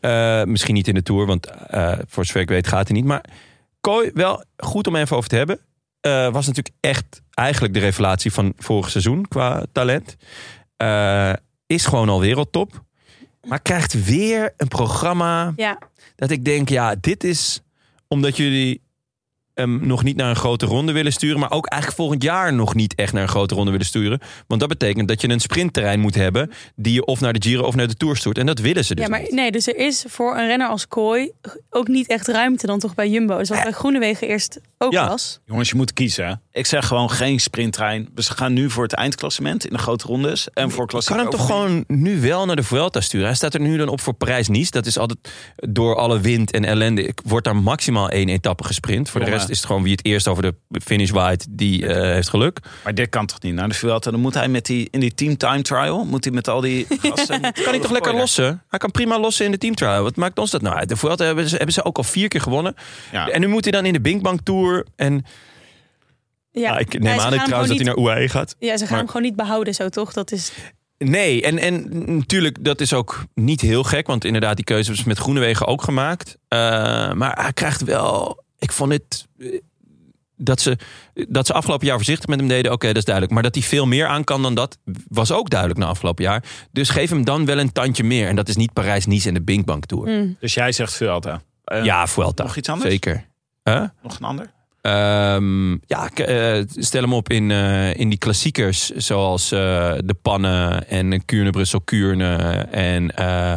S1: Eh, misschien niet in de Tour, want eh, voor zover ik weet gaat hij niet. Maar Kooi, wel goed om even over te hebben. Eh, was natuurlijk echt eigenlijk de revelatie van vorig seizoen qua talent. Eh, is gewoon al wereldtop. Maar krijgt weer een programma
S2: Ja,
S1: dat ik denk, ja, dit is omdat jullie hem nog niet naar een grote ronde willen sturen, maar ook eigenlijk volgend jaar nog niet echt naar een grote ronde willen sturen. Want dat betekent dat je een sprintterrein moet hebben die je of naar de Giro of naar de Tour stuurt. En dat willen ze dus.
S2: ja maar
S1: niet.
S2: nee, dus er is voor een renner als Kooi ook niet echt ruimte dan toch bij Jumbo. Dus wat bij Groenewegen eerst ook
S1: Ja.
S2: was.
S4: Jongens, je moet kiezen. hè.
S3: Ik zeg gewoon geen sprinttrein. We gaan nu voor het eindklassement in de grote rondes. En voor
S1: kan
S3: klassieke
S1: hem toch
S3: overwinningen.
S1: gewoon nu wel naar de Vuelta sturen? Hij staat er nu dan op voor Parijs-Nice. Dat is altijd door alle wind en ellende. Ik- Wordt daar maximaal één etappe gesprint. Voor de
S3: Jongen.
S1: rest is het gewoon wie het eerst over de finish waait, die eh, heeft geluk.
S3: Maar dit kan toch niet naar de Vuelta? Dan moet hij met die, in die team time trial... moet hij met al [LAUGHS] die gasten...
S1: Kan hij toch lekker lossen? Hij kan prima lossen in de teamtrial. Wat maakt ons dat nou uit? De Vuelta hebben ze, hebben ze ook al vier keer gewonnen.
S3: Ja.
S1: En nu moet hij dan in de Binkbank Tour. En
S2: Ja,
S1: Ah, ik
S2: Ja,
S1: neem
S2: ze
S1: aan
S2: gaan
S1: ik
S2: hem
S1: trouwens dat hij
S2: gewoon
S1: naar UAE gaat.
S2: niet- Ja, ze gaan
S1: maar-
S2: hem gewoon niet behouden zo, toch? Dat is
S1: Nee, en, en natuurlijk, dat is ook niet heel gek. Want inderdaad, die keuze is met Groenewegen ook gemaakt. Eh, maar hij krijgt wel... Ik vond het... eh, Dat ze, dat ze afgelopen jaar voorzichtig met hem deden, oké, dat is duidelijk. Maar dat hij veel meer aan kan dan dat, was ook duidelijk na afgelopen jaar. Dus geef hem dan wel een tandje meer. En dat is niet Parijs-Nice en de Binkbank Tour.
S2: mm.
S4: Dus jij zegt Vuelta.
S3: Eh,
S1: ja, Vuelta.
S3: nog iets anders?
S1: Zeker. Huh?
S3: Nog een ander?
S1: Ehm, ja, k- eh, stel hem op in, eh, in die klassiekers zoals eh, De Pannen en Kuurne-Brussel-Kuurne en eh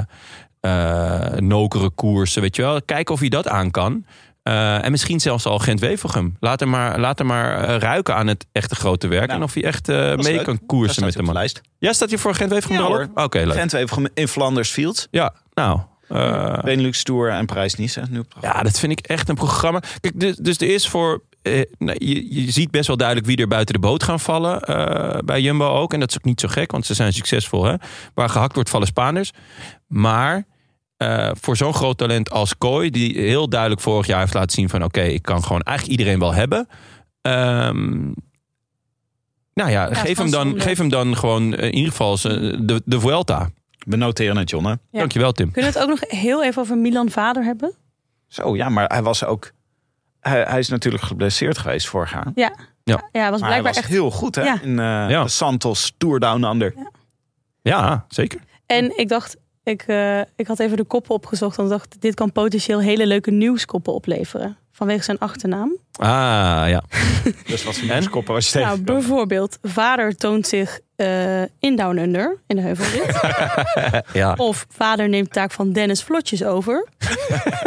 S1: eh, Nokere koersen, weet je wel. Kijken of hij dat aan kan. Eh, en misschien zelfs al Gent-Wevelgem. Laat hem maar, laat hem maar eh, ruiken aan het echte grote werk.
S3: Nou,
S1: en of hij echt eh, mee
S3: leuk.
S1: kan
S3: Daar
S1: koersen
S3: staat
S1: met
S3: hij
S1: hem.
S3: op de lijst.
S1: Ja, staat hij voor Gent-Wevelgem
S3: Ja,
S1: er al op?
S3: hoor.
S1: Oké, leuk.
S3: Gent heeft hem in Flanders Field.
S1: Ja, nou. eh,
S3: Benelux Tour en Parijs-Nice. hè, Nu op de
S1: Ja, dat vind ik echt een programma. Kijk, dus, dus er is voor. eh, nou, je, je ziet best wel duidelijk wie er buiten de boot gaan vallen. eh, bij Jumbo ook. En dat is ook niet zo gek, want ze zijn succesvol. Hè? Waar gehakt wordt, vallen Spaanders. Maar eh, voor zo'n groot talent als Kooi, die heel duidelijk vorig jaar heeft laten zien: van oké, ik kan gewoon eigenlijk iedereen wel hebben. Ehm, nou ja,
S2: het
S1: geef,
S2: kan
S1: hem dan,
S2: zonde.
S1: geef hem dan gewoon eh, in ieder geval z'n- de, de Vuelta.
S3: We noteren het, John. Hè?
S2: Ja.
S1: Dankjewel, Tim.
S2: Kunnen we het ook nog heel even over Milan Vader hebben?
S3: Zo, ja, maar hij was ook... Hij, hij is natuurlijk geblesseerd geweest vorig jaar. Maar
S2: Ja.
S1: Ja.
S2: ja, hij was
S3: hij
S2: blijkbaar
S3: was
S2: echt.
S3: heel goed, hè?
S2: Ja.
S3: In eh,
S1: Ja.
S3: de Santos Tour Down Under.
S1: Ja, zeker.
S2: En ik dacht, ik, eh, ik had even de koppen opgezocht. En dacht, dit kan potentieel hele leuke nieuwskoppen opleveren. Vanwege zijn achternaam.
S1: Ah, ja.
S3: Dus wat
S1: En?
S3: een koppen was je
S2: Nou,
S3: tegen.
S2: bijvoorbeeld, vader toont zich eh, in Down Under, in de heuvelrit.
S1: [LAUGHS] ja.
S2: of vader neemt taak van Dennis Vlotjes
S1: [LAUGHS]
S2: over.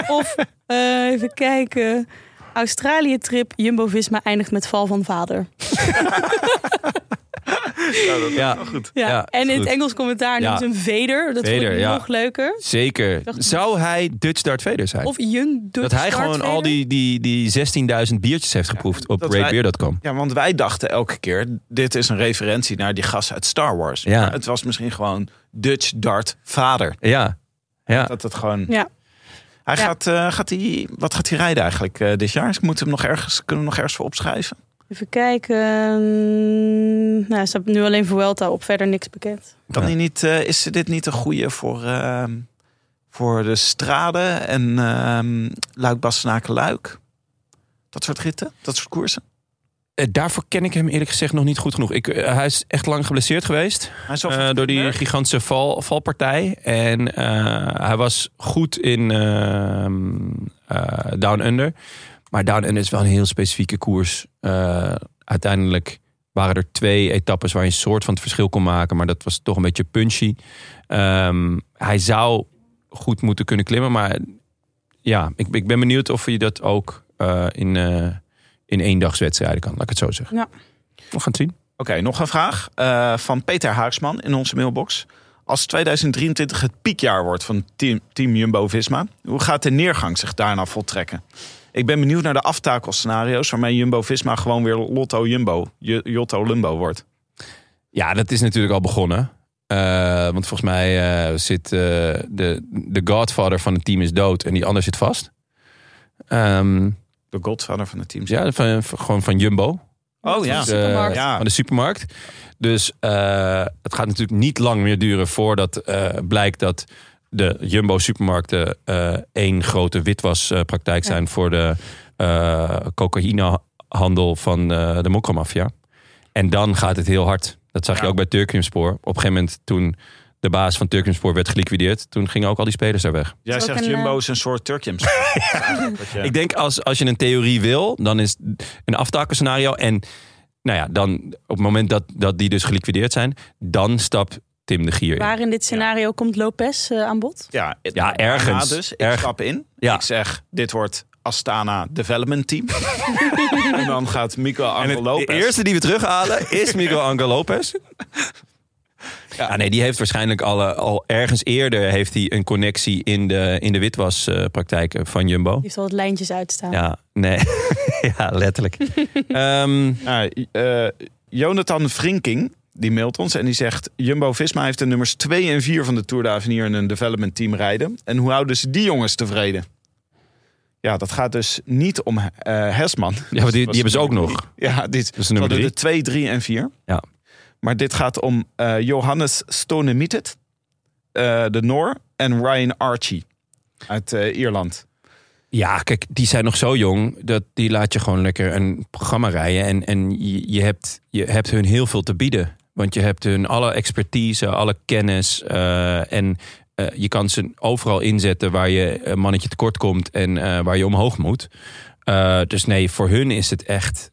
S2: of, eh, even kijken, Australië-trip, Jumbo-Visma eindigt met val van vader.
S1: ja.
S2: Ja.
S1: Ja,
S2: en in
S1: goed.
S2: het Engels commentaar
S1: Ja.
S2: noemt ze hem Vader. Dat
S1: Vader,
S2: vind ik
S1: ja.
S2: nog leuker.
S1: Zeker.
S2: Dacht-
S1: Zou hij Dutch Darth Vader zijn?
S2: Of Young Dutch
S1: dat hij
S2: Darth
S1: gewoon al
S2: Vader.
S1: die, die, die 16.000 biertjes heeft geproefd op
S3: dat wij-
S1: ratebeer.com.
S3: Ja, want wij dachten elke keer, dit is een referentie naar die gast uit Star Wars.
S1: Ja.
S3: Maar Het was misschien gewoon Dutch Dart vader.
S1: Ja. Ja.
S3: Dat het gewoon...
S2: Ja.
S3: Hij
S2: Ja.
S3: gaat, eh, gaat hij, wat gaat hij rijden eigenlijk eh, dit jaar? Moeten we hem nog ergens, kunnen we hem nog ergens voor opschrijven?
S2: Even kijken. Nou, er staat nu alleen Vuelta op. Verder niks bekend.
S3: Kan
S1: Ja.
S3: hij niet, eh, is dit niet een goede voor, ehm, voor de straden en ehm luik bastenaken luik Dat soort ritten, dat soort koersen.
S1: Eh, Daarvoor ken ik hem eerlijk gezegd nog niet goed genoeg. Ik, eh, hij is echt lang geblesseerd geweest.
S3: Hij is wel
S1: eh,
S3: van
S1: door die
S3: Gutenberg.
S1: gigantische val, valpartij. En eh, hij was goed in ehm, eh, Down Under. Maar Down Under is wel een heel specifieke koers. Eh, uiteindelijk waren er twee etappes waar je een soort van het verschil kon maken. Maar dat was toch een beetje punchy. Ehm, hij zou goed moeten kunnen klimmen. Maar ja, ik, ik ben benieuwd of je dat ook eh, in, eh in eendagswedstrijden kan. Laat ik het zo zeggen.
S2: Ja.
S1: We gaan het zien.
S3: Oké, nog een vraag eh, van Peter Haaksman in onze mailbox. Als 2023 het piekjaar wordt van team, team Jumbo-Visma... hoe gaat de neergang zich daarna voltrekken? Ik ben benieuwd naar de aftakelscenario's... waarmee Jumbo-Visma gewoon weer Lotto Jumbo, J- Jotto Lumbo wordt.
S1: Ja, dat is natuurlijk al begonnen. Eh, want volgens mij eh, zit eh, de, de godfather van het team is dood en die ander zit vast. Ehm, dus
S3: De godvader van het team.
S1: ja, van, van- gewoon van Jumbo.
S3: Oh ja.
S1: Dus, eh,
S2: supermarkt.
S3: Ja.
S1: Van de supermarkt. Dus eh, het gaat natuurlijk niet lang meer duren voordat eh, blijkt dat de Jumbo supermarkten eh, één grote witwaspraktijk zijn voor de eh, cocaïnehandel van eh, de mokkermafia. En dan gaat het heel hard. Dat zag je ook bij Turkenspoor. Op een gegeven moment toen de baas van Turkenspoor werd geliquideerd, toen gingen ook al die spelers daar weg.
S4: Jij
S2: Is ook
S4: zegt
S2: een,
S4: Jumbo
S2: eh,
S4: is een soort Turkiums.
S1: Ik denk als, als je een theorie wil, dan is een aftakenscenario. En nou ja, dan op het moment dat, dat die dus geliquideerd zijn, dan stapt Tim de Gier in.
S2: Waar in dit scenario komt Lopez eh, aan bod?
S3: Ja, het-
S1: Ja, ergens.
S3: daarna dus. Ik
S1: Erg-
S3: stap in.
S1: Ja.
S3: Ik zeg, dit wordt Astana Development
S1: [LAUGHS]
S3: Team. en dan gaat Mico
S1: En het-
S3: Angel Lopez.
S1: De eerste die we terughalen is [LAUGHS] Miguel Angel Lopez. Ja. Ah, nee, die heeft waarschijnlijk al, eh, al ergens eerder heeft hij een connectie in de, in de witwaspraktijken van Jumbo.
S2: Die heeft al wat lijntjes uitstaan.
S1: Ja, nee. [LAUGHS] ja, letterlijk. Ehm,
S3: Nou, eh, Jonathan Vrinking, die mailt ons en die zegt... Jumbo-Visma heeft de nummers 2 en 4 van de Tour d'Avenir in een development team rijden. En hoe houden ze die jongens tevreden? Ja, dat gaat dus niet om eh Hesman.
S1: ja, want die, die hebben ze ook nog.
S3: [LAUGHS] Ja, dit
S1: is
S3: is
S1: de nummer
S3: de
S1: drie.
S3: 2, 3 en 4.
S1: Ja.
S3: Maar dit gaat om eh, Johannes Stonemietet, eh de Noor, en Ryan Archie uit eh, Ierland.
S1: Ja, kijk, die zijn nog zo jong. Dat die laat je gewoon lekker een programma rijden. En, en je, je, hebt, je hebt hun heel veel te bieden. Want je hebt hun alle expertise, alle kennis. eh, en eh, je kan ze overal inzetten waar je een mannetje tekort komt en eh, waar je omhoog moet. Eh, dus nee, voor hun is het echt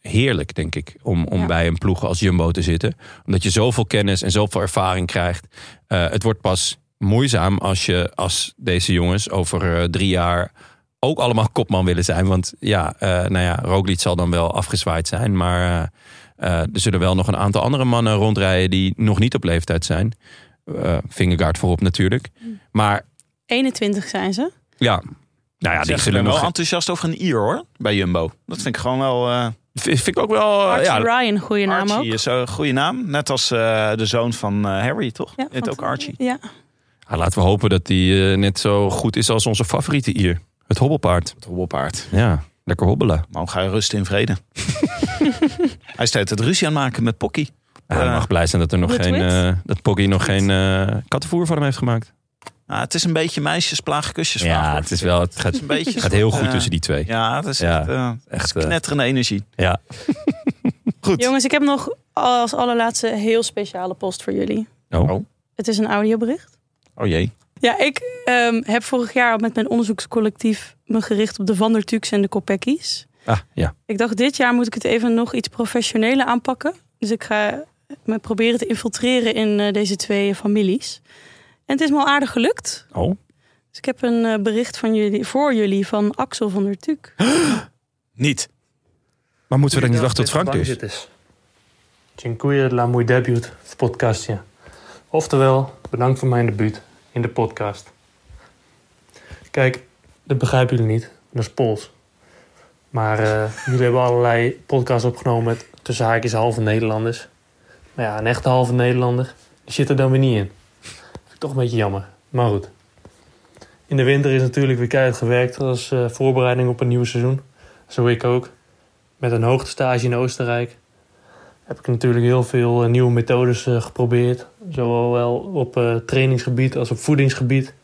S1: heerlijk, denk ik, om, om
S2: Ja.
S1: bij een ploeg als Jumbo te zitten. Omdat je zoveel kennis en zoveel ervaring krijgt. Eh, het wordt pas moeizaam als, je, als deze jongens over eh, drie jaar ook allemaal [LAUGHS] kopman willen zijn. Want ja, eh, nou ja, Roglic zal dan wel afgezwaaid zijn. Maar eh, eh, er zullen wel nog een aantal andere mannen rondrijden die nog niet op leeftijd zijn. Eh Vingegaard voorop natuurlijk. Maar
S2: 21 zijn
S3: Oh,
S2: ze.
S1: ja, nou ja, die
S3: Zeg, ik ben
S1: zullen
S3: wel
S1: nog...
S3: enthousiast over een Ier hoor, bij Jumbo. Dat vind ik gewoon wel... eh,
S1: Vind ik ook wel... eh,
S2: Archie
S1: ja,
S2: Ryan, goede naam ook.
S3: Archie is een goede naam. Net als eh, de zoon van eh, Harry, toch?
S2: Ja,
S3: Ja, Heet
S2: van-
S3: ook Archie.
S2: Ja.
S1: Ah, laten we hopen dat die eh, net zo goed is als onze favoriete hier. Het hobbelpaard.
S3: Het hobbelpaard.
S1: Ja, lekker hobbelen.
S3: Maar ga je rusten in
S2: [LAUGHS]
S3: vrede? Hij staat het ruzie aan het maken met Pocky.
S1: Ja, hij
S3: Eh.
S1: mag blij zijn dat er nog
S2: Wit,
S1: geen...
S2: wit.
S1: eh, dat Poggy nog geen eh, kattenvoer van hem heeft gemaakt.
S3: Ah, het is een beetje meisjes plagen kusjes.
S1: Ja,
S3: vragen.
S1: het is wel... Het gaat,
S3: een beetje
S1: gaat heel goed
S3: eh,
S1: tussen die twee.
S3: Ja, het is
S1: Ja.
S3: echt, eh,
S1: Echt, eh,
S3: knetterende energie.
S1: ja.
S3: [LAUGHS] Goed.
S2: Jongens, ik heb nog als allerlaatste heel speciale post voor jullie.
S1: Oh.
S2: Het is een audiobericht.
S3: Oh jee.
S2: Ja, ik ehm, heb vorig jaar met mijn onderzoekscollectief me gericht op de Van der Tuks en de Kopeckis.
S1: Ah, ja.
S2: Ik dacht, dit jaar moet ik het even nog iets professioneler aanpakken. Dus ik ga me proberen te infiltreren in eh, deze twee families. En het is me al aardig gelukt.
S1: Oh.
S2: Dus ik heb een eh, bericht van jullie, voor jullie van Axel van der Tuk.
S3: Niet.
S1: Maar moeten we dan niet wachten tot Frank
S5: Bang
S1: is?
S5: zit is. Dziękuję dla mój debiut w podcastje. Oftewel, bedankt voor mijn debuut in de podcast. Kijk, dat begrijpen jullie niet. Dat is Pools. Maar eh, jullie hebben allerlei podcasts opgenomen met tussen haakjes halve Nederlanders. Maar ja, een echte halve Nederlander die zit er dan weer niet in. Vind ik toch een beetje jammer. Maar goed. In de winter is natuurlijk weer keihard gewerkt als eh, voorbereiding op een nieuw seizoen. Zo ik ook met een hoogtestage in Oostenrijk heb ik natuurlijk heel veel eh, nieuwe methodes eh, geprobeerd. Zowel op eh, trainingsgebied als op voedingsgebied.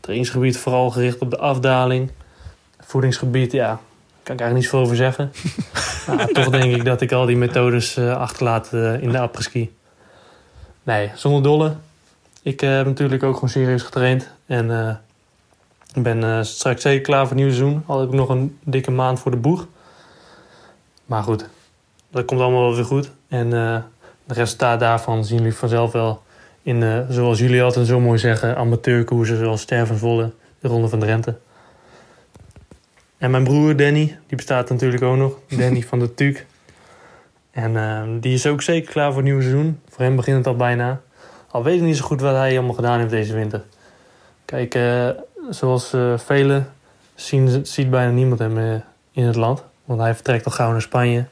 S5: Trainingsgebied vooral gericht op de afdaling. Voedingsgebied, ja, daar kan ik eigenlijk niets voor over zeggen. maar toch denk ik dat ik al die methodes eh, achterlaat eh, in de apres-ski. Nee, zonder dolle. Ik eh, heb natuurlijk ook gewoon serieus getraind. En eh, ik ben eh, straks zeker klaar voor het nieuwe seizoen. Al heb ik nog een dikke maand voor de boeg. Maar goed, dat komt allemaal wel weer goed. En eh, de resultaat daarvan zien jullie vanzelf wel in, eh, zoals jullie altijd zo mooi zeggen, amateurkoersen zoals Stervenswolle, de Ronde van Drenthe. En mijn broer Danny, die bestaat natuurlijk ook nog, Danny van de Tuuk. En eh, die is ook zeker klaar voor het nieuwe seizoen. Voor hem begint het al bijna. Al weet ik niet zo goed wat hij allemaal gedaan heeft deze winter. Kijk, eh, zoals eh, velen zien, ziet bijna niemand hem eh, in het land. Want hij vertrekt al gauw naar Spanje.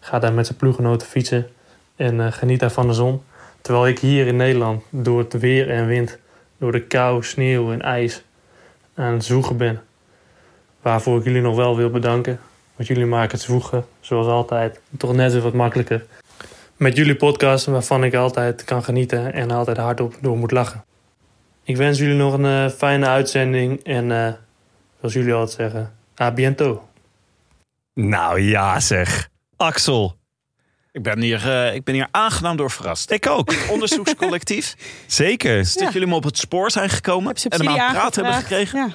S5: Gaat daar met zijn ploeggenoten fietsen. En eh, geniet daar van de zon. Terwijl ik hier in Nederland door het weer en wind, door de kou, sneeuw en ijs aan het zoeken ben. Waarvoor ik jullie nog wel wil bedanken. Want jullie maken het zwoegen, zoals altijd, toch net even wat makkelijker. Met jullie podcast waarvan ik altijd kan genieten en altijd hardop door moet lachen. Ik wens jullie nog een eh, fijne uitzending en eh, zoals jullie altijd zeggen, à bientôt.
S1: Nou ja, zeg. Axel.
S3: Ik ben hier, eh, ik ben hier aangenaam door verrast.
S1: Ik ook.
S3: Onderzoekscollectief.
S2: [LAUGHS]
S1: Zeker.
S3: Dat jullie me op het spoor zijn gekomen. En hem
S2: Subsidie
S3: aan het
S2: aangevraagd.
S3: praten hebben gekregen.
S2: Ja.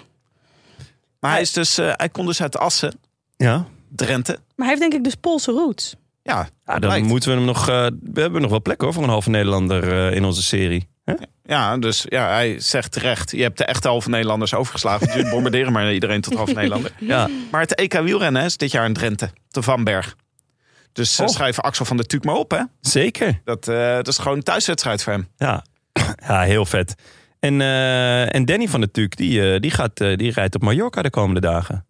S3: Maar hij, is dus, eh, hij komt dus uit Assen,
S1: Ja.
S3: Drenthe.
S2: Maar hij heeft denk ik dus Poolse roots.
S3: Ja,
S1: ja dan
S3: blijkt.
S1: moeten we hem nog... eh, we hebben nog wel plek hoor voor een halve Nederlander eh, in onze serie. Hè?
S3: ja, dus ja, hij zegt terecht. Je hebt de echte halve Nederlanders overgeslagen. want Jullie bombarderen maar iedereen tot half [LAUGHS] Nederlander.
S1: Ja.
S3: Maar het EK wielrennen is dit jaar in Drenthe. Te Vanberg. Dus eh,
S1: Oh.
S3: schrijf Axel van der Tuuk maar op. Hè.
S1: Zeker.
S3: Dat, eh, dat is gewoon een thuiswedstrijd voor hem.
S1: Ja. [CLEARS THROAT] Ja, heel vet. En, eh, en Danny van der Tuuk, die, eh, die, gaat, eh, die rijdt op Mallorca de komende dagen.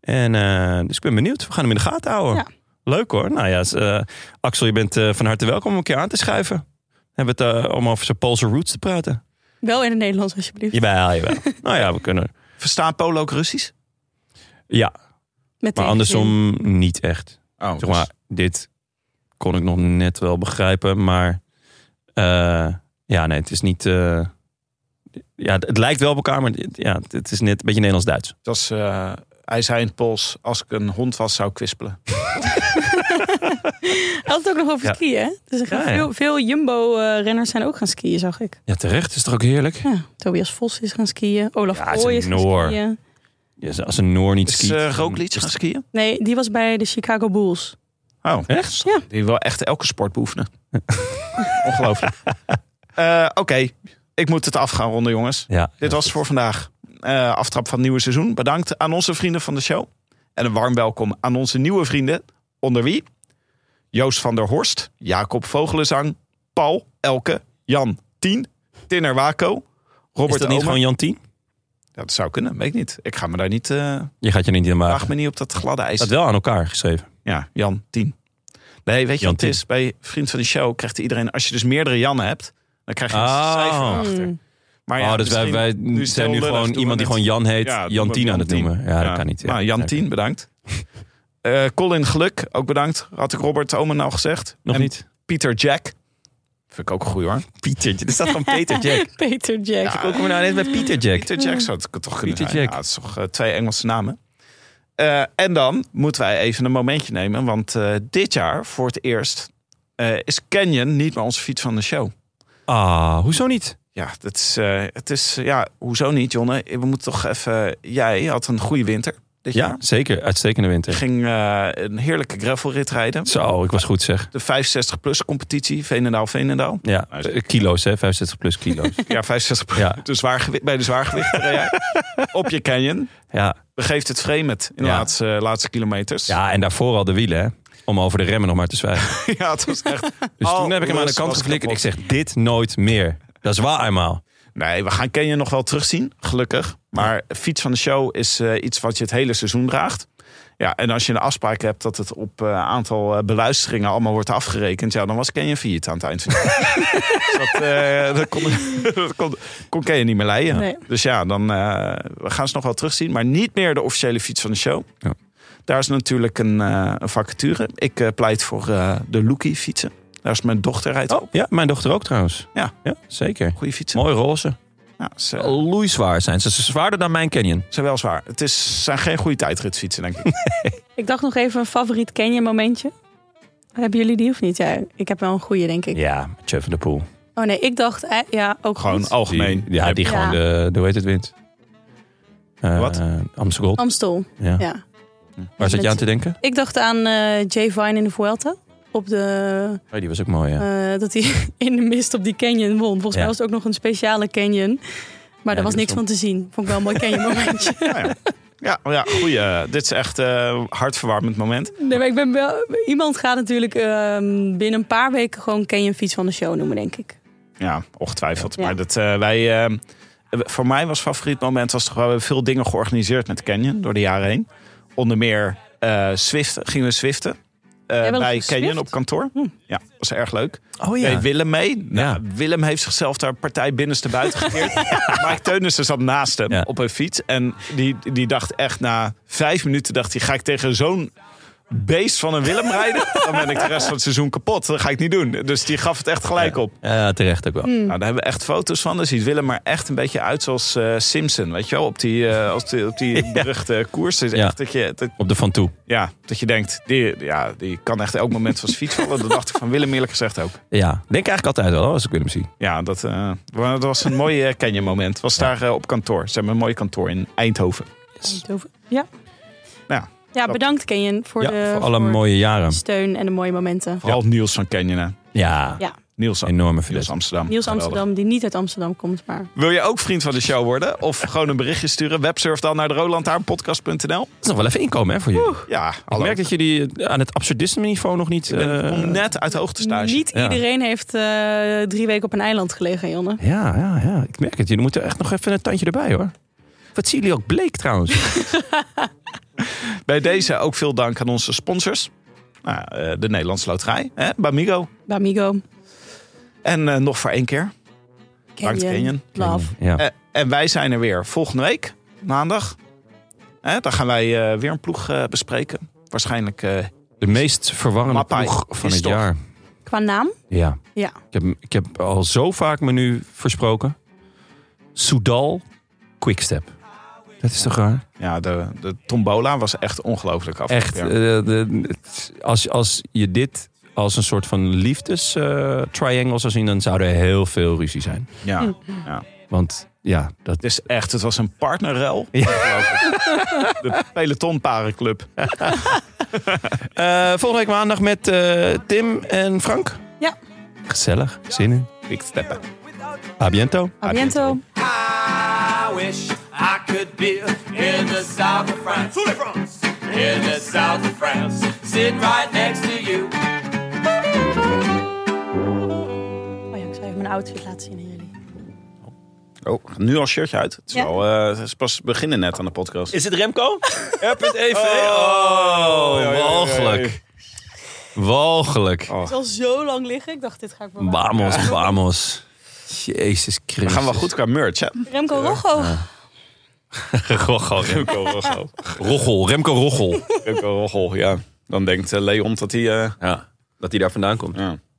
S1: En, eh, dus ik ben benieuwd. We gaan hem in de gaten houden.
S2: Ja.
S1: Leuk hoor. Nou ja, s- eh, Axel, je bent eh, van harte welkom om een keer aan te schuiven. We hebben het eh, om over zijn Poolse roots te praten.
S2: Wel in het Nederlands, alsjeblieft.
S1: Jawel, jawel. nou ja, we kunnen.
S3: Verstaat Polo ook Russisch?
S1: Ja,
S2: Met
S1: maar
S2: tegenzin. [LAUGHS]
S1: andersom niet echt.
S3: Oh,
S1: Zeg maar, dit kon ik nog net wel begrijpen, maar eh, ja, nee, het is niet. eh, ja, het, het lijkt wel op elkaar, maar het, ja, het is net een beetje
S3: [LAUGHS]
S1: Nederlands-Duits.
S3: Dat is, eh, hij zei in het Pools, als ik een hond was, zou ik kwispelen.
S2: Hij had het ook nog over
S1: Ja.
S2: skiën, hè? Dus er gaan
S1: Ja, ja.
S2: Veel, veel Jumbo-renners zijn ook gaan skiën, zag ik.
S1: Ja, terecht is toch ook heerlijk?
S2: Ja, Tobias Vos is gaan skiën. Olaf
S1: Ja, het is
S2: Kooi
S1: een
S2: is gaan
S1: Noor.
S2: skiën.
S1: Ja, als een Noor niet
S3: Is
S1: skiet.
S3: uh,
S1: dan
S3: Roglic
S1: is
S3: gaan
S1: het-
S3: skiën?
S2: Nee, die was bij de Chicago Bulls.
S3: Oh,
S1: Echt?
S2: Ja.
S3: Die wil echt elke
S1: [LAUGHS]
S3: sport beoefenen. [LAUGHS] Ongelooflijk. Eh, Oké, ik moet het af gaan ronden, jongens.
S1: Ja,
S3: Dit
S1: ja,
S3: was het voor vandaag. Eh, aftrap van het nieuwe seizoen. Bedankt aan onze vrienden van de show. En een warm welkom aan onze nieuwe vrienden. Onder wie? Joost van der Horst, Jacob Vogelenzang, Paul, Elke, Jan, Tien, Tinner Waco,
S1: Is
S3: Robert
S1: dat niet
S3: Omer.
S1: gewoon Jantien?
S3: Ja, dat zou kunnen, weet ik niet. Ik ga me daar niet... eh
S1: Je gaat je niet helemaal.
S3: Vraag
S1: Het
S3: me niet op dat gladde ijs.
S1: staat wel aan elkaar geschreven.
S3: Ja, Jan 10. Nee, weet je
S1: Jan
S3: wat het is? Bij Vriend van de Show krijgt iedereen... Als je dus meerdere Jannen hebt, dan krijg je een
S1: Oh.
S3: cijfer achter.
S2: Hmm.
S3: Maar
S1: oh, dus wij,
S3: Ah misschien-
S1: wij
S3: nu is het
S1: zijn
S3: heel
S1: nu
S3: lullig,
S1: gewoon
S3: doen we
S1: iemand die
S3: het-
S1: gewoon Jan heet,
S3: Ja, doen we
S1: Jantien aan het
S3: 10.
S1: noemen. Ja, Ah, dat kan niet. Ja.
S3: Nou, Jan
S1: Nee.
S3: 10,
S1: [LAUGHS]
S3: bedankt. Eh, Colin Geluk, ook bedankt. Had ik Robert Omen al gezegd.
S1: Nog
S3: En
S1: niet?
S3: Pieter Jack. Vind ik ook goed hoor.
S1: Pieter. Er staat [LAUGHS] gewoon Peter Jack.
S2: Peter Jack.
S3: Ja,
S1: Hoe komen we nou net bij Pieter Jack?
S3: Peter Jack zou het toch kunnen
S1: Pieter
S3: zijn.
S1: Jack.
S3: Ja, het is toch eh, twee Engelse namen. Eh, en dan moeten wij even een momentje nemen. Want eh, dit jaar, voor het eerst, eh, is Canyon niet meer onze fiets van de show.
S1: Ah, hoezo niet?
S3: Ja, dat is, eh, het is, eh, ja, hoezo niet, Jonne? We moeten toch even... Jij had een goede winter dit
S1: Ja,
S3: jaar.
S1: zeker. Uitstekende
S3: Je
S1: winter.
S3: ging eh, een heerlijke gravelrit rijden.
S1: Zo, ik was goed zeg.
S3: De 65-plus competitie,
S1: [LAUGHS]
S3: Veenendaal-Veenendaal.
S1: Ja, eh, kilo's hè, 65 plus kilo's.
S3: Ja,
S1: [LAUGHS]
S3: 65
S1: Ja.
S3: De zwaargewi- bij de zwaargewichten reed
S1: [LAUGHS]
S3: jij. Op je Canyon.
S1: ja.
S3: Begeeft het vreemd in de
S1: Ja.
S3: laatste, eh, laatste kilometers.
S1: ja, en daarvoor al de wielen hè. Om over de remmen nog maar te zwijgen.
S3: [LAUGHS] Ja, het was echt...
S1: [LAUGHS] Dus toen heb ik hem aan de kant geflikkerd. Ik zeg, dit nooit meer. Dat is waar eenmaal.
S3: Nee, we gaan Canyon nog wel terugzien, gelukkig. Maar fiets van de show is eh, iets wat je het hele seizoen draagt. Ja, en als je een afspraak hebt dat het op eh, aantal eh, beluisteringen allemaal wordt afgerekend... ja, dan was Canyon failliet aan het eind van het
S1: [LAUGHS]
S3: jaar. dus dat, eh, dat, kon, [LAUGHS] dat kon, kon Canyon niet meer leiden.
S2: Nee.
S3: Dus ja, dan eh, we gaan ze nog wel terugzien. Maar niet meer de officiële fiets van de show.
S1: Ja.
S3: Daar is natuurlijk een, eh, een vacature. Ik eh, pleit voor eh, de Loekie fietsen. Daar is mijn dochter rijdt op.
S1: Oh, ja, mijn dochter ook trouwens.
S3: Ja.
S1: ja zeker.
S3: Goeie fietsen.
S1: Mooi roze.
S3: Ja, ze-
S1: Loeizwaar zijn ze. Ze zijn zwaarder dan mijn Canyon.
S3: zijn wel zwaar. Het is, zijn geen goede tijdritfietsen, denk ik.
S2: Ik dacht nog even een favoriet Canyon momentje. Hebben jullie die of niet? Ja, ik heb wel een goede, denk ik.
S1: Ja, Jeff van der Poel.
S2: Oh nee, ik dacht, eh, ja, ook
S3: Gewoon
S2: goed.
S3: algemeen.
S1: [LAUGHS] Die, ja, die
S2: Ja.
S1: gewoon de, de, hoe heet het, wint. Eh,
S3: Wat?
S1: Amstel Gold.
S2: Amstel,
S1: Ja.
S2: ja.
S1: Waar zat je
S2: Met-
S1: aan te denken?
S2: Ik dacht aan eh, Jay Vine in de Vuelta. Op de,
S1: Oh, die was ook mooi, ja.
S2: eh, dat hij [LAUGHS] in de mist op die canyon won. Volgens
S1: Ja.
S2: mij was het ook nog een speciale canyon. Maar daar was
S1: die
S2: niks
S1: was
S2: van te zien. Vond ik wel een mooi canyon momentje.
S3: Ja, ja. ja, ja goeie. Dit is echt eh hartverwarmend moment.
S2: [LAUGHS] Nee, maar ik ben wel... Iemand gaat natuurlijk ehm, binnen een paar weken gewoon Canyon Fiets van de Show noemen, denk ik.
S3: Ja, ongetwijfeld.
S2: Ja.
S3: Maar dat, eh, wij, eh, voor mij was favoriet moment was toch wel we hebben veel dingen georganiseerd met Canyon door de jaren heen. Onder meer eh Swift, gingen we Swiften. eh,
S2: wel
S3: bij
S2: geswift?
S3: Canyon op kantoor. Ja, was erg leuk.
S1: Oh
S3: Deed Willem mee. Nou,
S1: Ja.
S3: Willem heeft zichzelf daar partij binnenste buiten gekeerd. Mike Teunissen zat naast hem
S1: Ja.
S3: op een fiets. En die, die dacht echt na vijf minuten, dacht hij, ga ik tegen zo'n beest van een Willem rijden? Dan ben ik de rest van het seizoen kapot. Dat ga ik niet doen. Dus die gaf het echt gelijk op.
S1: Ja, terecht ook wel.
S2: Hm.
S3: Nou, daar hebben we echt foto's van. Dus Dan ziet Willem er echt een beetje uit zoals eh, Simpson. Weet je wel, op die, eh, als die,
S1: [LAUGHS]
S3: op die beruchte koers. Het is
S1: Ja.
S3: echt dat je, dat,
S1: Op de Van Toe.
S3: ja, dat je denkt, die, ja, die kan echt elk moment van zijn fiets vallen. Dat dacht ik van Willem eerlijk gezegd ook.
S1: Ja, denk eigenlijk altijd wel hoor, als ik Willem zie.
S3: Ja, dat, eh, wa- dat was een mooi eh, ken je moment. Was daar eh, op kantoor. Ze hebben een mooi kantoor in Eindhoven.
S2: Eindhoven. Ja.
S3: Nou ja,
S2: ja, bedankt Kenyon voor
S1: ja,
S2: de
S1: voor alle
S2: voor
S1: mooie
S2: de
S1: jaren.
S2: steun en de mooie momenten.
S3: Vooral Niels van Canyon. hè.
S1: Ja,
S2: Ja.
S3: Niels,
S1: enorme
S3: Niels
S1: verlies.
S3: Amsterdam.
S2: Niels
S3: Geweldig.
S2: Amsterdam, die niet uit Amsterdam komt, maar
S3: Wil je ook vriend van de show worden? Of gewoon een berichtje sturen? Websurf dan naar de rolandhaarpodcast.nl.
S1: Dat is nog wel even inkomen hè, voor jullie.
S3: Ja,
S1: Ik
S3: hallo.
S1: merk dat jullie eh, aan het absurdisme niveau nog niet...
S3: Ik
S1: eh,
S3: kom net uit hoogtestage.
S2: niet
S1: Ja.
S2: iedereen heeft eh, drie weken op een eiland
S1: [LAUGHS]
S2: gelegen, Jonne.
S1: Ja, ja, ja, ik merk het. Jullie moeten echt nog even een tandje erbij hoor. Wat zien jullie ook bleek trouwens.
S3: Bij deze ook veel dank aan onze sponsors. Nou, eh, de Nederlandse Loterij, hè, Bamigo.
S2: Bamigo,
S3: En eh, nog voor één keer,
S2: Kenyon,
S3: Kenyon.
S2: [LAUGHS] Love.
S1: Ja.
S3: Eh, en wij zijn er weer volgende week, maandag. Hè, dan gaan wij eh, weer een ploeg eh, bespreken. Waarschijnlijk. eh,
S1: De meest verwarrende
S3: Mappai
S1: ploeg van
S3: is
S1: het
S3: toch-
S1: jaar.
S2: Qua naam?
S1: Ja.
S2: Ja.
S1: Ik, heb, ik heb al zo vaak me nu versproken. Soudal Quickstep. Dat is toch raar?
S3: ja, de, de tombola was echt ongelooflijk af.
S1: Echt. eh, de- het- als, als je dit als een soort van liefdes-triangle zou zien... dan zou er heel veel ruzie zijn.
S3: ja,
S1: Want ja, dat...
S3: het is echt. Het was een partnerrel.
S1: Ja.
S3: Ongelooflijk. [LAUGHS] De pelotonparenclub.
S1: Eh, volgende week maandag met eh, Tim en Frank.
S2: Ja.
S1: Gezellig. Zin in.
S3: Quick steppen.
S1: A biento.
S2: Abiento.
S6: I wish I could be in the south of France. In the south of France. Sitting right next to you.
S2: Oh ja, ik zal even mijn outfit laten zien aan jullie.
S3: Oh, nu al shirtje uit. Het is,
S2: Ja.
S3: wel, eh, het is pas beginnen net aan de podcast.
S1: Is het [LAUGHS] Remco? R.EV.
S3: Oh, ja, ja,
S1: Oh,
S3: ja,
S1: walgelijk. Walgelijk.
S2: Het is al zo lang liggen. Ik dacht, dit ga ik bewaren.
S1: Vamos, vamos. Jezus Christus.
S3: We gaan wel goed qua merch, hè?
S2: Remco Rocco.
S1: Rochel, Rem-
S3: Remco
S1: Rochel, Remco Rochel.
S3: Rochel, ja. Dan denkt eh, Leon dat hij... eh,
S1: Ja, dat hij daar vandaan komt.
S3: ja.